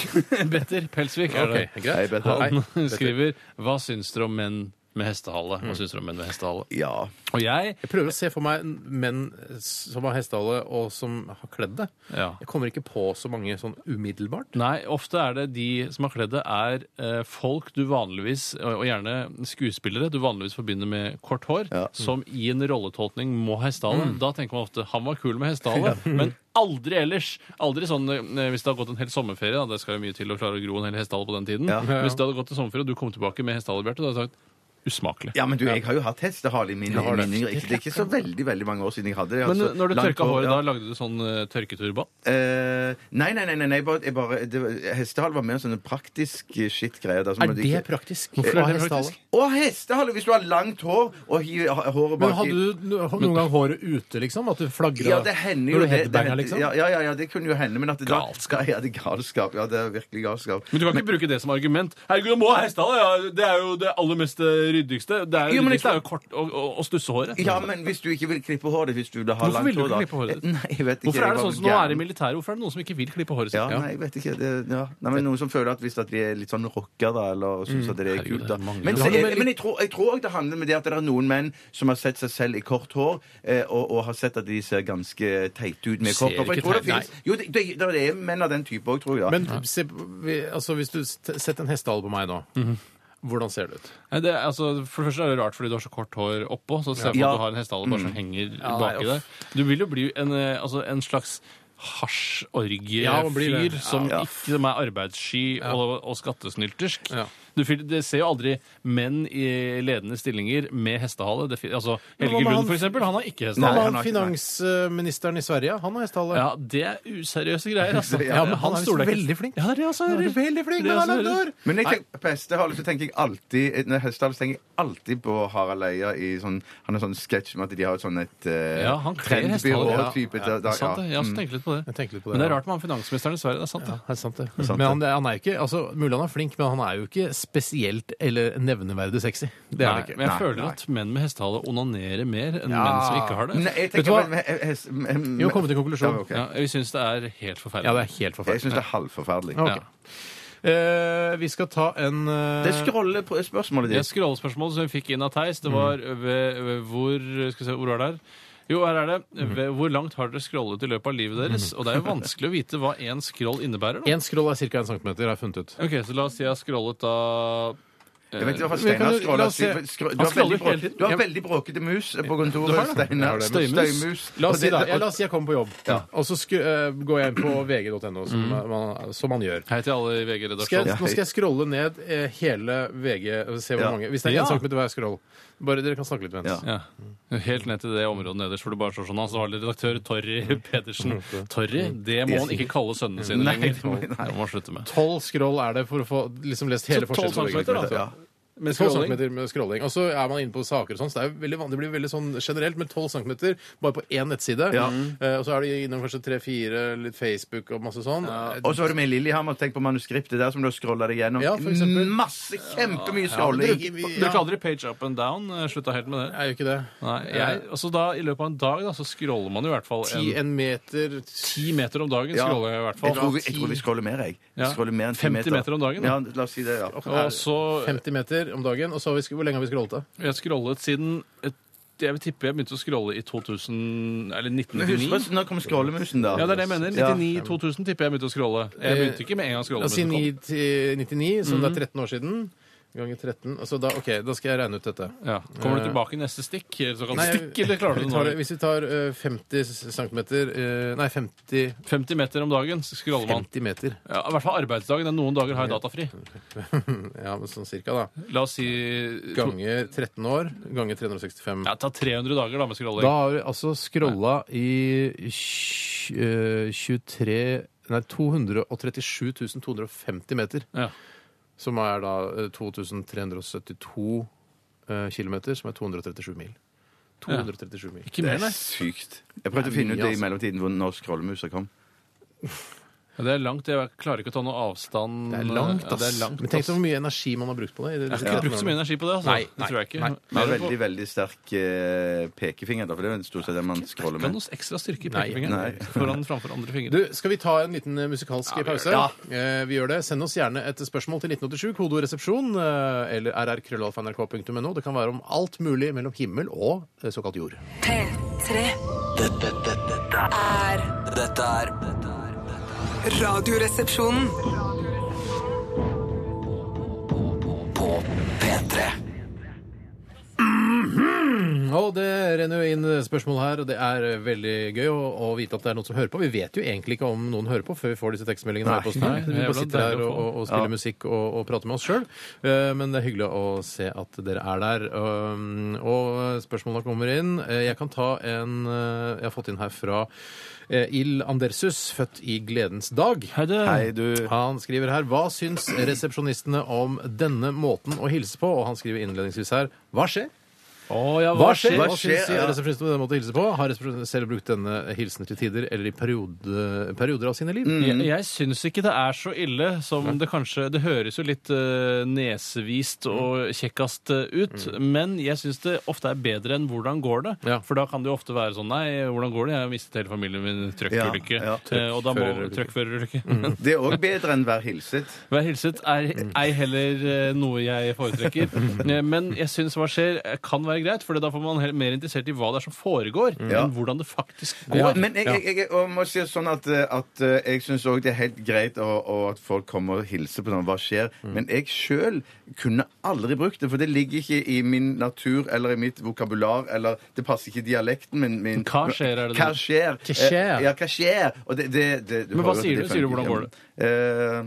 Speaker 4: Petter Pelsvik. er det.
Speaker 3: Ok, greit.
Speaker 5: Hei, Bette.
Speaker 3: Hei.
Speaker 4: Han skriver Hva syns dere om menn med hestehale. Hva syns dere om menn med hestehale?
Speaker 5: Ja.
Speaker 4: Og jeg
Speaker 3: Jeg prøver å se for meg menn som har hestehale, og som har kledd det.
Speaker 4: Ja.
Speaker 3: Jeg kommer ikke på så mange sånn umiddelbart.
Speaker 4: Nei, ofte er det de som har kledd det, er eh, folk du vanligvis, og og gjerne skuespillere, du vanligvis forbinder med kort hår, som i en rolletolkning må ha hestehale. Da tenker man ofte 'han var kul med hestehale', men aldri ellers. Aldri sånn eh, hvis det har gått en hel sommerferie, da, det skal jo mye til å klare å gro en hel hestehale på den tiden.
Speaker 5: Ja.
Speaker 4: Men Hvis det hadde gått en sommerferie, og du kom tilbake med hestehale, Bjarte, da hadde jeg sagt usmakelig.
Speaker 5: ja, men du, jeg har jo hatt hestehale i mine
Speaker 4: har det.
Speaker 5: minner. Ikke- Det er ikke så veldig veldig mange år siden jeg hadde det.
Speaker 4: Men
Speaker 5: altså.
Speaker 4: når du
Speaker 5: Langt
Speaker 4: tørka
Speaker 5: hår,
Speaker 4: håret,
Speaker 5: ja.
Speaker 4: da lagde du sånn eh, tørketurban?
Speaker 5: Eh, nei, nei, nei, nei, nei bare, jeg bare, det, var- hestehale var mer sånn praktisk shit-greie. da, som
Speaker 3: Er
Speaker 5: man
Speaker 3: det
Speaker 5: ikke-
Speaker 3: praktisk?
Speaker 4: Hvorfor er det
Speaker 3: Hestehale?
Speaker 4: praktisk?
Speaker 5: Å, hestehale! Hvis du har langt hår og hiver ha- håret bak
Speaker 3: Men hadde
Speaker 5: i-
Speaker 3: du no- noen gang håret ute, liksom? At du flagra
Speaker 5: Ja, det hender jo
Speaker 3: når du
Speaker 5: det. det
Speaker 3: headbanger,
Speaker 5: hender-
Speaker 3: liksom?
Speaker 5: ja, ja, ja, ja, det kunne jo hende, men at det
Speaker 4: Galskap.
Speaker 5: Da, ja, det er galskap. Ja, det er virkelig galskap.
Speaker 4: Men du kan ikke bruke det som argument. Herregud, du må ha hestehale! Ja, det er jo det aller mest eh, ryddigste. Det er,
Speaker 5: Jo, men jeg
Speaker 4: ryddigste er jo kort og, og, og stussehåret.
Speaker 5: Ja, men hvis du ikke vil klippe håret hvis du vil ha
Speaker 4: Hvorfor
Speaker 5: langt
Speaker 4: vil du ikke
Speaker 5: hår, da-
Speaker 4: klippe håret ditt?
Speaker 5: Nei, jeg vet ikke.
Speaker 4: Hvorfor
Speaker 5: jeg
Speaker 4: er det
Speaker 5: var
Speaker 4: sånn
Speaker 5: vel
Speaker 4: som nå er i
Speaker 5: gæren.
Speaker 4: militæret? Hvorfor er det noen som ikke vil klippe håret sitt?
Speaker 5: Ja, nei, jeg vet ikke. Det, ja. nei, men noen som føler at hvis at de er litt sånn rocka, da, eller syns at det er
Speaker 4: Mm. Herregud,
Speaker 5: kult, da.
Speaker 4: det er mange. Det
Speaker 5: Men, så,
Speaker 4: handler
Speaker 5: jeg, men jeg tror jeg tror også det handler med det at det er noen menn som har sett seg selv i kort hår, eh, og, og har sett at de ser ganske teite ut med
Speaker 4: Ser
Speaker 5: kort hår. For jeg
Speaker 4: ikke
Speaker 5: tror det
Speaker 4: teit-
Speaker 5: finnes- Jo, det, det, det er menn av den type òg, tror jeg. da.
Speaker 3: Men se, vi- altså, hvis du st- setter en hestehale på meg nå, hvordan ser det ut?
Speaker 4: Nei, det, er- altså, for det første er det rart fordi du har så kort hår oppå, så ser du
Speaker 5: Ja.
Speaker 4: at du har en hestehale bare som henger
Speaker 3: Mm. Ja, nei,
Speaker 4: baki
Speaker 3: uff.
Speaker 4: der. Du vil jo bli en, eh, altså, en slags hasjorgiefyr
Speaker 3: Ja, man blir det.
Speaker 4: fyr som
Speaker 5: Ja.
Speaker 4: ikke som er arbeidssky og, og skattesnyltersk.
Speaker 3: Ja.
Speaker 4: Du, fyr- det ser jo aldri menn i ledende stillinger med hestehale. Det, fin- altså,
Speaker 3: Men hva med
Speaker 4: Helge Lund,
Speaker 3: han-
Speaker 4: for eksempel, han har ikke hestehale.
Speaker 5: Nei,
Speaker 3: Han,
Speaker 5: han har ikke-
Speaker 3: finansministeren i Sverige, han har hestehale.
Speaker 4: Ja, det er useriøse greier, altså.
Speaker 5: Ja,
Speaker 3: men han er
Speaker 4: stoler jeg ikke-
Speaker 3: veldig flink.
Speaker 4: Ja, det er altså det han sa.
Speaker 3: Han er veldig flink, men
Speaker 4: altså
Speaker 3: han har langt hår!
Speaker 5: Men jeg tenker, på hestehale så tenker jeg alltid eh, Når jeg hestehale så tenker jeg alltid på Harald Eia i sånn Han har sånn sketsj med at de har sånn et eh,
Speaker 4: Ja, han kler hestehale, ja.
Speaker 5: trendbyrå-type da- da-
Speaker 4: Det er sant,
Speaker 5: ja. Mm.
Speaker 4: det. Jeg har også tenkt litt på det.
Speaker 3: Mm. Jeg tenker litt på det,
Speaker 4: Men det er
Speaker 3: ja.
Speaker 4: rart med han finansministeren i Sverige. Det er sant, det.
Speaker 3: Det er sant, det.
Speaker 5: sant,
Speaker 3: Men han, han er jo ikke, altså, mulig han er flink, men han er jo ikke spesielt eller nevneverdig sexy. Det er han
Speaker 4: Nei,
Speaker 3: ikke.
Speaker 4: men jeg
Speaker 5: Nei,
Speaker 4: føler
Speaker 5: nei.
Speaker 4: at menn med hestehale onanerer mer enn
Speaker 3: Ja.
Speaker 4: menn som ikke har det.
Speaker 5: Nei, jeg
Speaker 3: Vet du
Speaker 5: tenker
Speaker 3: hva?
Speaker 5: men- men- hest- men- men-
Speaker 3: Vi har kommet til en konklusjon.
Speaker 5: Ja, ok.
Speaker 4: Ja, vi syns det er helt forferdelig.
Speaker 3: Ja, det er helt
Speaker 5: Jeg syns
Speaker 3: forferdelig.
Speaker 5: det er halvforferdelig.
Speaker 3: Ja.
Speaker 4: Ja.
Speaker 3: Eh, vi skal ta en eh,
Speaker 5: Det scroller på spørsmålet
Speaker 4: Jeg
Speaker 5: ditt.
Speaker 4: scrollspørsmål som vi fikk inn av Theis,
Speaker 3: Mm.
Speaker 4: det var ved, ved hvor Skal vi se, hvor var det her? Jo, her er det.
Speaker 3: Mm.
Speaker 4: Ved, hvor langt har dere scrollet i løpet av livet deres? Og det er jo vanskelig å vite hva én scroll innebærer. Da.
Speaker 3: En scroll er ca. 1 cm, har jeg funnet ut.
Speaker 4: Ok, så la oss si jeg har scrollet da
Speaker 5: Jeg vet ikke hva
Speaker 3: vi kan
Speaker 5: Steinar
Speaker 3: jo- la
Speaker 5: scroller.
Speaker 3: oss se.
Speaker 5: Skro-
Speaker 4: Han
Speaker 5: Du har veldig,
Speaker 4: scroller hele
Speaker 5: brå-
Speaker 4: tiden.
Speaker 5: du har veldig bråkete mus på
Speaker 4: har
Speaker 5: kontoret,
Speaker 4: det.
Speaker 5: Steinar.
Speaker 4: Jeg har det.
Speaker 5: Støymus.
Speaker 3: La
Speaker 5: Og
Speaker 3: oss si
Speaker 5: det-
Speaker 3: da, Altså, ja, la oss si jeg kommer på jobb, og så sku, eh, går jeg inn på vg.no, som, man- som man gjør.
Speaker 4: Hei til alle i
Speaker 3: Skal
Speaker 4: VG-redaksjonen.
Speaker 3: jeg, nå skal jeg scrolle ned eh, hele VG og se hvor
Speaker 5: Ja.
Speaker 3: mange. Hvis det er
Speaker 4: Ja.
Speaker 3: 1 cm hver scroll. Bare dere kan snakke litt mens.
Speaker 5: Ja.
Speaker 4: Ja. Helt ned til det området nederst hvor du bare står sånn. Altså, har dere redaktør Torry Pedersen.
Speaker 3: Mm.
Speaker 4: Torry, det må han ikke kalle sønnene sine
Speaker 5: Nei,
Speaker 4: lenger.
Speaker 5: det må- nei.
Speaker 4: Det må han slutte med.
Speaker 3: Tolv scroll er det for å få liksom lest hele
Speaker 4: Så 12
Speaker 3: forskjellen.
Speaker 4: centimeter, da.
Speaker 5: Ja.
Speaker 4: Men
Speaker 3: 12 cm med scrolling. Og så er man inne på saker og sånn. Så det, er jo veldig, van- det blir veldig sånn generelt, men 12 cm bare på én nettside.
Speaker 5: Ja.
Speaker 3: Eh, og så er det innom kanskje tre-fire, litt Facebook og masse sånn. Eh,
Speaker 5: Og så var du med i Lillehammer. Tenk på manuskriptet der som du har scrolla deg gjennom.
Speaker 3: Ja, for eksempel.
Speaker 5: Masse, kjempemye scrolling.
Speaker 4: Du bruker aldri page up and down. eh, Slutta helt med det.
Speaker 3: Jeg gjør ikke det.
Speaker 4: Nei, jeg, altså da, I løpet av en dag da, så scroller man jo i hvert fall
Speaker 3: Ti,
Speaker 4: en
Speaker 3: en meter
Speaker 4: ti meter om dagen.
Speaker 5: Ja.
Speaker 4: scroller jeg i hvert
Speaker 5: Jeg tror,
Speaker 4: fall.
Speaker 5: vi, jeg tror vi scroller mer, jeg. Vi
Speaker 4: Ja.
Speaker 5: scroller mer enn 10
Speaker 4: 50 meter om dagen, da.
Speaker 5: Ja, la oss si det, ja.
Speaker 4: Og så
Speaker 3: 50 meter om dagen. Og så har vi, sk- hvor lenge har vi scrollet, da?
Speaker 4: Jeg scrollet siden et, Jeg vil tippe jeg begynte å scrolle i 2000 Eller
Speaker 5: Men husk
Speaker 4: 1999.
Speaker 5: på, når kom scrollemusen, da?
Speaker 4: Ja, det er det jeg mener.
Speaker 5: Ja.
Speaker 4: 99-2000 tipper jeg begynte å scrolle. Jeg begynte ikke med sånn Mhm. en gang
Speaker 3: La
Speaker 4: scrolle.
Speaker 3: oss si 9 til 99, som det er 13 år siden. Ganger 13. Altså da, OK, da skal jeg regne ut dette.
Speaker 4: Ja. Kommer du tilbake i neste stikk? Eller såkalt stikk, eller klarer du
Speaker 3: vi
Speaker 4: det
Speaker 3: tar
Speaker 4: nå?
Speaker 3: det Hvis vi tar eh, 50 cm eh, Nei, 50,
Speaker 4: 50 meter om dagen så scroller man.
Speaker 3: 50 meter.
Speaker 4: Ja, I hvert fall arbeidsdagen. det er Noen dager har jeg datafri.
Speaker 3: Ja, men sånn cirka, da.
Speaker 4: La oss si to,
Speaker 3: Ganger 13 år. Ganger 365.
Speaker 4: ja, Ta 300 dager da med scrolling.
Speaker 3: Da har du altså scrolla i tj- eh, 23 Nei, 237 250 meter.
Speaker 4: Ja.
Speaker 3: Som er da eh, 2372 eh, kilometer, som er 237 mil. 237 mil.
Speaker 4: Ikke
Speaker 5: Det
Speaker 4: mer,
Speaker 5: er
Speaker 4: nei.
Speaker 5: sykt. Jeg prøvde å
Speaker 3: Det er
Speaker 5: finne ut
Speaker 3: mye,
Speaker 5: det i
Speaker 3: altså.
Speaker 5: mellomtiden hvor når scrollemusa kom.
Speaker 4: Det er langt. Jeg klarer ikke å ta noe avstand.
Speaker 3: Det er langt, ass.
Speaker 4: Mm, Det er langt,
Speaker 3: Men tenk
Speaker 4: ass.
Speaker 3: deg hvor mye energi man har brukt på det. i de-
Speaker 4: Jeg har ikke brukt så mye energi på det. Altså.
Speaker 3: Nei, nei,
Speaker 4: det tror jeg ikke.
Speaker 3: nei.
Speaker 5: Med
Speaker 4: Mer på-
Speaker 5: veldig, veldig sterk eh, pekefinger, da, for det er jo stort sett det man scroller
Speaker 4: Ikke
Speaker 5: med.
Speaker 4: noe ekstra styrke i
Speaker 3: Nei,
Speaker 5: nei.
Speaker 4: pekefingeren foran framfor andre fingre.
Speaker 3: Du, Skal vi ta en liten eh, musikalsk
Speaker 4: Ja, vi
Speaker 3: pause?
Speaker 4: gjør
Speaker 3: Eh, vi gjør det. Send oss gjerne et spørsmål til 1987, kodeord resepsjon, eh, eller rrkrøllalfa.nrk.no. Det kan være om alt mulig mellom himmel og eh, såkalt jord.
Speaker 6: P3
Speaker 2: Dette, dette, dette,
Speaker 6: er
Speaker 2: dette er dette er-
Speaker 6: Radioresepsjonen.
Speaker 2: på P3.
Speaker 3: Og det renner jo inn eh, spørsmål her, og det er eh, veldig gøy å, å vite at det er noen som hører på. Vi vet jo egentlig ikke om noen hører på før vi får disse tekstmeldingene. her på oss.
Speaker 4: Nei, det er
Speaker 3: vi bare
Speaker 4: jævla
Speaker 3: sitter her
Speaker 4: deilig å
Speaker 3: og,
Speaker 4: få.
Speaker 3: og spiller musikk og, og prater med oss sjøl. Men det er hyggelig å se at dere er der. Um, Og spørsmåla kommer inn. Eh, Jeg kan ta en eh, jeg har fått inn her fra eh, Il Andersus, født i gledens dag.
Speaker 4: Hei, du.
Speaker 5: Hei, du.
Speaker 3: Han skriver her Hva syns resepsjonistene om denne måten å hilse på? Og han skriver innledningsvis her Hva skjer?
Speaker 4: Å, ja,
Speaker 3: Hva skjer?
Speaker 5: Hva
Speaker 3: Hva
Speaker 5: skjer?
Speaker 3: syns
Speaker 5: Ja.
Speaker 3: resepsjonistene om denne måten å hilse på? Har resepsjonistene selv brukt denne hilsen til tider eller i periode, perioder av sine liv?
Speaker 4: Jeg, jeg syns ikke det er så ille som det kanskje Det høres jo litt eh, nesevist
Speaker 3: Mm.
Speaker 4: og kjekkast eh, ut, men jeg syns det ofte er bedre enn 'hvordan går det'?
Speaker 3: Ja.
Speaker 4: For da kan det jo ofte være sånn 'nei, hvordan går det? Jeg har mistet hele familien min i trøkkulykke'.
Speaker 5: Ja, ja.
Speaker 4: Eh, og da må
Speaker 3: Trøkkførerulykke.
Speaker 4: Trøkkførerulykke.
Speaker 3: Mm.
Speaker 5: Det er òg bedre enn vær hilset.
Speaker 4: Vær hilset er ei heller eh, noe jeg foretrekker. Eh, Men jeg syns hva skjer, eh, kan være greit, for da får man heller mer interessert i hva det er som foregår,
Speaker 5: Mm. Ja.
Speaker 4: enn hvordan det faktisk
Speaker 5: Ja,
Speaker 4: går.
Speaker 5: men eh, jeg, jeg, jeg, og må si det sånn at, eh, at eh, jeg syns òg det er helt greit å, å- at folk kommer og hilser på sånn, hva skjer, men jeg sjøl kunne aldri brukt det, for det ligger ikke i min natur eller i mitt vokabular, eller det passer ikke i dialekten min. min
Speaker 4: Hva skjer, er det
Speaker 5: Hva
Speaker 4: du-
Speaker 5: skjer?
Speaker 3: Hva skjer?
Speaker 5: Eh, Ja, hva skjer? Og det, det, det,
Speaker 4: Men hva sier du? Sier du, hvordan går det?
Speaker 5: Eh,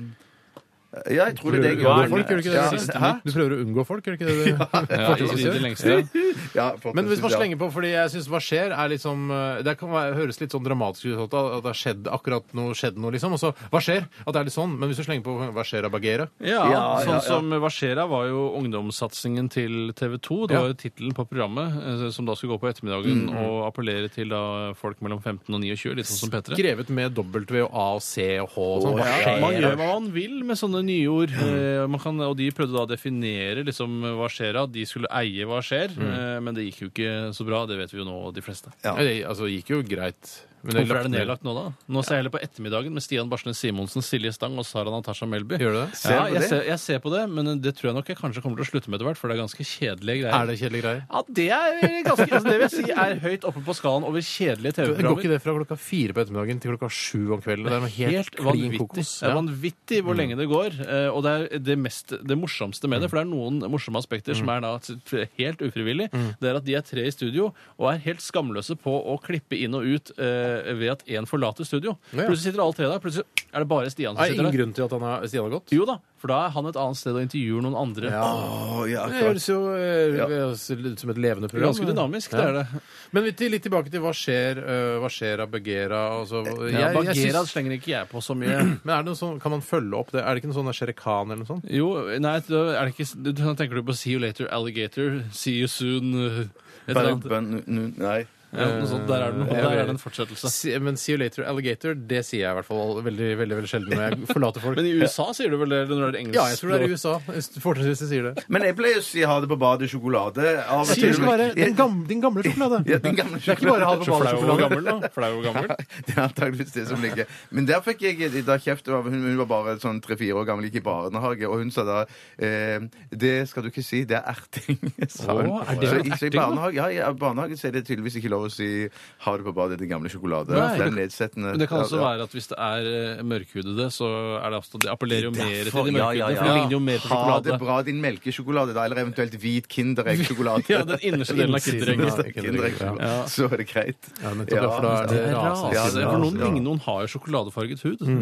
Speaker 5: ja, jeg tror det er det jeg
Speaker 3: Du
Speaker 4: Hva er
Speaker 3: prøver å unngå
Speaker 5: gjør.
Speaker 3: folk, gjør du ikke
Speaker 5: Ja.
Speaker 3: det? det? siste?
Speaker 5: Hæ?
Speaker 3: Du prøver å unngå folk, gjør du ikke det?
Speaker 5: eh,
Speaker 3: det?
Speaker 4: Ja, i, i det lengste.
Speaker 5: Ja, fortsatt,
Speaker 3: Men hvis man
Speaker 5: ja.
Speaker 3: slenger på, fordi jeg syns hva skjer, er liksom eh, Det kan være, høres litt sånn dramatisk ut at det- at det har skjedd akkurat noe, skjedd noe, liksom. Og så hva skjer? At det er litt sånn. Men hvis du slenger på hva skjer av Bagheera?
Speaker 4: Ja,
Speaker 5: Ja, ja,
Speaker 4: sånn
Speaker 5: ja.
Speaker 4: som Varsera var jo ungdomssatsingen til TV 2. Det
Speaker 3: Ja.
Speaker 4: var jo tittelen på programmet, eh, som da skulle gå på ettermiddagen
Speaker 5: Mm.
Speaker 4: og appellere til da folk mellom 15 og 29, litt sånn som P3.
Speaker 3: Skrevet med W og A og C og H og sånn. Hva
Speaker 5: Å, ja. Mm.
Speaker 3: skjer?
Speaker 4: Man gjør hva man vil med sånne nye ord. Eh, Man kan, og de prøvde da å definere liksom, hva skjer av. De skulle eie hva skjer, eh, men det gikk jo ikke så bra. Det vet vi jo nå, de fleste.
Speaker 5: Mm. Ja.
Speaker 3: Nei, det altså, gikk jo greit. Men
Speaker 4: Hvorfor er det nedlagt nå, da? Nå ser jeg heller på Ettermiddagen med Stian Barsnes Simonsen, Silje Stang og Sara Natasha Melby.
Speaker 3: Gjør du det?
Speaker 5: Ser
Speaker 4: Ja,
Speaker 5: du
Speaker 4: jeg
Speaker 5: det?
Speaker 4: ser, jeg ser på det, men det tror jeg nok jeg kanskje kommer til å slutte med etter hvert, for det er ganske kjedelige greier.
Speaker 3: Er det kjedelige greier?
Speaker 4: Ja, det er ganske altså Det vil jeg si er høyt oppe på skalaen over
Speaker 3: Går
Speaker 4: kjedelige
Speaker 3: ikke
Speaker 4: TV-programmer.
Speaker 3: det fra klokka fire på ettermiddagen til klokka sju om kvelden? Det er noe helt,
Speaker 4: Helt
Speaker 3: klin
Speaker 4: vanvittig.
Speaker 3: kokos.
Speaker 4: Det er
Speaker 3: Ja. Mm.
Speaker 4: vanvittig hvor lenge det går. eh, Og det er det, mest, det morsomste med det, for det er noen morsomme aspekter
Speaker 3: Mm.
Speaker 4: som er da helt ufrivillig, det er at de er tre i studio og er helt skamløse på å klippe inn og ut eh, ved at én forlater studio.
Speaker 3: Ja.
Speaker 4: Plutselig sitter alle tre der, plutselig er det bare Stian
Speaker 3: Er
Speaker 4: som
Speaker 3: det ingen
Speaker 4: sitter der.
Speaker 3: grunn til at han har, Stian har gått?
Speaker 4: Jo da, for da er han et annet sted og intervjuer noen andre.
Speaker 5: Å, ja,
Speaker 3: Det
Speaker 5: akkurat.
Speaker 3: høres jo eh,
Speaker 5: Ja.
Speaker 3: høres ut som et levende
Speaker 4: Det er
Speaker 3: program.
Speaker 4: Ganske dynamisk,
Speaker 3: Ja.
Speaker 4: det er det.
Speaker 3: Men vi til- litt tilbake til hva skjer, eh, hva skjer av Bagheera? Altså, jeg-
Speaker 4: Ja,
Speaker 3: jeg
Speaker 4: Bagheera
Speaker 3: syns-
Speaker 4: slenger ikke jeg på så mye.
Speaker 3: Men er det noe sånn, kan man følge opp det? Er det ikke noe sånn Shere Khan eller noe sånt?
Speaker 4: Jo, nei, da er det ikke du- da Tenker du på 'see you later, alligator', 'see you soon' uh, et eller
Speaker 5: Bare-
Speaker 4: annet.
Speaker 5: bare- nu- nu- Nei.
Speaker 4: Ja, noe sånt. Der er det noe.
Speaker 3: Eh,
Speaker 4: Der er det en fortsettelse.
Speaker 3: Se- Men See you later, alligator, det sier jeg i hvert fall veldig veldig, veldig sjelden når jeg forlater folk.
Speaker 4: Men i USA sier du vel det? eller Når det er engelsk?
Speaker 3: ja, jeg tror det er i USA. Fortrinnsvis de sier det.
Speaker 5: Men jeg pleier å si ha det på badet sjokolade. Av og
Speaker 3: Sier
Speaker 5: til.
Speaker 3: du bare den gamle, din gamle sjokolade?
Speaker 5: Ja, den gamle
Speaker 3: Det er ikke bare halve
Speaker 4: Så flau og
Speaker 3: sjokolade.
Speaker 4: gammel nå. Flau og gammel.
Speaker 5: Det er antageligvis det som ligger. Men der fikk jeg da kjeft av hun, hun var bare sånn tre-fire år gammel, gikk i barnehage, og hun sa da eh, Det skal du ikke si, det er erting, sa hun.
Speaker 4: Å, er det
Speaker 5: så,
Speaker 4: en
Speaker 5: i- så i
Speaker 4: erting, da?
Speaker 5: barnehage, ja, i barnehagen så er det tydeligvis ikke lov å si ha det på badet, din gamle sjokolade.
Speaker 4: Nei.
Speaker 5: det er nedsettende.
Speaker 4: Men det kan også
Speaker 5: Ja, ja.
Speaker 4: være at hvis det er eh, mørkhudede, så er det også, det appellerer jo mer til
Speaker 5: Derfor-
Speaker 4: de
Speaker 5: ja, ja,
Speaker 4: mørkhudede.
Speaker 5: ja.
Speaker 4: For det ligner jo mer til
Speaker 5: Ha det
Speaker 4: sjokolade.
Speaker 5: bra, din melkesjokolade, da, eller eventuelt hvit Kinderegg-sjokolade.
Speaker 4: Ja, den innerste delen av Kitteregg.
Speaker 3: Innsiden,
Speaker 5: Kinderegg-sjokolade.
Speaker 4: Ja.
Speaker 5: Så er det greit.
Speaker 3: Ja, nettopp, ja, for da er
Speaker 4: Det
Speaker 3: det
Speaker 4: er
Speaker 3: rase.
Speaker 4: rase.
Speaker 5: Ja, det er
Speaker 4: for noen,
Speaker 5: rase, ja. Mm,
Speaker 4: ligner- noen har jo sjokoladefarget hud. eh, Men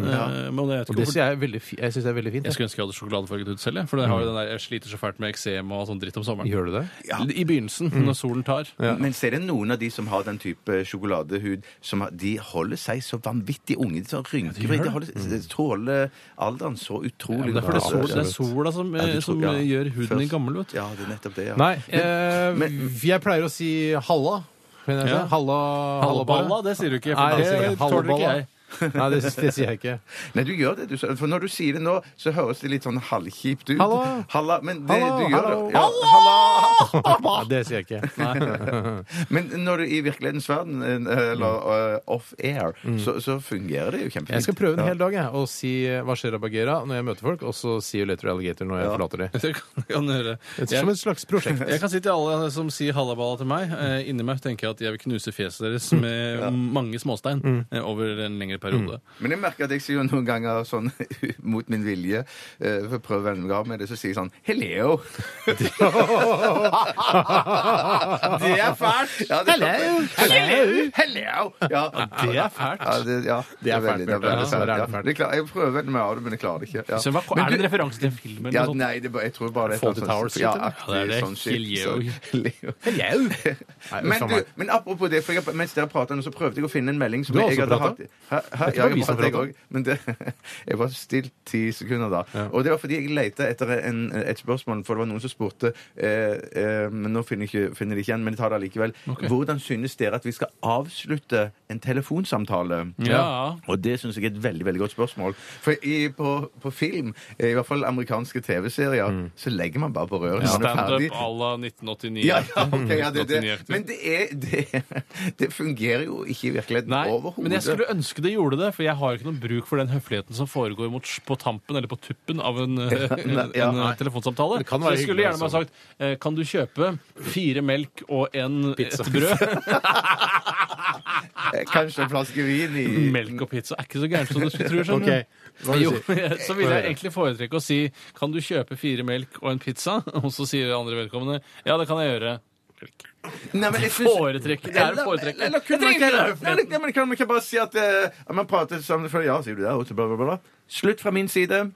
Speaker 3: Og
Speaker 4: jeg vet ikke
Speaker 3: det
Speaker 4: hvorfor
Speaker 3: syns jeg er veldig, fi- jeg synes det er veldig fint.
Speaker 4: Jeg skulle ønske jeg hadde sjokoladefarget hud selv. jeg, For det
Speaker 5: Mm.
Speaker 4: har jo den der, jeg sliter så fælt med eksem og sånn dritt om sommeren.
Speaker 3: Gjør du det?
Speaker 4: I begynnelsen,
Speaker 5: Mm.
Speaker 4: når solen tar.
Speaker 5: Men så er det noen av de som har den type sjokoladehud, som har, de holder seg så vanvittig unge. De sånn rynker,
Speaker 4: gjør
Speaker 5: de holder, de tåler alderen så
Speaker 4: Ja,
Speaker 5: utrolig
Speaker 4: men det er fordi sol, det er sola som, eh,
Speaker 5: Ja, du tror-
Speaker 4: som
Speaker 5: ja.
Speaker 4: eh, gjør huden din
Speaker 5: Først-
Speaker 4: gammel, vet du.
Speaker 5: Ja, det er nettopp det. ja.
Speaker 3: Nei, eh,
Speaker 5: men-
Speaker 3: jeg pleier å si halla. Halla, halla,
Speaker 4: Ja.
Speaker 3: halla,
Speaker 4: Hallaballa, det sier du ikke.
Speaker 3: Nei,
Speaker 4: For
Speaker 3: hallaballa.
Speaker 4: det tåler ikke jeg.
Speaker 3: Nei, det, det sier jeg ikke.
Speaker 5: Nei, du gjør det. Du, for når du sier det nå, så høres det litt sånn halvkjipt ut.
Speaker 3: Hallo?
Speaker 5: Halla, men det,
Speaker 3: Hallo,
Speaker 5: du gjør
Speaker 3: hallo.
Speaker 5: det. Ja, halla!
Speaker 3: Nei, det sier jeg ikke.
Speaker 5: Men når du er i virkelighetens verden, eh, eller eh, off air, så, så fungerer det jo kjempefint.
Speaker 3: Jeg skal prøve en
Speaker 5: Ja.
Speaker 3: hel dag jeg, og si eh, hva skjer Bagheera når jeg møter folk, og så see you later alligator når jeg forlater dem.
Speaker 4: Det kan, kan du gjøre.
Speaker 3: Det er
Speaker 4: Jeg,
Speaker 3: som et slags prosjekt.
Speaker 4: jeg kan si til alle som sier hallaballa til meg. Eh, inni meg tenker jeg at jeg vil knuse fjeset deres
Speaker 5: Mm.
Speaker 4: med mange småstein eh, over en lengre periode.
Speaker 5: Men jeg merker at jeg sier jo noen ganger sånn mot min vilje, eh, for å prøve å venne meg av med det, så sier jeg sånn Hello! det er fælt! Ja, det er Hello! Hello! Ja,
Speaker 4: det er fælt.
Speaker 5: Ja, det, ja, det er veldig, det er
Speaker 3: Ja,
Speaker 5: veldig
Speaker 3: det er
Speaker 5: fælt. Ja.
Speaker 3: fælt.
Speaker 5: Det klar, jeg prøver å venne meg av det, men jeg klarer det ikke. Ja.
Speaker 4: Så hva,
Speaker 5: Men
Speaker 4: er det
Speaker 5: du-
Speaker 4: en referanse til en film? eller
Speaker 5: ja,
Speaker 4: noe sånt?
Speaker 5: nei, det, er bare- jeg tror bare det er
Speaker 3: Fawlty sånn Towers,
Speaker 5: sånn ja,
Speaker 3: heter det?
Speaker 5: aktig
Speaker 4: Ja, det er det.
Speaker 5: sånn shit,
Speaker 4: Hello.
Speaker 5: så- Hello.
Speaker 3: Nei,
Speaker 5: Men,
Speaker 3: uff a
Speaker 5: du,
Speaker 3: meg.
Speaker 5: men apropos det, for jeg, mens dere pratet nå, så prøvde jeg å finne en melding som
Speaker 3: Du har
Speaker 5: jeg
Speaker 3: også
Speaker 5: hadde hatt.
Speaker 3: pratet?
Speaker 5: Hæ? Hæ?
Speaker 3: Dette
Speaker 5: Ja,
Speaker 3: var
Speaker 5: jeg
Speaker 3: vi som
Speaker 5: pratet, jeg
Speaker 3: pratet.
Speaker 5: òg. Men det, jeg var stilt ti sekunder da. Og det var fordi jeg lette etter en, et spørsmål, for det var noen som spurte eh, eh, men Nå finner jeg ikke, finner jeg det ikke igjen, men jeg tar det allikevel. Hvordan synes dere at vi skal avslutte en telefonsamtale?
Speaker 4: Ja.
Speaker 5: Og det syns jeg er et veldig veldig godt spørsmål. For i, på, på film, i hvert fall amerikanske TV-serier,
Speaker 3: Mm.
Speaker 5: så legger man bare på røret. når man er ferdig.
Speaker 4: Standup à la 1989.
Speaker 5: Ja, ja, ok, ja, det, det.
Speaker 4: 1989-aktig.
Speaker 5: Men det, er, det, det fungerer jo ikke i virkeligheten
Speaker 4: Nei,
Speaker 5: overhodet.
Speaker 4: men jeg skulle ønske det gjorde det, for jeg har ikke noe bruk for den høfligheten som foregår mot, på tampen eller på tuppen av en, eh, en,
Speaker 5: ja,
Speaker 4: en
Speaker 5: nei.
Speaker 4: telefonsamtale.
Speaker 3: Det kan
Speaker 4: Så
Speaker 3: være
Speaker 4: jeg
Speaker 3: hyggelig,
Speaker 4: skulle gjerne bare
Speaker 3: altså.
Speaker 4: sagt eh, Kan du kjøpe fire melk og en et brød?
Speaker 5: Eh, Kanskje en flaske vin i
Speaker 4: melk og pizza er ikke så gærent som du skulle tro. skjønner du.
Speaker 3: Ok, hva vil
Speaker 4: Jo,
Speaker 3: du si?
Speaker 4: så ville jeg egentlig foretrekke å si Kan du kjøpe fire melk og en pizza? Og så sier det andre vedkommende Ja, det kan jeg gjøre.
Speaker 5: Nei, men jeg synes-
Speaker 4: Foretrekke. Det er å foretrekke.
Speaker 5: Eller, eller, kunne man ikke, nei, nei, men kan man ikke bare si at eh, at man prater sammen før ja, sier du det, og så bla, bla, bla. Slutt fra min side.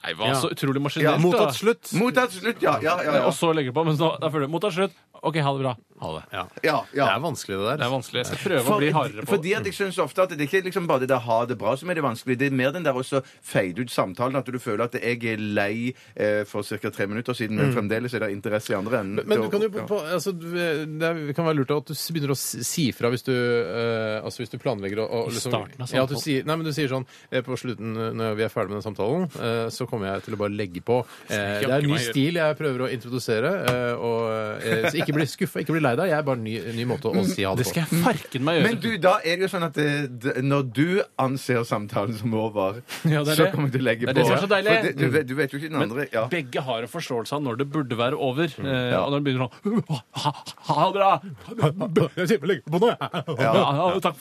Speaker 4: Nei, hva så utrolig
Speaker 5: Ja,
Speaker 4: maskinelt. da.
Speaker 3: Mottatt slutt.
Speaker 5: Mottatt. Slutt. Ja, ja, ja.
Speaker 4: Og
Speaker 5: ja.
Speaker 4: så legger du på. Men så, da føler du Mottatt slutt. OK, ha det bra. Ha det.
Speaker 5: ja,
Speaker 3: Det
Speaker 5: ja.
Speaker 3: er vanskelig, det
Speaker 4: Det
Speaker 3: der.
Speaker 4: er vanskelig. Jeg skal prøve å bli hardere
Speaker 5: For,
Speaker 4: på
Speaker 5: fordi at jeg synes ofte at Det er ikke liksom bare det der ha det bra som er det vanskelige. Det er mer den der også fade ut samtalen. At du føler at jeg er lei eh, for ca. tre minutter siden,
Speaker 4: Mm.
Speaker 5: men fremdeles er det interesse i andre enden.
Speaker 3: Men du kan jo på,
Speaker 5: Ja.
Speaker 3: på, altså, du- det er- kan være lurt at du s- begynner å s- si fra hvis du, eh, altså, hvis du planlegger å å
Speaker 4: I
Speaker 3: liksom,
Speaker 4: starten av
Speaker 3: ja, at du
Speaker 4: samtalen.
Speaker 3: sier, Nei, men du sier sånn eh, På slutten, eh, når vi er ferdig med den samtalen, eh, så kommer jeg til å bare legge på. Eh, Det er en ny
Speaker 4: meg gjøre.
Speaker 3: stil jeg prøver å introdusere. eh, Og, eh, så ikke bli skuffa, ikke bli lei deg. Jeg er bare en ny, en ny måte å si ha
Speaker 4: Det
Speaker 3: det på.
Speaker 4: skal jeg farken meg gjøre.
Speaker 5: Men du, da er det jo sånn at det, det, når du anser samtalen som over,
Speaker 4: Ja, det er
Speaker 5: så
Speaker 4: det.
Speaker 5: kommer du til å legge
Speaker 4: Det er
Speaker 5: på.
Speaker 4: det som er så deilig.
Speaker 5: For det, du, vet, du vet jo ikke den andre. Ja.
Speaker 4: Begge har en forståelse av når det burde være over. Eh, og når det begynner sånn Ha, ha, ha det bra!
Speaker 3: Jeg sier, legg på nå!
Speaker 4: Ja, ja, takk.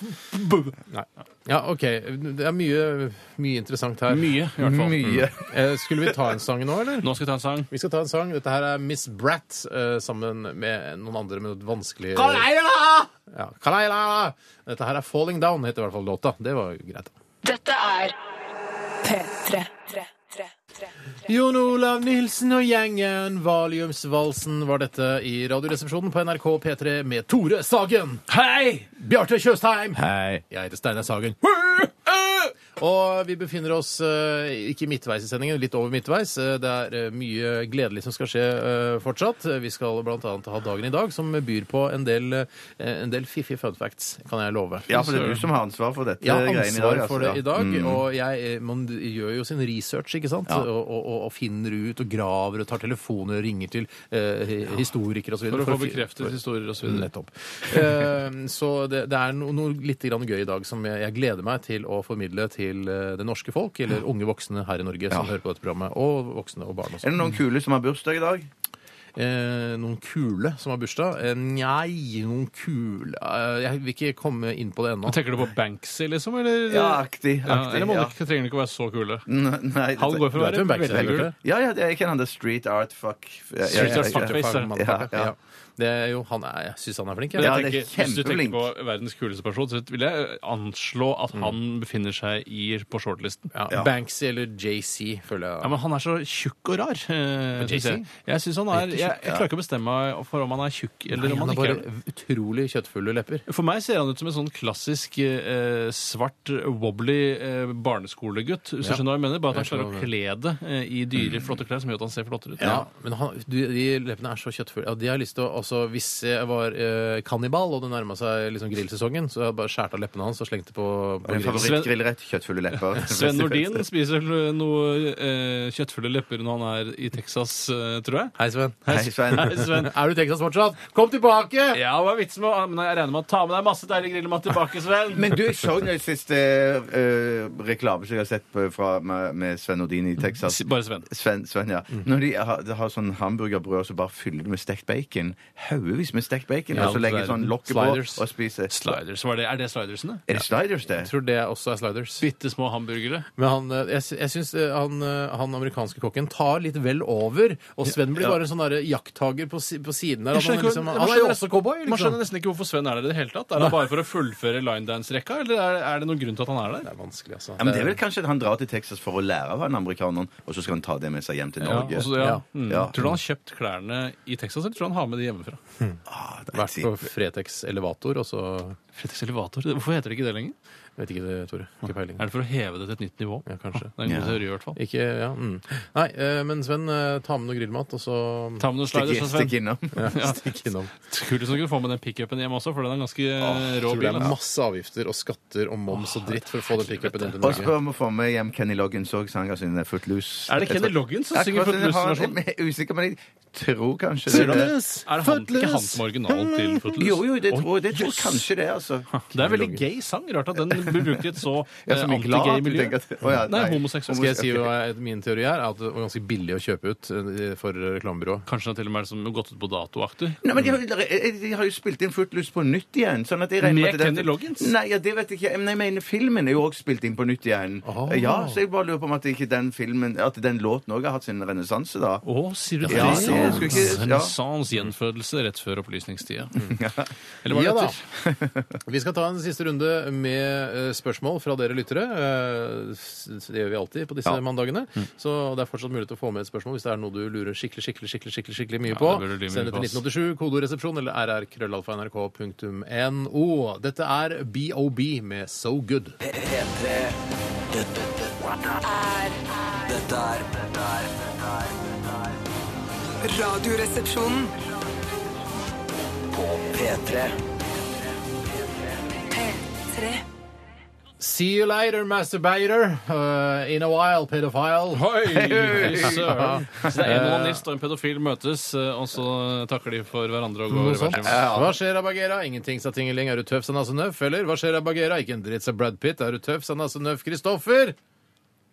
Speaker 3: Nei. Ja, OK. Det er mye, mye interessant her.
Speaker 4: Mye, i hvert fall.
Speaker 5: Mye.
Speaker 3: Eh, Skulle vi ta en sang nå, eller?
Speaker 4: Nå skal jeg ta en sang.
Speaker 3: Vi skal ta en sang. Dette her er Miss Bratt eh, sammen med noen andre med noe vanskelig Ja, Kalaila! Dette her er Falling Down, heter i hvert fall låta. Det var jo greit.
Speaker 7: Dette er
Speaker 6: P3.
Speaker 3: Jon Olav Nilsen og gjengen, Valiumsvalsen var dette i Radioresepsjonen på NRK P3 med Tore Sagen.
Speaker 4: Hei!
Speaker 3: Bjarte Tjøstheim.
Speaker 5: Hei.
Speaker 3: Jeg heter Steinar Sagen. Og vi befinner oss eh, ikke midtveis i sendingen, litt over midtveis. Eh, Det er eh, mye gledelig som skal skje eh, fortsatt. Eh, Vi skal bl.a. ha dagen i dag, som byr på en del, eh, en del fiffige fun facts, kan jeg love.
Speaker 5: Ja, for det er du som har ansvar for dette.
Speaker 3: Jeg har
Speaker 5: greiene
Speaker 3: ansvar
Speaker 5: altså,
Speaker 3: for det
Speaker 5: ja.
Speaker 3: i dag,
Speaker 5: Mm.
Speaker 3: og jeg, eh, man gjør jo sin research, ikke sant? Og, og, og- og finner ut og graver og tar telefoner og ringer til eh, historikere osv.
Speaker 4: For å få bekreftet historier og så videre.
Speaker 3: Nettopp. Eh, så det, det er no, noe litt grann gøy i dag som jeg, jeg gleder meg til å formidle til eh, det norske folk, eller unge voksne her i Norge som hører på dette programmet, og voksne og barn også.
Speaker 5: Er det noen kule som har bursdag i dag?
Speaker 3: Eh, noen kule som har bursdag? Eh, Nei, noen kule eh, Jeg vil ikke komme inn på det ennå.
Speaker 4: Tenker du på Banksy, liksom? Eller,
Speaker 5: Ja, aktig.
Speaker 4: Ja,
Speaker 5: aktig
Speaker 4: eller må
Speaker 5: ja.
Speaker 4: du
Speaker 5: Mm.
Speaker 4: ikke- trenger du ikke være så kule?
Speaker 5: N- Nei,
Speaker 4: Han går for
Speaker 3: Du
Speaker 4: å
Speaker 3: vet
Speaker 4: være
Speaker 3: hvem Banksy er,
Speaker 4: veldig
Speaker 3: gjør du
Speaker 4: kul.
Speaker 3: ikke?
Speaker 5: Ja, ja, det- jeg kjenner han det. Street art, fuck. Ja, ja,
Speaker 4: Street art,
Speaker 5: ja, ja.
Speaker 4: fuck. Fuckface,
Speaker 3: Fuck,
Speaker 5: ja.
Speaker 3: fuck, ja. Det er jo, han er, jeg syns han er flink. Jeg.
Speaker 5: Ja,
Speaker 4: Jeg
Speaker 5: det er
Speaker 4: tenker, hvis du tenker
Speaker 5: kjempeflink.
Speaker 4: på verdens kuleste person, så vil jeg eh, anslå at han befinner seg i, på shortlisten.
Speaker 3: Ja. Banksy eller JC, føler jeg.
Speaker 4: Ja, men han er så tjukk og rar. eh, synes
Speaker 3: JC?
Speaker 4: jeg jeg syns han er jeg, jeg klarer ikke å bestemme meg for om han er tjukk eller om
Speaker 3: han
Speaker 4: han
Speaker 3: har
Speaker 4: ikke er det.
Speaker 3: bare utrolig kjøttfulle lepper.
Speaker 4: For meg ser han ut som en sånn klassisk eh, svart, wobbly eh, barneskolegutt. Hvis
Speaker 3: Ja.
Speaker 4: du skjønner hva jeg mener? Bare at han
Speaker 3: Jeg skjønner Mm.
Speaker 4: klarer å kle det eh, i dyre, flotte klær som gjør at han ser flottere ut.
Speaker 3: Ja, men han, du, de leppene er så kjøttfulle. Ja, de har jeg lyst til å, altså, Hvis jeg var eh, kannibal, og det nærma seg liksom grillsesongen, så hadde jeg bare skåret av leppene hans og slengte på, på
Speaker 5: En
Speaker 3: grill.
Speaker 5: favorittgrillrett. Kjøttfulle lepper.
Speaker 4: Sven Nordin spiser vel noe eh, kjøttfulle lepper når han er i Texas, eh, tror jeg.
Speaker 3: Hei, Sven.
Speaker 5: Hei, Svein.
Speaker 4: Hei, Sven.
Speaker 3: Er du i Texas fortsatt? Kom tilbake!
Speaker 4: Ja, hva er vitsen med å Men jeg regner med å ta med deg masse deilig grillmat tilbake, Sven.
Speaker 5: Men du, så den siste eh, reklame som jeg har sett på, fra, med, med Sven Nordin i Texas.
Speaker 4: S- Bare Sven.
Speaker 5: Sven, Sven, ja.
Speaker 4: Mm.
Speaker 5: Når de har, de har sånn hamburgerbrød og så bare fyller det med stekt bacon. Haugevis med stekt bacon.
Speaker 4: Ja,
Speaker 5: og så legger de sånn lokket på
Speaker 3: sliders.
Speaker 5: og spiser.
Speaker 4: Sliders. Var det, er det slidersene?
Speaker 5: Er det sliders, det?
Speaker 3: Jeg tror det også er sliders.
Speaker 4: Bitte små hamburgere.
Speaker 3: Men han, eh, jeg, sy- jeg syns eh, han, eh, han amerikanske kokken tar litt vel over, og Sven blir bare en sånn derre jakttager på, si, på siden der.
Speaker 4: Jeg
Speaker 3: at Han,
Speaker 4: skjønner
Speaker 3: er
Speaker 4: ikke-
Speaker 3: liksom,
Speaker 4: jeg
Speaker 3: han er jo
Speaker 4: skjønner-
Speaker 3: også cowboy,
Speaker 4: Man skjønner
Speaker 3: liksom.
Speaker 4: nesten ikke hvorfor Sven er der i det hele tatt. Er det bare for å fullføre linedance-rekka, eller er, er det noen grunn til at han er
Speaker 3: Det
Speaker 4: der?
Speaker 3: er vanskelig, altså.
Speaker 5: Ja, men det er vel kanskje at han drar til Texas for å lære av han amerikaneren, og så skal han ta det med seg hjem til Norge.
Speaker 4: altså, ja.
Speaker 3: Ja.
Speaker 4: Mm.
Speaker 5: Ja.
Speaker 4: Tror du han har kjøpt klærne i Texas, eller tror du han har med de hjemmefra?
Speaker 5: Ah, det er
Speaker 3: Vært
Speaker 5: tid.
Speaker 3: på Fretex Elevator, og så
Speaker 4: Fretex Elevator, Hvorfor heter det ikke det lenger?
Speaker 3: Vet ikke det, Tore. Ikke peiling.
Speaker 4: Er det for å heve det til et nytt nivå?
Speaker 3: Ja, kanskje.
Speaker 4: Det er en
Speaker 5: Ja.
Speaker 4: god teori, i hvert fall.
Speaker 3: Ikke, ja, mm. Nei, eh, men Sven, eh, ta med noe grillmat, og så
Speaker 4: Ta med noen
Speaker 5: Stikk
Speaker 4: sliders, da, Sven.
Speaker 5: stikk innom.
Speaker 3: ja, stikk innom.
Speaker 4: Kult hvis du kunne få med den pickupen hjem også, for den er en ganske eh, rå
Speaker 3: Tror det
Speaker 4: bil.
Speaker 3: er
Speaker 4: altså.
Speaker 3: masse avgifter og skatter og moms og dritt for å få den pickupen inn til
Speaker 5: Og
Speaker 3: Norge.
Speaker 5: spør om å få med hjem Kenny Loggins òg. Sanger sin Footloose.
Speaker 4: Er det Kenny
Speaker 5: Jeg tror-
Speaker 4: Loggins som
Speaker 5: Jeg
Speaker 4: synger
Speaker 5: tror den har-
Speaker 4: Footloose-versjonen?
Speaker 5: Jeg er usikker, men jeg tror kanskje
Speaker 4: Ser du
Speaker 5: det.
Speaker 4: Er det han, ikke han som er originalen til Footloose?
Speaker 5: Jo, jo, det tror jeg. Det tror jeg kanskje det, altså.
Speaker 4: Det er en veldig gay sang. Rart at den blir brukt i et så
Speaker 5: Jeg er
Speaker 4: eh,
Speaker 5: så mye glad
Speaker 4: anti-gay
Speaker 5: at du
Speaker 4: miljø.
Speaker 5: tenker at Å ja,
Speaker 4: Nei, homoseksuell.
Speaker 3: Skal jeg si hva jeg- min teori er? At det var ganske billig å kjøpe ut eh, for reklamebyrået.
Speaker 4: Kanskje den til og med er som gått ut på datoaktig.
Speaker 5: Nei, men de har, jo- de har jo spilt inn Footloose på nytt igjen. Sånn at jeg regner
Speaker 4: Med
Speaker 5: at det-
Speaker 4: Kenny Loggins?
Speaker 5: Nei, ja, det vet jeg ikke. Men jeg mener filmen er jo også spilt inn på nytt igjen.
Speaker 3: Ah.
Speaker 5: Ja, Så jeg bare lurer på om at ikke den filmen At den låten òg har hatt sin renessanse, da.
Speaker 4: Å, sier du det?
Speaker 5: Ja, det skulle ikke- ja. Mm.
Speaker 4: Renaissance, gjenfødelse rett før opplysningstida. Eller var det
Speaker 3: Ja da.
Speaker 4: etter?
Speaker 3: Vi skal ta en siste runde med eh, spørsmål fra dere lyttere. Eh, s- Det gjør vi alltid på disse mandagene.
Speaker 4: Mm.
Speaker 3: Så det er fortsatt mulig til å få med et spørsmål hvis det er noe du lurer skikkelig skikkelig, skikkelig, skikkelig, skikkelig mye
Speaker 4: Ja,
Speaker 3: på.
Speaker 4: det burde du lure
Speaker 3: Send
Speaker 4: mye
Speaker 3: det til 1987,
Speaker 4: på,
Speaker 3: kodoresepsjon eller rrkrøllalfa.nrk.no. Dette er BOB med So Good.
Speaker 2: P- P3 Dette dette- Dette er Dette er
Speaker 6: Radioresepsjonen.
Speaker 2: På P3
Speaker 6: P3.
Speaker 3: See you later, masturbator. Uh, in a while, pedophile.
Speaker 4: Hei, søren. Så det er en
Speaker 5: Eh.
Speaker 4: onanist og en pedofil møtes, eh, og så takker de for hverandre og går
Speaker 3: Noe
Speaker 4: hver sin
Speaker 3: sånt.
Speaker 4: vei.
Speaker 3: Hva skjer av Bagheera? Ingenting, sa Tingeling. Er du tøff, sa Nasse Nøff? Eller hva skjer av Bagheera? Ikke en dritt, sa Brad Pitt. Er du tøff, sa Nasse Nøff? Kristoffer?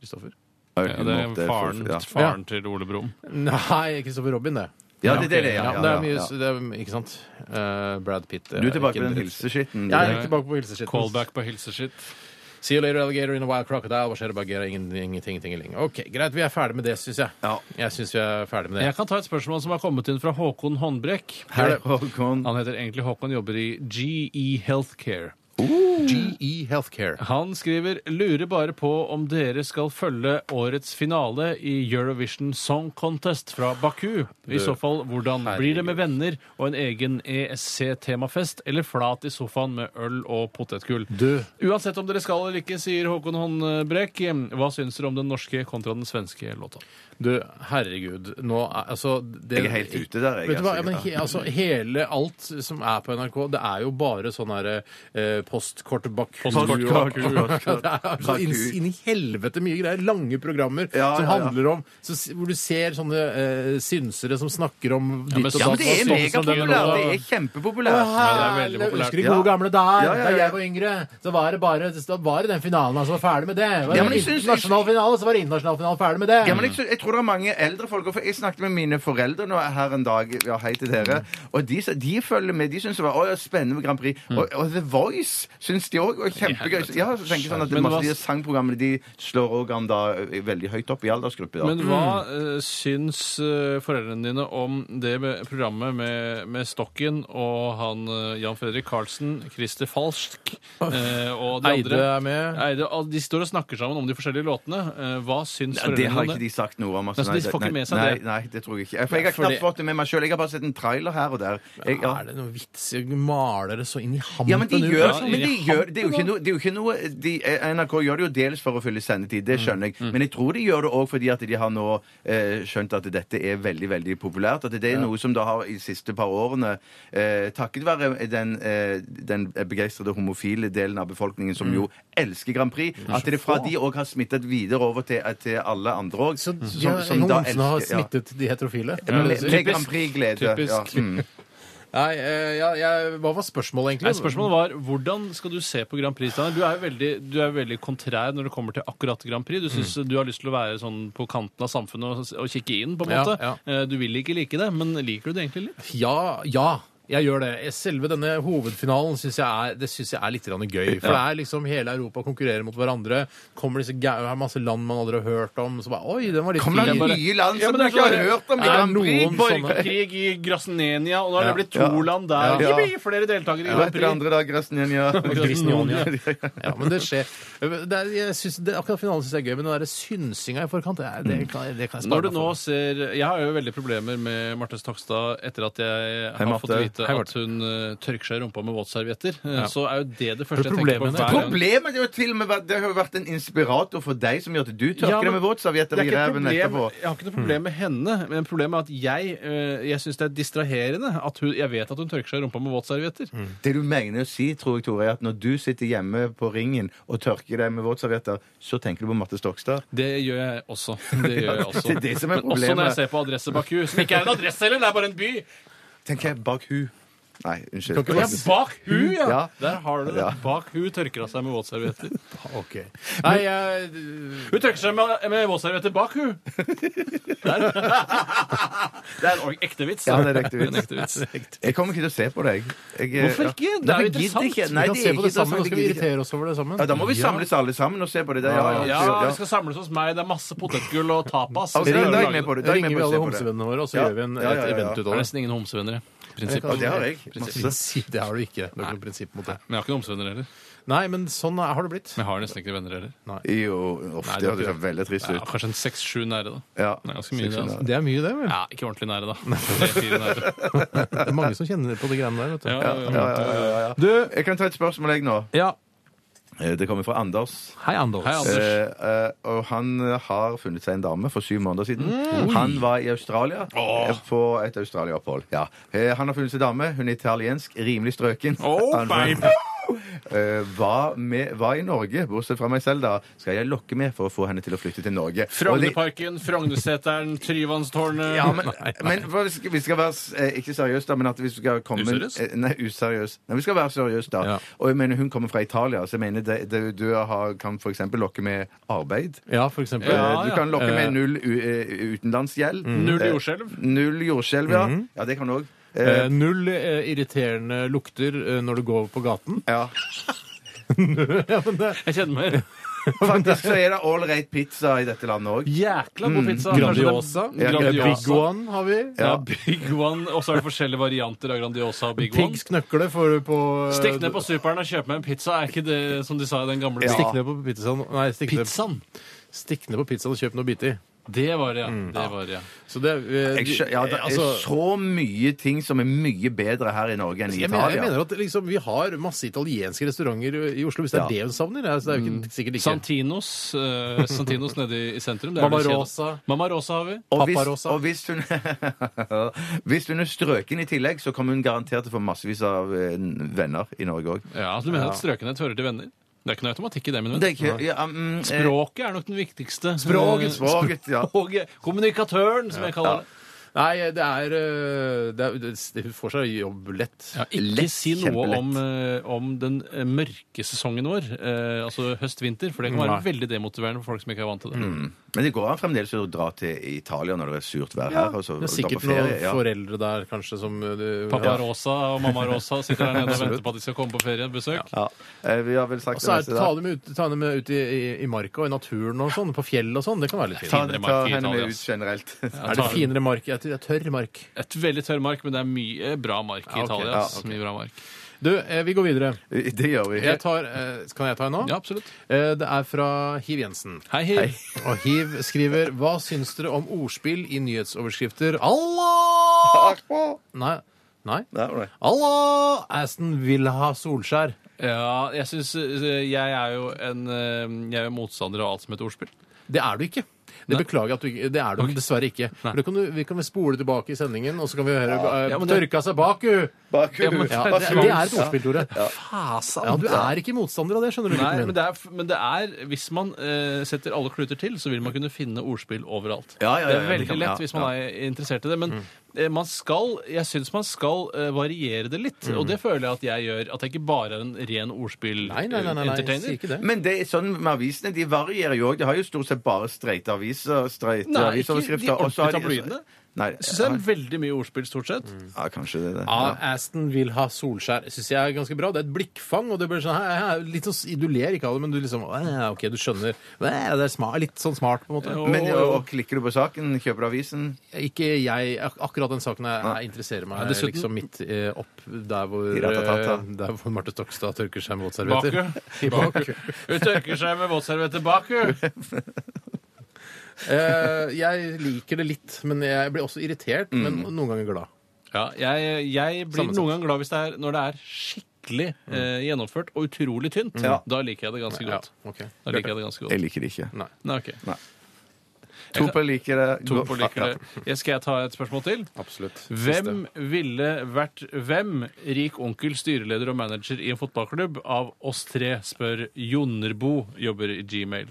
Speaker 3: Kristoffer?
Speaker 4: Ja, det er faren,
Speaker 5: Ja,
Speaker 4: faren til Ole Brumm.
Speaker 3: Nei, Kristoffer Robin, det.
Speaker 5: ja det er det. det er,
Speaker 3: Ja,
Speaker 5: Ja,
Speaker 3: det er mye,
Speaker 5: ja, ja.
Speaker 3: Det er, ikke sant? Eh, Brad Pitt.
Speaker 5: Du er tilbake på den hilseskitten.
Speaker 3: Jeg er tilbake på hilseskitten.
Speaker 4: Callback på hilseskitt.
Speaker 3: See you later, alligator in a wild crocodile. Hva skjer av Bagheera? Ingen- Ingenting, tingeling. Ok, greit. Vi er ferdig med det, syns jeg.
Speaker 5: Ja.
Speaker 3: Jeg syns vi er ferdig med det.
Speaker 4: Jeg kan ta et spørsmål som har kommet inn fra Håkon Håndbrekk.
Speaker 5: Hei, Håkon.
Speaker 4: Han heter egentlig Håkon, jobber i GE Healthcare.
Speaker 3: GE E Healthcare.
Speaker 4: Han skriver lurer bare på om dere skal følge årets finale i Eurovision Song Contest fra Baku. I så fall, hvordan blir det med venner og en egen ESC-temafest, eller flat i sofaen med øl og potetgull?
Speaker 3: Du.
Speaker 4: Uansett om dere skal eller ikke, sier Håkon Håndbrekk, hva syns dere om den norske kontra den svenske låta?
Speaker 3: Du, herregud. Nå er altså det,
Speaker 5: Jeg er helt ute der, jeg,
Speaker 3: Vet du hva?
Speaker 5: altså.
Speaker 3: Ja, men he, altså, hele alt som er på NRK, det er jo bare sånn herre eh, postkort Baku
Speaker 5: Postkort
Speaker 3: og-
Speaker 5: Baku, postkort
Speaker 3: Det er så inn,
Speaker 5: Baku.
Speaker 3: inn i helvete mye greier. Lange programmer
Speaker 5: Ja,
Speaker 3: som
Speaker 5: ja, ja.
Speaker 3: handler om så, s- Hvor du ser sånne eh, synsere som snakker om ditt
Speaker 4: men
Speaker 3: og
Speaker 5: Ja,
Speaker 3: datt.
Speaker 5: men det er
Speaker 4: Sånn som den
Speaker 5: megapopulært.
Speaker 4: låta.
Speaker 5: Det er kjempepopulært.
Speaker 4: Ja, det er veldig
Speaker 3: Herlig,
Speaker 4: populært.
Speaker 3: Husker de gode
Speaker 5: Ja.
Speaker 3: gamle der?
Speaker 5: Ja, ja, ja.
Speaker 3: Da jeg var yngre, så var det bare da var det den finalen altså, var ferdig med det. det var
Speaker 5: Ja, men jeg synes-
Speaker 3: internasjonal finale, så var det internasjonal finale ferdig med det.
Speaker 5: Ja, men jeg, sy- jeg tror det er mange eldre folk. og For jeg snakket med mine foreldre nå her
Speaker 4: Mm.
Speaker 5: en dag. Ja, hei til dere. Og de, sa- de følger med. De syns det var å, ja, spennende med Grand Prix. Og, og The Voice Yes! Syns de òg. Og kjempegøy. Ja, så tenker jeg sånn at det
Speaker 4: Men
Speaker 5: er
Speaker 4: hva-
Speaker 5: masse av de sangprogrammene de slår òg an da eh, veldig høyt opp i aldersgruppe. da.
Speaker 4: Men hva eh, syns eh, foreldrene dine om det med- programmet med, med Stokken og han eh, Jan Fredrik Karlsen, Christer Falsk eh, og de
Speaker 3: Eide
Speaker 4: andre?
Speaker 3: er med.
Speaker 4: Eide, al- de står og snakker sammen om de forskjellige låtene. Eh, hva syns
Speaker 5: Ja, det
Speaker 4: foreldrene
Speaker 5: har
Speaker 4: om
Speaker 5: ikke de
Speaker 4: det?
Speaker 5: sagt noe om. altså.
Speaker 4: Nei, så de
Speaker 5: Nei,
Speaker 4: får ikke
Speaker 5: nei,
Speaker 4: med seg
Speaker 5: nei,
Speaker 4: det?
Speaker 5: Nei, det tror jeg ikke. For jeg har
Speaker 3: Fordi-
Speaker 5: knapt fått det med meg sjøl. Jeg har bare sett en trailer her og der. Jeg, ja.
Speaker 3: Er det noen vits? Maler det så inn i hampen?
Speaker 5: Ja, men de
Speaker 3: ut,
Speaker 5: gjør, sånn,
Speaker 3: altså.
Speaker 5: men de gjør Det er jo ikke noe, det er jo ikke noe de, eh, NRK gjør det jo dels for å fylle sendetid, det skjønner jeg. Men jeg tror de gjør det òg fordi at de har nå eh, skjønt at dette er veldig veldig populært. At det er noe som da har i de siste par årene, eh, takket være den, eh, den begeistrede homofile delen av befolkningen som jo elsker Grand Prix, at Mm. det fra de òg har smittet videre over til, eh, til alle andre òg.
Speaker 3: Så ja, homsene har smittet de heterofile.
Speaker 5: Ja. Med, med
Speaker 4: Typisk.
Speaker 5: Grand Prix-glede. Ja.
Speaker 4: Typisk.
Speaker 5: Mm.
Speaker 3: Nei, eh, ja, jeg, hva var spørsmålet, egentlig?
Speaker 4: Nei, spørsmålet var hvordan skal du se på Grand Prix? Steinar? Du er jo veldig, du er veldig kontrær når det kommer til akkurat Grand Prix.
Speaker 5: Mm.
Speaker 4: Du, synes, du har lyst til å være sånn på kanten av samfunnet og, og kikke inn, på en
Speaker 3: Ja,
Speaker 4: måte.
Speaker 3: ja.
Speaker 4: Eh, Du vil ikke like det, men liker du det egentlig litt?
Speaker 3: Ja, ja. Jeg gjør det. Selve denne hovedfinalen syns jeg, er- det synes jeg er litt grann gøy. For det er liksom hele Europa konkurrerer mot hverandre. Kommer disse gau- her er masse land man aldri har hørt om. Så bare Oi, den var litt
Speaker 5: Kommer
Speaker 3: fin.
Speaker 5: det
Speaker 3: Bare-
Speaker 5: nye land
Speaker 4: Ja, men
Speaker 5: som du
Speaker 4: det er
Speaker 5: ikke har
Speaker 4: klart.
Speaker 5: hørt om i
Speaker 3: Er det
Speaker 5: Grand Prix?
Speaker 3: noen sånne-
Speaker 4: Borgerkrig i Grasnenia, og nå har
Speaker 3: Ja.
Speaker 4: det blitt to
Speaker 5: Ja.
Speaker 4: land der.
Speaker 3: Ja.
Speaker 4: Det blir flere deltakere i Grand
Speaker 5: Hva heter det
Speaker 4: Prix.
Speaker 5: andre da? Grasnjenja?
Speaker 4: Grasnjenja.
Speaker 3: Ja, men det skjer. Det er, jeg synes, det, akkurat finalen syns jeg er gøy, men den derre synsinga i forkant, det, er- det, kan, jeg- det kan jeg spare
Speaker 4: Når du
Speaker 3: meg
Speaker 4: nå
Speaker 3: for.
Speaker 4: ser, Jeg har jo veldig problemer med Marte Takstad etter at jeg har
Speaker 5: Marte.
Speaker 4: fått vite
Speaker 3: Hei, Marte.
Speaker 4: at hun eh, tørker seg i rumpa med våtservietter. Eh,
Speaker 3: Ja.
Speaker 4: Så er jo det det
Speaker 3: Er
Speaker 4: første
Speaker 3: det
Speaker 4: jeg tenker på.
Speaker 3: problemet med
Speaker 4: hver gang.
Speaker 5: Problemet er jo til og med vært- Det har jo vært en inspirator for deg som gjør at du tørker
Speaker 4: Ja, men
Speaker 5: deg med våtservietter
Speaker 4: Det
Speaker 5: i
Speaker 4: er ikke et
Speaker 5: ræven
Speaker 4: problem-
Speaker 5: etterpå.
Speaker 4: Jeg har ikke noe
Speaker 3: Mm.
Speaker 4: problem med henne, men problemet er at jeg, øh, jeg syns det er distraherende. At hun, jeg vet at hun tørker seg i rumpa med våtservietter.
Speaker 3: Mm.
Speaker 5: Det du mener å si, tror jeg, Tore, er at når du sitter hjemme på ringen og tørker deg med våtservietter, så tenker du på Marte Stokstad.
Speaker 4: Det gjør jeg også. Det gjør jeg også.
Speaker 5: Det er det som er
Speaker 4: Men også når
Speaker 5: problemet.
Speaker 4: jeg ser på adresse Baku, som ikke er en adresse heller, det er bare en by.
Speaker 5: Tenker jeg bak hu. Nei, unnskyld.
Speaker 3: Kan ikke
Speaker 4: Og ja, bak hu, ja.
Speaker 5: Ja.
Speaker 4: Der har du det.
Speaker 5: Ja.
Speaker 4: Bak hu tørker hun seg med våtservietter.
Speaker 3: Ok. Nei, jeg,
Speaker 4: Hun tørker seg med, med våtservietter bak hu. Der. Det er en ordentlig ekte vits. da.
Speaker 5: Ja, det er en ekte
Speaker 4: En
Speaker 5: vits.
Speaker 4: ekte vits.
Speaker 5: Jeg kommer ikke til å se på deg. Jeg, eh,
Speaker 4: Hvorfor ikke? Det
Speaker 5: ja.
Speaker 4: er
Speaker 5: Nei,
Speaker 4: jo
Speaker 5: jeg gidder
Speaker 4: interessant.
Speaker 5: ikke.
Speaker 3: vi
Speaker 5: Nei,
Speaker 3: kan
Speaker 5: det
Speaker 3: se på
Speaker 5: er ikke
Speaker 3: det sammen,
Speaker 5: interessant.
Speaker 3: og skal vi
Speaker 5: Jeg gidder ikke.
Speaker 3: irritere oss over det sammen.
Speaker 5: Ja, da må vi samles alle sammen og se på det. Det- Ja,
Speaker 4: Ja, vi
Speaker 5: ja.
Speaker 4: skal samles hos meg. Det er masse potetgull og tapas.
Speaker 5: Ok, da er jeg med
Speaker 4: det.
Speaker 5: på det.
Speaker 3: Da
Speaker 5: Da er jeg med
Speaker 3: ringer vi
Speaker 5: på å
Speaker 3: alle
Speaker 5: se på det.
Speaker 3: homsevennene våre, og så
Speaker 5: Ja.
Speaker 3: gjør vi en,
Speaker 5: Ja, ja,
Speaker 3: et
Speaker 5: ja, ja.
Speaker 3: event ut
Speaker 4: Det
Speaker 3: av
Speaker 4: er
Speaker 3: det.
Speaker 4: nesten ingen homsevenner. i Prinsipp.
Speaker 5: Ja, det har jeg. Masse.
Speaker 3: Prinsipp, det har du ikke. Du har ikke noe prinsipp mot det.
Speaker 4: Men jeg har ikke noen homsevenner heller.
Speaker 3: Nei, men sånn er, har det blitt.
Speaker 4: Men jeg har nesten ikke noen venner heller.
Speaker 5: Jo, uff,
Speaker 4: Nei,
Speaker 5: det
Speaker 4: det
Speaker 5: hadde
Speaker 4: er
Speaker 5: sett veldig trist
Speaker 4: Ja,
Speaker 5: ut.
Speaker 4: kanskje en seks-sju nære, da.
Speaker 5: Ja.
Speaker 4: Det er ganske mye, det. altså.
Speaker 3: Det er mye, det. vel?
Speaker 4: Ja, ikke ordentlig nære, da. Tre-fire nære.
Speaker 3: Det er mange som kjenner på de greiene der. vet du.
Speaker 4: Ja, ja, ja.
Speaker 5: Ja, ja, ja, ja.
Speaker 3: Du,
Speaker 5: Eh, Jeg kan ta et spørsmål, jeg, nå.
Speaker 3: ja.
Speaker 5: Eh, Det kommer fra Anders.
Speaker 3: Hei, Anders.
Speaker 4: Hei, Anders.
Speaker 5: Eh, eh, og han eh, har funnet seg en dame for syv måneder siden. Han var i Australia eh, på et Australia-opphold. Ja. Eh, han har funnet seg dame. Hun er italiensk, rimelig strøken.
Speaker 4: Oh,
Speaker 5: Han-
Speaker 4: baby!
Speaker 5: Eh, hva, med, hva i Norge, bortsett fra meg selv, da, skal jeg lokke med for å få henne til å flytte til Norge? Og det-
Speaker 4: Frognerparken, Frognerseteren, Tryvannstårnet
Speaker 5: Ja, men, men for vi, skal, vi skal være s- eh, ikke seriøse, da, men at vi skal komme
Speaker 4: Useriøs?
Speaker 5: eh, Nei, useriøs. Nei, vi skal være seriøse, da.
Speaker 3: Ja.
Speaker 5: Og jeg mener, hun kommer fra Italia, så jeg mener det, det, du har, kan f.eks. lokke med arbeid.
Speaker 3: Ja, for eksempel.
Speaker 4: Ja,
Speaker 5: Eh, du
Speaker 4: ja.
Speaker 5: kan lokke
Speaker 3: Eh. Mm.
Speaker 5: med null u- eh, utenlandsgjeld.
Speaker 4: Null
Speaker 5: Eh,
Speaker 4: jordskjelv.
Speaker 5: Null jordskjelv, ja. Ja, det kan du òg.
Speaker 3: Eh, null eh, irriterende lukter eh, når du går på gaten.
Speaker 5: Ja.
Speaker 4: Jeg kjenner meg
Speaker 5: Faktisk så er det all right pizza i dette landet òg.
Speaker 4: jækla god pizza.
Speaker 3: Grandiosa.
Speaker 4: Kanskje det-
Speaker 5: Ja,
Speaker 3: Eh, Big
Speaker 4: Grandiosa.
Speaker 3: One har vi.
Speaker 4: Ja, Big One. Og så er det forskjellige varianter av Grandiosa og Big One.
Speaker 3: Piggs knøkle får du på eh,
Speaker 4: Stikk ned på superen og kjøp meg en pizza. Er ikke det som de sa i den gamle
Speaker 5: Ja.
Speaker 3: Stikk ned på pizzaen Nei, stikk ned,
Speaker 4: Pizzaen!
Speaker 3: stikk ned på pizzaen og kjøp noe å bite i.
Speaker 4: Det var det, ja. Det var det, ja.
Speaker 3: Så det, eh,
Speaker 5: Jeg, skjø- ja, det er
Speaker 3: altså-
Speaker 5: så mye ting som er mye bedre her i Norge enn i
Speaker 3: Jeg mener, jeg
Speaker 5: Italia.
Speaker 3: mener at liksom, Vi har masse italienske restauranter i Oslo, hvis det er
Speaker 5: Ja.
Speaker 3: det hun savner. ja, Mm. Så det er jo ikke, sikkert ikke
Speaker 4: Santinos, eh, Santinos nede i sentrum. det er
Speaker 3: Mamma
Speaker 4: vel kjent.
Speaker 3: Rosa.
Speaker 4: Mamma Rosa har vi.
Speaker 5: Og hvis,
Speaker 3: Paparosa.
Speaker 5: og hvis hun Hvis hun er strøken i tillegg, så kommer hun garantert til å få massevis av eh, venner i Norge òg.
Speaker 4: Ja, altså, Du mener at strøkenhet hører til venner? Det er ikke noe automatikk i det. min venn.
Speaker 5: Språket.
Speaker 4: Språket er nok den viktigste.
Speaker 5: mm, eh, Språket, språket, ja.
Speaker 4: Språket. Kommunikatøren, som jeg kaller det.
Speaker 3: Nei, det er, eh, det er det- Hun får seg jobb lett.
Speaker 4: Ja, ikke
Speaker 5: Lett,
Speaker 4: si noe
Speaker 5: kjempelett.
Speaker 4: om, eh, om den eh, mørke sesongen vår, eh, altså høst-vinter, for det kan
Speaker 3: Nei.
Speaker 4: være
Speaker 3: Mm.
Speaker 4: veldig demotiverende for folk som ikke er vant til det.
Speaker 5: Mm. Men det går an fremdeles å dra til Italia når det er surt vær her. Og
Speaker 3: det er
Speaker 5: så, og dra på
Speaker 3: sikkert noen
Speaker 5: ferie, ja.
Speaker 3: foreldre der kanskje som eh, du,
Speaker 4: Pappa
Speaker 3: ja.
Speaker 4: Rosa og mamma Rosa sitter der nede og venter på at de skal komme på feriebesøk.
Speaker 5: Ja. Eh, Vi har vel sagt
Speaker 3: Og så er,
Speaker 5: det meste
Speaker 3: ta
Speaker 5: der.
Speaker 3: dem ut, ta dem ut i, i, i marka og i naturen og sånn, på fjell og sånn. Det kan være litt
Speaker 5: Ta,
Speaker 3: fint.
Speaker 4: Finere mark
Speaker 5: ta
Speaker 4: i
Speaker 5: henne
Speaker 4: Italia, altså.
Speaker 5: med ut
Speaker 4: ass.
Speaker 5: generelt.
Speaker 4: Ja,
Speaker 3: Er det
Speaker 4: tar-
Speaker 3: finere mark? Jeg tror det er tørr mark.
Speaker 4: Et veldig tørr mark, men det er mye bra mark i
Speaker 3: Ja, ok.
Speaker 4: Italia.
Speaker 3: Ja,
Speaker 4: ass.
Speaker 3: ok.
Speaker 4: Mye bra mark.
Speaker 3: Du, eh, vi går videre.
Speaker 5: Det gjør vi.
Speaker 3: Jeg tar, eh, kan jeg ta en nå?
Speaker 4: Ja, absolutt.
Speaker 3: Eh, Det er fra Hiv Jensen.
Speaker 4: Hei, hei.
Speaker 3: Og Hiv skriver Hva syns dere om ordspill i nyhetsoverskrifter? Allah! Nei. Nei.
Speaker 5: Nei, nei.
Speaker 3: Allah! Aston vil ha Solskjær.
Speaker 4: Ja, jeg synes, eh, Jeg er jo en eh, Jeg er jo motstander av alt som heter ordspill.
Speaker 3: Det er du ikke. Det beklager jeg at du ikke Det er du dessverre ikke. For det kan du, vi kan vel spole tilbake i sendingen, og så kan vi høre eh,
Speaker 4: Ja, men det-
Speaker 3: Tørka seg bak, u!
Speaker 5: Baku.
Speaker 4: Ja, men-
Speaker 3: Ja,
Speaker 4: Hva
Speaker 3: det,
Speaker 4: syns-
Speaker 3: det er et ordspill, Tore. Ja, du er ikke motstander av det, skjønner du.
Speaker 4: Nei,
Speaker 3: gutten min.
Speaker 4: men det er, men det er Hvis man eh, setter alle kluter til, så vil man kunne finne ordspill overalt.
Speaker 5: Ja, ja, ja,
Speaker 4: det
Speaker 5: ja,
Speaker 4: er
Speaker 5: det
Speaker 4: veldig
Speaker 5: kan-
Speaker 4: lett
Speaker 5: ja,
Speaker 4: hvis man er interessert i det. Men eh, man skal, jeg syns man skal eh, variere det litt. Og det føler jeg at jeg gjør. At jeg ikke bare er en ren eh,
Speaker 3: Nei, nei, nei, nei, nei, jeg sier
Speaker 4: ordspill-entertainer.
Speaker 3: ikke det.
Speaker 5: Men det er sånn med avisene, de varierer jo òg. De har jo stort sett bare streite aviser, streite
Speaker 4: Nei, ikke
Speaker 5: avisoverskrifter.
Speaker 4: de
Speaker 5: og så har
Speaker 4: ordentlige tabloidene.
Speaker 5: Nei,
Speaker 4: Jeg syns det er veldig mye ordspill, stort sett.
Speaker 5: ja, kanskje det er det.
Speaker 3: Ja,
Speaker 5: Ja.
Speaker 3: Aston vil ha Solskjær. Syns jeg er ganske bra. Det er et blikkfang. og det blir sånn, hæ, hæ, litt sånn, Du ler ikke av det, men du liksom «Æ, OK, du skjønner. Æ, Det er smart, litt sånn smart, på en måte.
Speaker 4: Jo.
Speaker 5: Men og, og klikker du på saken, kjøper du avisen
Speaker 3: Ikke jeg. ak- Akkurat den saken jeg, jeg interesserer meg
Speaker 4: dessuten-
Speaker 3: liksom midt eh, opp der hvor,
Speaker 5: I ratatata.
Speaker 3: eh, der hvor Marte Stokstad tørker seg med
Speaker 4: Baku.
Speaker 3: våtservietter.
Speaker 4: Baku. Hun tørker seg med våtservietter Baku.
Speaker 3: Eh, jeg liker det litt, men jeg blir også irritert, men
Speaker 4: Mm.
Speaker 3: noen ganger glad.
Speaker 4: Ja, jeg, jeg blir
Speaker 3: Sammensatt.
Speaker 4: noen gang glad hvis det er, når det er skikkelig eh, gjennomført og utrolig tynt.
Speaker 5: Ja.
Speaker 4: Da liker jeg det ganske
Speaker 3: Ja,
Speaker 4: godt.
Speaker 3: ok.
Speaker 4: Da liker jeg det ganske godt.
Speaker 5: Jeg liker det ikke.
Speaker 3: Nei.
Speaker 4: Nei, ok.
Speaker 5: Topel liker det.
Speaker 4: Topol liker det. Jeg skal jeg ta et spørsmål til?
Speaker 3: Absolutt.
Speaker 4: Hvem ville vært hvem? Rik onkel, styreleder og manager i en fotballklubb av oss tre, spør Jonerbo, jobber i Gmail.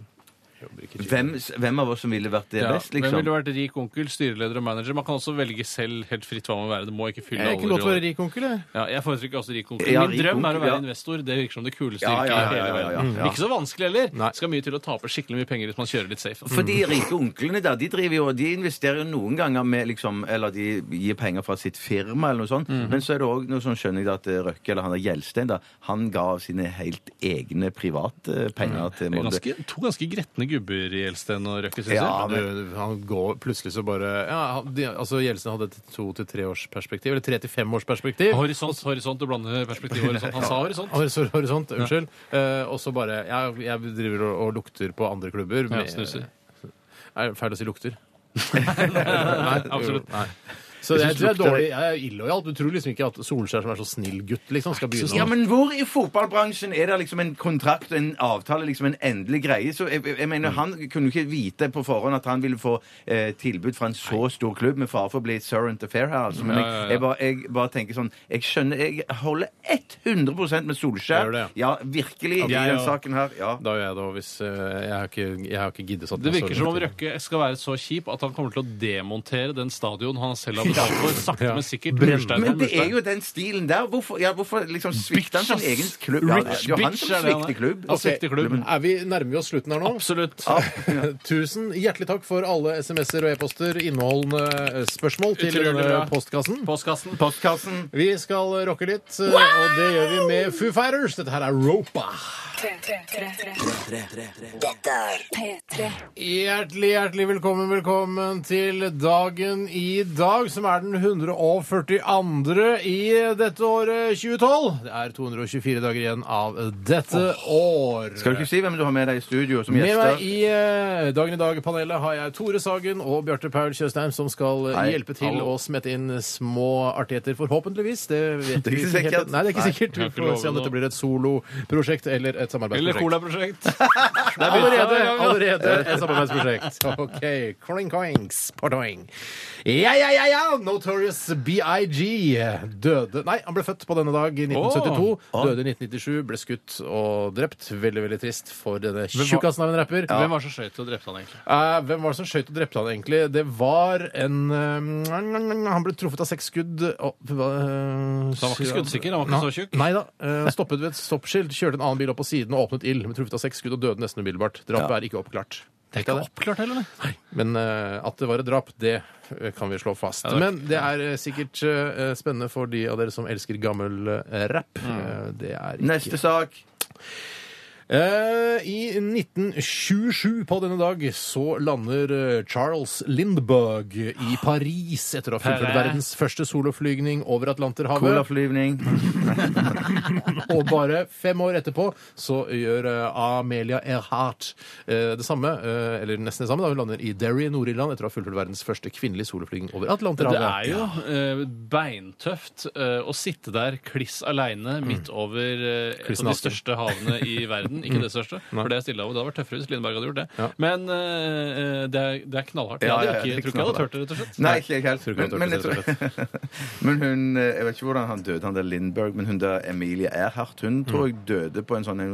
Speaker 5: Hvem, hvem av oss som ville vært det
Speaker 4: Ja,
Speaker 5: best,
Speaker 4: Hvem ville
Speaker 5: liksom?
Speaker 4: vært rik onkel, styreleder og manager? Man kan også velge selv helt fritt hva man vil være. Det må ikke fylle
Speaker 3: Jeg er
Speaker 4: alle
Speaker 3: ikke godt å være
Speaker 4: roller.
Speaker 3: rik onkel, jeg.
Speaker 4: Ja, jeg foretrekker også rik onkel.
Speaker 5: Ja,
Speaker 4: Min
Speaker 5: rik
Speaker 4: drøm er å
Speaker 5: onkel,
Speaker 4: være
Speaker 5: ja.
Speaker 4: investor. Det virker som det kuleste
Speaker 5: Ja,
Speaker 4: yrket
Speaker 5: ja, ja,
Speaker 4: i hele
Speaker 5: ja, ja, ja.
Speaker 4: verden.
Speaker 5: Ja.
Speaker 4: Ikke så vanskelig heller.
Speaker 3: Nei.
Speaker 4: Skal mye til å tape skikkelig mye penger hvis man kjører litt safe.
Speaker 5: For de rike onklene der, de driver jo, de investerer jo noen ganger med liksom, Eller de gir penger fra sitt firma eller noe sånt.
Speaker 4: Mhm.
Speaker 5: Men så er det òg noe sånn skjønner jeg da, at eh, Røkke eller han der Gjelstein da, han ga av sine helt egne private penger
Speaker 4: Mhm. Det er
Speaker 5: til Molde.
Speaker 4: ganske, to ganske gretne gubber i Elsten og Røkke, syns
Speaker 5: Ja,
Speaker 4: jeg.
Speaker 5: men-
Speaker 3: Du, han går plutselig så bare ja, han- de, altså Gjelsen hadde et to til tre års perspektiv, eller tre til fem års perspektiv.
Speaker 4: Horisont, horisont, du blander perspektiv og horisont. Han sa horisont.
Speaker 3: Horisont, horisont unnskyld. Eh, og så bare jeg, jeg driver og, og lukter på andre klubber.
Speaker 4: Ja,
Speaker 3: med-
Speaker 4: snuser.
Speaker 3: Er det feil å si lukter?
Speaker 4: Nei, absolutt.
Speaker 3: Nei. Så jeg,
Speaker 5: synes
Speaker 3: tror jeg er
Speaker 5: lukter-
Speaker 3: dårlig. Jeg er illojal. Du tror liksom ikke at Solskjær, som er så snill gutt, liksom, skal begynne
Speaker 5: Ja,
Speaker 3: å-
Speaker 5: men hvor i fotballbransjen er det liksom en kontrakt og en avtale, liksom en endelig greie? Så jeg, jeg mener, Han kunne jo ikke vite på forhånd at han ville få eh, tilbud fra en så stor klubb, med fare for å bli Surrent Affair her. Altså. Men
Speaker 4: Ja, ja, ja.
Speaker 5: jeg, jeg, bare, jeg bare tenker sånn Jeg skjønner Jeg holder 100 med
Speaker 3: Gjør
Speaker 5: Solskjær.
Speaker 3: det,
Speaker 5: Ja, virkelig, i
Speaker 3: jeg
Speaker 5: den
Speaker 3: og-
Speaker 5: saken her. Ja.
Speaker 3: Da gjør jeg det òg, hvis eh, Jeg har ikke, jeg har ikke giddet sånn.
Speaker 4: Det virker som om Røkke skal være så kjip at han kommer til å demontere den stadion han selv har betalt for, sakte, men sikkert.
Speaker 3: Brenne.
Speaker 4: murstein for
Speaker 5: Men det er
Speaker 4: murstein.
Speaker 5: jo den stilen der. Hvorfor, ja, hvorfor liksom svikter han sin
Speaker 4: ass.
Speaker 5: egen klubb? Ja, det
Speaker 4: Rich
Speaker 5: er jo han
Speaker 4: bitch
Speaker 5: som
Speaker 4: er det han er.
Speaker 5: svikter klubb.
Speaker 3: Altså-
Speaker 4: Han svikter klubben.
Speaker 3: Er vi, nærmer vi oss slutten her nå?
Speaker 4: Absolutt.
Speaker 3: Tusen hjertelig takk for alle SMS-er og e-poster, innholdende eh, spørsmål til
Speaker 4: Utrolig
Speaker 3: denne
Speaker 4: bra.
Speaker 3: postkassen.
Speaker 4: Postkassen.
Speaker 5: Postkassen.
Speaker 3: Vi skal rocke litt, eh, og det gjør vi med Foo Fighters. Dette her er Ropa.
Speaker 6: P3.
Speaker 3: Hjertelig, hjertelig velkommen, velkommen til dagen i dag, som er den 142. i dette året 2012. Det er 224 dager igjen av dette år.
Speaker 5: Skal du ikke si hvem du har med deg i studio som
Speaker 3: Med meg
Speaker 5: gjester?
Speaker 3: i eh, Dagen i dag-panelet har jeg Tore Sagen og Bjarte Paul Tjøstheim, som skal eh,
Speaker 5: Hei.
Speaker 3: hjelpe til
Speaker 4: Hallo.
Speaker 3: å smette inn små artigheter, forhåpentligvis. Det vet
Speaker 5: Det er ikke
Speaker 3: vi helt-
Speaker 5: sikkert.
Speaker 3: Nei, det er ikke
Speaker 5: Nei.
Speaker 3: sikkert.
Speaker 4: Kan
Speaker 3: Vi
Speaker 4: ikke
Speaker 3: får se om
Speaker 4: love
Speaker 3: dette blir et soloprosjekt eller et
Speaker 4: Eller
Speaker 3: samarbeidsprosjekt.
Speaker 4: colaprosjekt.
Speaker 3: Allerede, allerede et samarbeidsprosjekt. OK. Kling koings, podoing. Ja, ja, ja, ja! Notorious BIG døde Nei, han ble født på denne dag i 1972. Døde i 1997, ble skutt og drept. Veldig, veldig trist for denne tjukkasen av en rapper.
Speaker 4: Hvem var det som skjøt og drepte han, egentlig?
Speaker 3: Eh, hvem var det som skjøt og drepte han egentlig? Det var en eh, Han ble truffet av seks skudd. og- eh,
Speaker 4: Så han var ikke skuddsikker? Han var ikke
Speaker 3: Nei.
Speaker 4: så tjukk?
Speaker 3: Nei da. Eh, Stoppet ved et stoppskilt, kjørte en annen bil opp på siden og åpnet ild. Ble truffet av seks skudd og døde nesten umiddelbart. Drapet er ikke oppklart.
Speaker 4: Det er ikke oppklart heller, nei.
Speaker 3: Men eh, at det var et drap, det eh, kan vi slå fast.
Speaker 4: det er-
Speaker 3: Men det er eh, sikkert eh, spennende for de av dere som elsker gammel eh, rap.
Speaker 4: Mm.
Speaker 3: Eh, det er ikke
Speaker 5: Neste sak.
Speaker 3: Eh, I 1927 på denne dag så lander eh, Charles Lindbergh i
Speaker 4: Ah.
Speaker 3: Paris etter å ha fullført
Speaker 4: Herre.
Speaker 3: verdens første soloflygning over Atlanterhavet.
Speaker 5: Colaflyvning.
Speaker 3: Og bare fem år etterpå så gjør eh, Amelia Earhart eh, det samme, eh, eller nesten det samme, da hun lander i Derry i Nord-Irland etter å ha fullført verdens første kvinnelige soloflygning over
Speaker 4: Det
Speaker 3: Atlanterhavet.
Speaker 4: er jo eh, beintøft eh, å sitte der kliss aleine midt over eh, et
Speaker 3: Klissen Mm.
Speaker 4: av de
Speaker 3: naken.
Speaker 4: største havene i verden. Ikke det største, for det er Stillehavet. Det hadde vært tøffere hvis Lindberg hadde gjort det.
Speaker 3: Ja.
Speaker 4: Men eh, det, er, det er knallhardt.
Speaker 5: Ja,
Speaker 4: Jeg
Speaker 5: ja,
Speaker 4: hadde
Speaker 5: ja,
Speaker 4: ikke, tror ikke jeg
Speaker 5: det er
Speaker 4: hadde
Speaker 5: knallhardt.
Speaker 4: tørt det, rett og slett.
Speaker 5: Nei, ikke helt.
Speaker 3: ikke han
Speaker 5: Men, men, jeg
Speaker 3: tørte
Speaker 5: tror, men hun eh, Jeg vet ikke hvordan han døde, han der Lindberg, men hun der Emilie Earhart, hun tror jeg døde på en sånn en,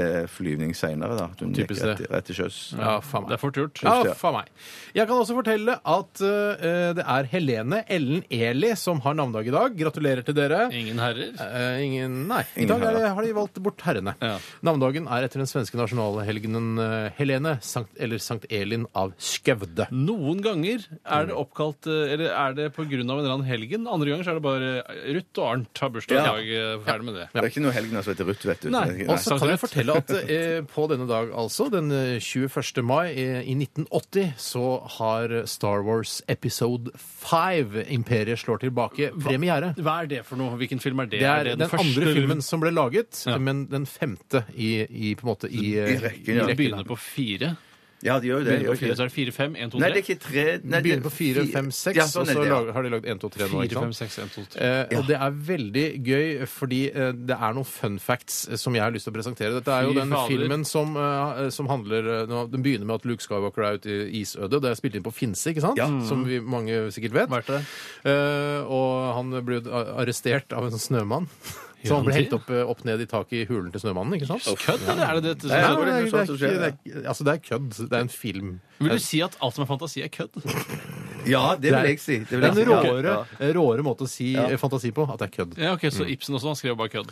Speaker 5: eh, flyvning seinere, da. Hun gikk
Speaker 3: Typisk
Speaker 5: rett,
Speaker 3: det.
Speaker 5: rett til sjøs.
Speaker 3: Ja, faen meg.
Speaker 4: Det er fort gjort.
Speaker 3: Ja,
Speaker 5: ja.
Speaker 3: faen meg. Jeg kan også fortelle at eh, det er Helene Ellen Eli som har navnedag i dag. Gratulerer til dere.
Speaker 4: Ingen herrer.
Speaker 3: Eh, ingen, nei. I
Speaker 5: Ingen
Speaker 3: dag er,
Speaker 5: herrer.
Speaker 3: det- har de valgt bort herrene.
Speaker 4: Ja.
Speaker 3: Navnedagen er etter den svenske nasjonalhelgenen eh, Helene Sankt, eller Sankt Elin av Skøvde.
Speaker 4: Noen ganger er
Speaker 3: Mm.
Speaker 4: det oppkalt eh, Eller er det pga. en eller annen helgen. Andre ganger så er det bare eh, Ruth og Arnt har bursdag i
Speaker 5: Ja.
Speaker 4: dag. eh, Ferdig med det.
Speaker 5: Det er ikke noe helgen som heter Ruth, vet du.
Speaker 4: Nei,
Speaker 5: Det er ikke-
Speaker 3: Og så
Speaker 4: Sankt
Speaker 3: kan jeg
Speaker 4: Rett.
Speaker 3: fortelle at eh, på denne dag, altså, den eh, 21. mai eh, i 1980, så har Star Wars Episode 5, Imperiet slår tilbake, premiere.
Speaker 4: Hva er det for noe? Hvilken film er det?
Speaker 3: Det
Speaker 4: Er
Speaker 3: er
Speaker 4: det
Speaker 3: den, andre filmen som ble laget, men den femte i, i på en måte i,
Speaker 5: I rekken, ja.
Speaker 3: i
Speaker 4: Begynner på fire.
Speaker 5: Ja, de gjør jo det.
Speaker 4: Begynner
Speaker 5: gjør
Speaker 4: på
Speaker 5: ikke
Speaker 4: fire,
Speaker 5: det.
Speaker 4: så er det fire, fem, en, to,
Speaker 5: Nei, det er
Speaker 4: tre.
Speaker 5: ikke tre nei, det er
Speaker 3: Begynner på fire,
Speaker 5: fire-
Speaker 3: fem, seks,
Speaker 5: Ja, sånn
Speaker 3: og
Speaker 5: er
Speaker 3: så
Speaker 5: det, ja.
Speaker 3: lager, har de lagd én, to, tre nå.
Speaker 4: Fire,
Speaker 3: ikke sant?
Speaker 4: fem, seks, en, to, tre.
Speaker 3: Eh, og det er veldig gøy, fordi eh, det er noen fun facts eh, som jeg har lyst til å presentere. Dette er jo
Speaker 4: Fy
Speaker 3: den
Speaker 4: fader.
Speaker 3: filmen som, eh, som handler eh, nå- Den begynner med at Luke Skywalker er ute i isødet. Det er spilt inn på Finse, ikke sant? Mm. Som vi mange sikkert vet.
Speaker 4: Vært der.
Speaker 3: Eh, og han ble a- arrestert av en snømann. Så han ble
Speaker 4: han
Speaker 3: helt opp, eh, opp ned i taket i hulen til snømannen, ikke sant?
Speaker 4: Kødd, eller er det det?
Speaker 3: Nei,
Speaker 5: Ja,
Speaker 3: det, er, det,
Speaker 5: det er
Speaker 3: er,
Speaker 5: sånn
Speaker 3: ikke-
Speaker 5: som skjer,
Speaker 3: det, er, altså, det er kødd. Det er en film.
Speaker 4: Vil du si at alt som er fantasi, er kødd?
Speaker 5: Ja, det vil jeg si.
Speaker 3: Det
Speaker 5: vil
Speaker 3: er
Speaker 5: jeg si,
Speaker 3: en
Speaker 5: ja.
Speaker 3: råere,
Speaker 5: Ja.
Speaker 3: råere måte å si eh, fantasi på at det er kødd.
Speaker 4: Ja, ok, Så Ibsen også, han skrev bare kødd.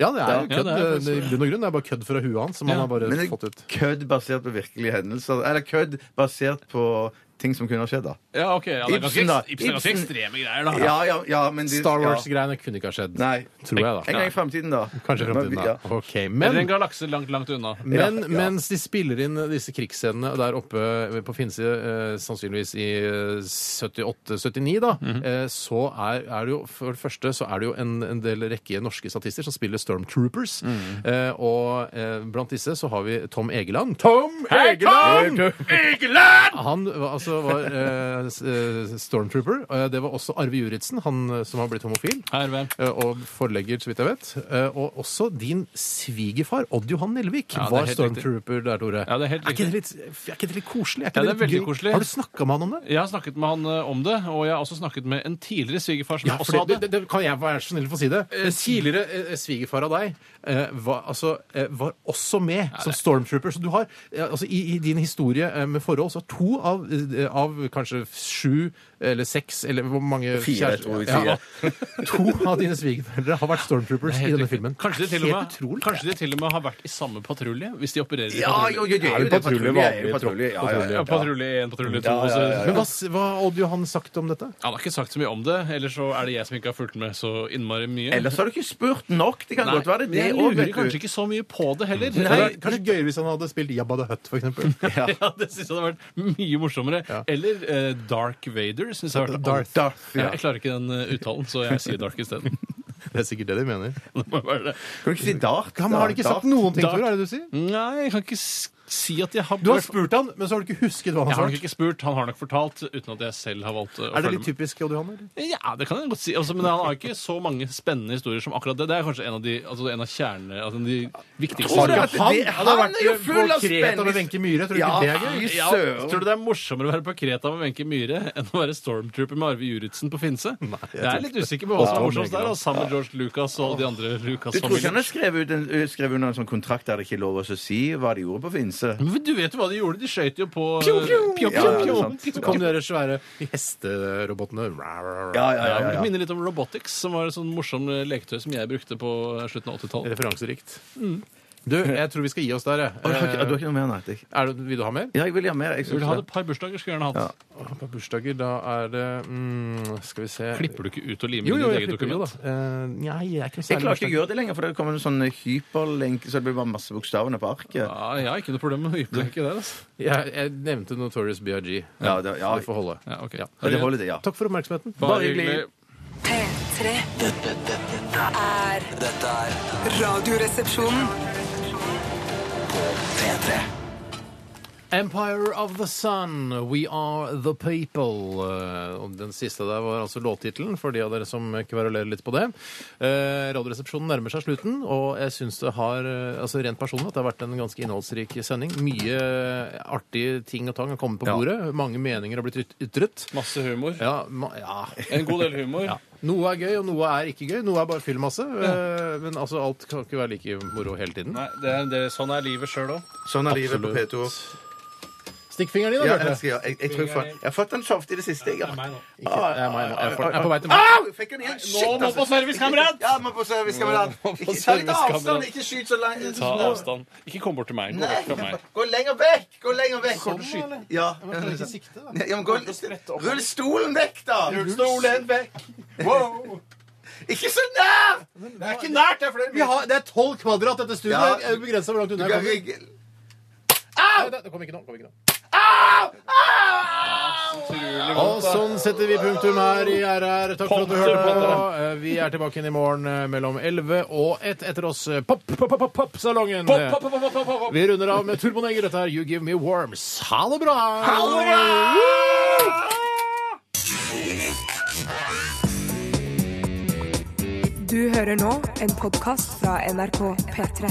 Speaker 3: Ja, det er jo
Speaker 4: Ja,
Speaker 3: kødd.
Speaker 4: det er faktisk-
Speaker 3: eh, I bunn og grunn det er bare kødd fra huet hans som han
Speaker 4: Ja.
Speaker 3: har bare
Speaker 5: Men det
Speaker 3: fått ut.
Speaker 5: er kødd basert på virkelige hendelser. Eller kødd basert på ting som kunne ha skjedd, da.
Speaker 4: Ja, ok, ja, det er ganske,
Speaker 5: Ibsen, da.
Speaker 4: ekst- Ibsen er ganske
Speaker 5: Ibsen.
Speaker 4: ekstreme greier, da.
Speaker 5: Ja, ja, ja, men de-
Speaker 3: Star
Speaker 5: ja.
Speaker 3: Wars-greiene kunne ikke ha skjedd.
Speaker 5: Nei.
Speaker 3: Tror jeg,
Speaker 5: En
Speaker 3: da.
Speaker 5: gang i fremtiden, da.
Speaker 3: Kanskje i fremtiden,
Speaker 5: Men-
Speaker 3: da.
Speaker 5: ja.
Speaker 3: Ok,
Speaker 4: Eller en
Speaker 3: men...
Speaker 4: galakse langt, langt unna.
Speaker 3: Men
Speaker 5: Ja, ja.
Speaker 3: mens de spiller inn disse krigsscenene der oppe på Finse, eh, sannsynligvis i eh, 78-79, da,
Speaker 4: Mhm.
Speaker 3: eh, så er, er det jo for det første så er det jo en, en del rekke norske statister som spiller Stormtroopers.
Speaker 4: Mhm.
Speaker 3: Eh, og eh, blant disse så har vi Tom Egeland. Tom Egeland! Han var- altså, var eh, s- eh, stormtrooper. Eh, Det var også Arve Juritzen, han eh, som har blitt homofil.
Speaker 4: Her, hvem?
Speaker 3: eh, Og forlegger, så vidt jeg vet. Eh, Og også din svigerfar, Odd Johan Nelvik,
Speaker 4: Ja, det er
Speaker 3: var
Speaker 4: helt
Speaker 3: stormtrooper der, Tore.
Speaker 4: Ja, det er helt
Speaker 3: ikke det litt, er ikke det litt koselig? Er ikke
Speaker 4: Ja, det er
Speaker 3: litt
Speaker 4: veldig
Speaker 3: gøy?
Speaker 4: koselig.
Speaker 3: Har du snakka med han om det?
Speaker 4: Jeg har snakket med han eh, om det, og jeg har også snakket med en tidligere svigerfar som
Speaker 3: Ja,
Speaker 4: også
Speaker 3: for det,
Speaker 4: hadde
Speaker 3: det, det kan jeg være så snill å få si det. Tidligere eh, svigerfar av deg eh, var, altså, eh, var også med som stormtrooper. Så du har, eh, altså, i, i din historie eh, med forhold, så har to av, eh, av kanskje sju eller seks eller hvor mange
Speaker 5: Fire,
Speaker 3: kjærester-
Speaker 5: tror jeg,
Speaker 3: Ja, to av dine svigerforeldre har vært stormtroopers i
Speaker 4: Helt
Speaker 3: denne
Speaker 4: riktig.
Speaker 3: filmen.
Speaker 4: Kanskje de, til og
Speaker 3: Helt utrolig.
Speaker 4: med, kanskje de til og med har vært i samme patrulje, hvis de opererer i
Speaker 5: Ja, jo,
Speaker 4: patrulje.
Speaker 5: jo, det er jo det.
Speaker 3: patrulje,
Speaker 5: Patrulje er
Speaker 3: vanlig
Speaker 5: jo patrulje. Ja, ja,
Speaker 4: Ja,
Speaker 5: ja.
Speaker 4: patrulje 1, patrulje 2
Speaker 5: Ja, ja, ja, ja.
Speaker 3: Men hva, s- hva har Odd Johan sagt om dette?
Speaker 4: Han har ikke sagt så mye om det, eller så er det jeg som ikke har fulgt med så innmari mye.
Speaker 5: Ellers har du ikke spurt nok. Det kan
Speaker 4: Nei,
Speaker 5: godt være det.
Speaker 4: men jeg
Speaker 5: det også,
Speaker 4: lurer
Speaker 5: vet du.
Speaker 4: kanskje ikke så mye på det heller.
Speaker 3: Det hadde vært kanskje gøyere hvis han hadde spilt Jabba the Hutt, for eksempel.
Speaker 4: Ja. det syns jeg hadde vært mye morsommere. Eller eh, Dark Vader. Synes jeg, hadde vært
Speaker 3: Darth.
Speaker 5: Darth,
Speaker 4: Ja,
Speaker 5: ja.
Speaker 4: jeg klarer ikke den eh, uttalen, så jeg sier Dark isteden.
Speaker 3: Det er sikkert det de mener.
Speaker 4: Det må være det.
Speaker 5: Kan du ikke si dart?
Speaker 3: Han har
Speaker 5: da?
Speaker 3: ikke
Speaker 5: Dart?
Speaker 3: sagt noen ting, Tore? Er det det du sier?
Speaker 4: Nei, jeg kan ikke s- Si at jeg har
Speaker 3: Du har spurt han, men så har du ikke husket hva han
Speaker 4: Jeg
Speaker 3: har
Speaker 4: har
Speaker 3: svart.
Speaker 4: nok ikke spurt, han har nok fortalt, uten at jeg selv har valgt uh, å
Speaker 3: Er det
Speaker 4: følge
Speaker 3: litt typisk Odd Johan? eller?
Speaker 4: Ja, det kan jeg godt si. Altså, men han har ikke så mange spennende historier som akkurat det. Det er kanskje en av de, altså, en av kjerne, altså, de viktigste
Speaker 5: Tror du
Speaker 4: historiene.
Speaker 5: at det- han
Speaker 3: hadde
Speaker 5: er jo
Speaker 3: vært eh,
Speaker 5: full av
Speaker 3: på Kreta
Speaker 5: spenning.
Speaker 3: med Wenche Myhre. Tror du
Speaker 5: Ja,
Speaker 3: ikke det er gøy?
Speaker 5: fy
Speaker 4: Ja,
Speaker 5: søren.
Speaker 4: tror du det er morsommere å være på Kreta med Wenche Myhre enn å være stormtrooper med Arve Juritzen på Finse? jeg, er litt usikker på hva som er morsomst der, og sammen med George Lucas og de andre
Speaker 5: Du tror ikke
Speaker 4: Lucas-familiene.
Speaker 5: han har skrevet, ut en, skrevet under en sånn kontrakt der det ikke er lov å si hva de gjorde på Finse?
Speaker 4: Men du vet jo hva de gjorde? De skøyt jo på
Speaker 5: Ja, ja, det er sant.
Speaker 3: Så kom de der svære hesterobotene.
Speaker 5: Ja, ja, ja,
Speaker 4: Ja,
Speaker 5: ja,
Speaker 4: Det
Speaker 5: ja.
Speaker 4: minner litt om Robotics, som var et sånn morsom leketøy som jeg brukte på slutten av 80-tallet.
Speaker 3: Referanserikt. Du, jeg tror vi skal gi oss der,
Speaker 5: Mm. Å, jeg har ikke- Du
Speaker 3: jeg. Eh,
Speaker 5: har ikke noe mer, nei? jeg-
Speaker 3: Er det, vil du ha mer?
Speaker 5: Ja, jeg vil ha mer. Jeg
Speaker 4: Jeg
Speaker 5: synes
Speaker 4: ville hatt
Speaker 5: det.
Speaker 4: et par bursdager. skulle jeg gjerne hatt.
Speaker 3: Åh, På bursdager, da er det mm, Skal vi se
Speaker 4: Klipper du ikke ut og limer
Speaker 3: Jo,
Speaker 4: inn
Speaker 3: jo,
Speaker 4: ditt
Speaker 3: jeg
Speaker 4: eget
Speaker 3: klipper jo, da.
Speaker 4: dokument?
Speaker 3: Eh, Nei, jeg er ikke noe
Speaker 5: Jeg klarer ikke å
Speaker 3: bursdag.
Speaker 5: gjøre det lenger, for det kommer en sånn hyperlenke, så det blir bare masse bokstavene på arket.
Speaker 4: Ja, jeg har ikke noe problem med å hyperlenke der. altså.
Speaker 3: Jeg, jeg nevnte Notorious BRG.
Speaker 5: Ja, det, ja.
Speaker 3: Det får holde.
Speaker 4: Ja, ok.
Speaker 5: Ja, det holder, det, ja.
Speaker 3: Takk for oppmerksomheten.
Speaker 4: Bare
Speaker 5: hyggelig.
Speaker 4: hyggelig.
Speaker 6: P3
Speaker 2: Dette, dette,
Speaker 6: er
Speaker 2: dette er
Speaker 1: Radioresepsjonen.
Speaker 2: P3.
Speaker 3: Empire of the Sun, We Are The People. Eh, Og den siste der var altså låttittelen, for de av dere som kverulerer litt på det. Eh, Radioresepsjonen nærmer seg slutten, og jeg syns det har eh, altså rent personlig at det har vært en ganske innholdsrik sending. Mye artige ting og tang har kommet på
Speaker 5: Ja.
Speaker 3: bordet. Mange meninger har blitt yt- ytret.
Speaker 4: Masse humor.
Speaker 3: Ja, ma ja.
Speaker 4: En god del humor.
Speaker 3: Noe er gøy, og noe er ikke gøy. Noe er bare fyllmasse. Eh, Men altså, alt kan ikke være like moro hele tiden.
Speaker 4: Nei, det er, det, Sånn er livet sjøl òg.
Speaker 5: Sånn er livet på P2.
Speaker 3: Stikk fingeren din, da,
Speaker 5: Ja, jeg,
Speaker 3: Bjarte.
Speaker 5: skal, jeg, jeg, tror jeg, får- jeg har fått den så ofte i det siste. Jeg, har-
Speaker 3: Ikke- Jeg er meg nå. Jeg er for- jeg er på vei til meg.
Speaker 5: Au! Jeg Fikk den igjen. Shit, altså.
Speaker 4: servicekamerat!
Speaker 5: Ja, må på servicekamerat. Ikke ta litt avstand, ikke skyt så langt.
Speaker 4: Ta avstand. Ikke kom bort til meg. Gå
Speaker 5: Nei,
Speaker 4: vekk fra meg.
Speaker 5: Gå lenger vekk! Gå lenger vekk.
Speaker 3: eller?
Speaker 5: Ja. Nei, ja, men gå, rull stolen vekk, da! Rull stolen vekk. Wow! Ikke så nær! Det er ikke nært. Det er flere
Speaker 3: Vi har, det er tolv kvadrat, dette studioet.
Speaker 5: Ja.
Speaker 3: Jeg er begrenset hvor langt unna jeg
Speaker 5: meter.
Speaker 3: kommer.
Speaker 5: Rigel.
Speaker 3: Nei, det- Det kom ikke nå. Kom ikke nå. Og sånn setter vi punktum her i RR. Takk for at du hørte på. Eh, Vi er tilbake igjen i morgen eh, mellom 11 og 1 etter oss. eh, Pop, pop, pop, pop, pop-salongen. Vi runder av med Turboneger. Dette er You Give Me Worms. Ha det bra!
Speaker 1: Du hører nå en podkast fra NRK P3.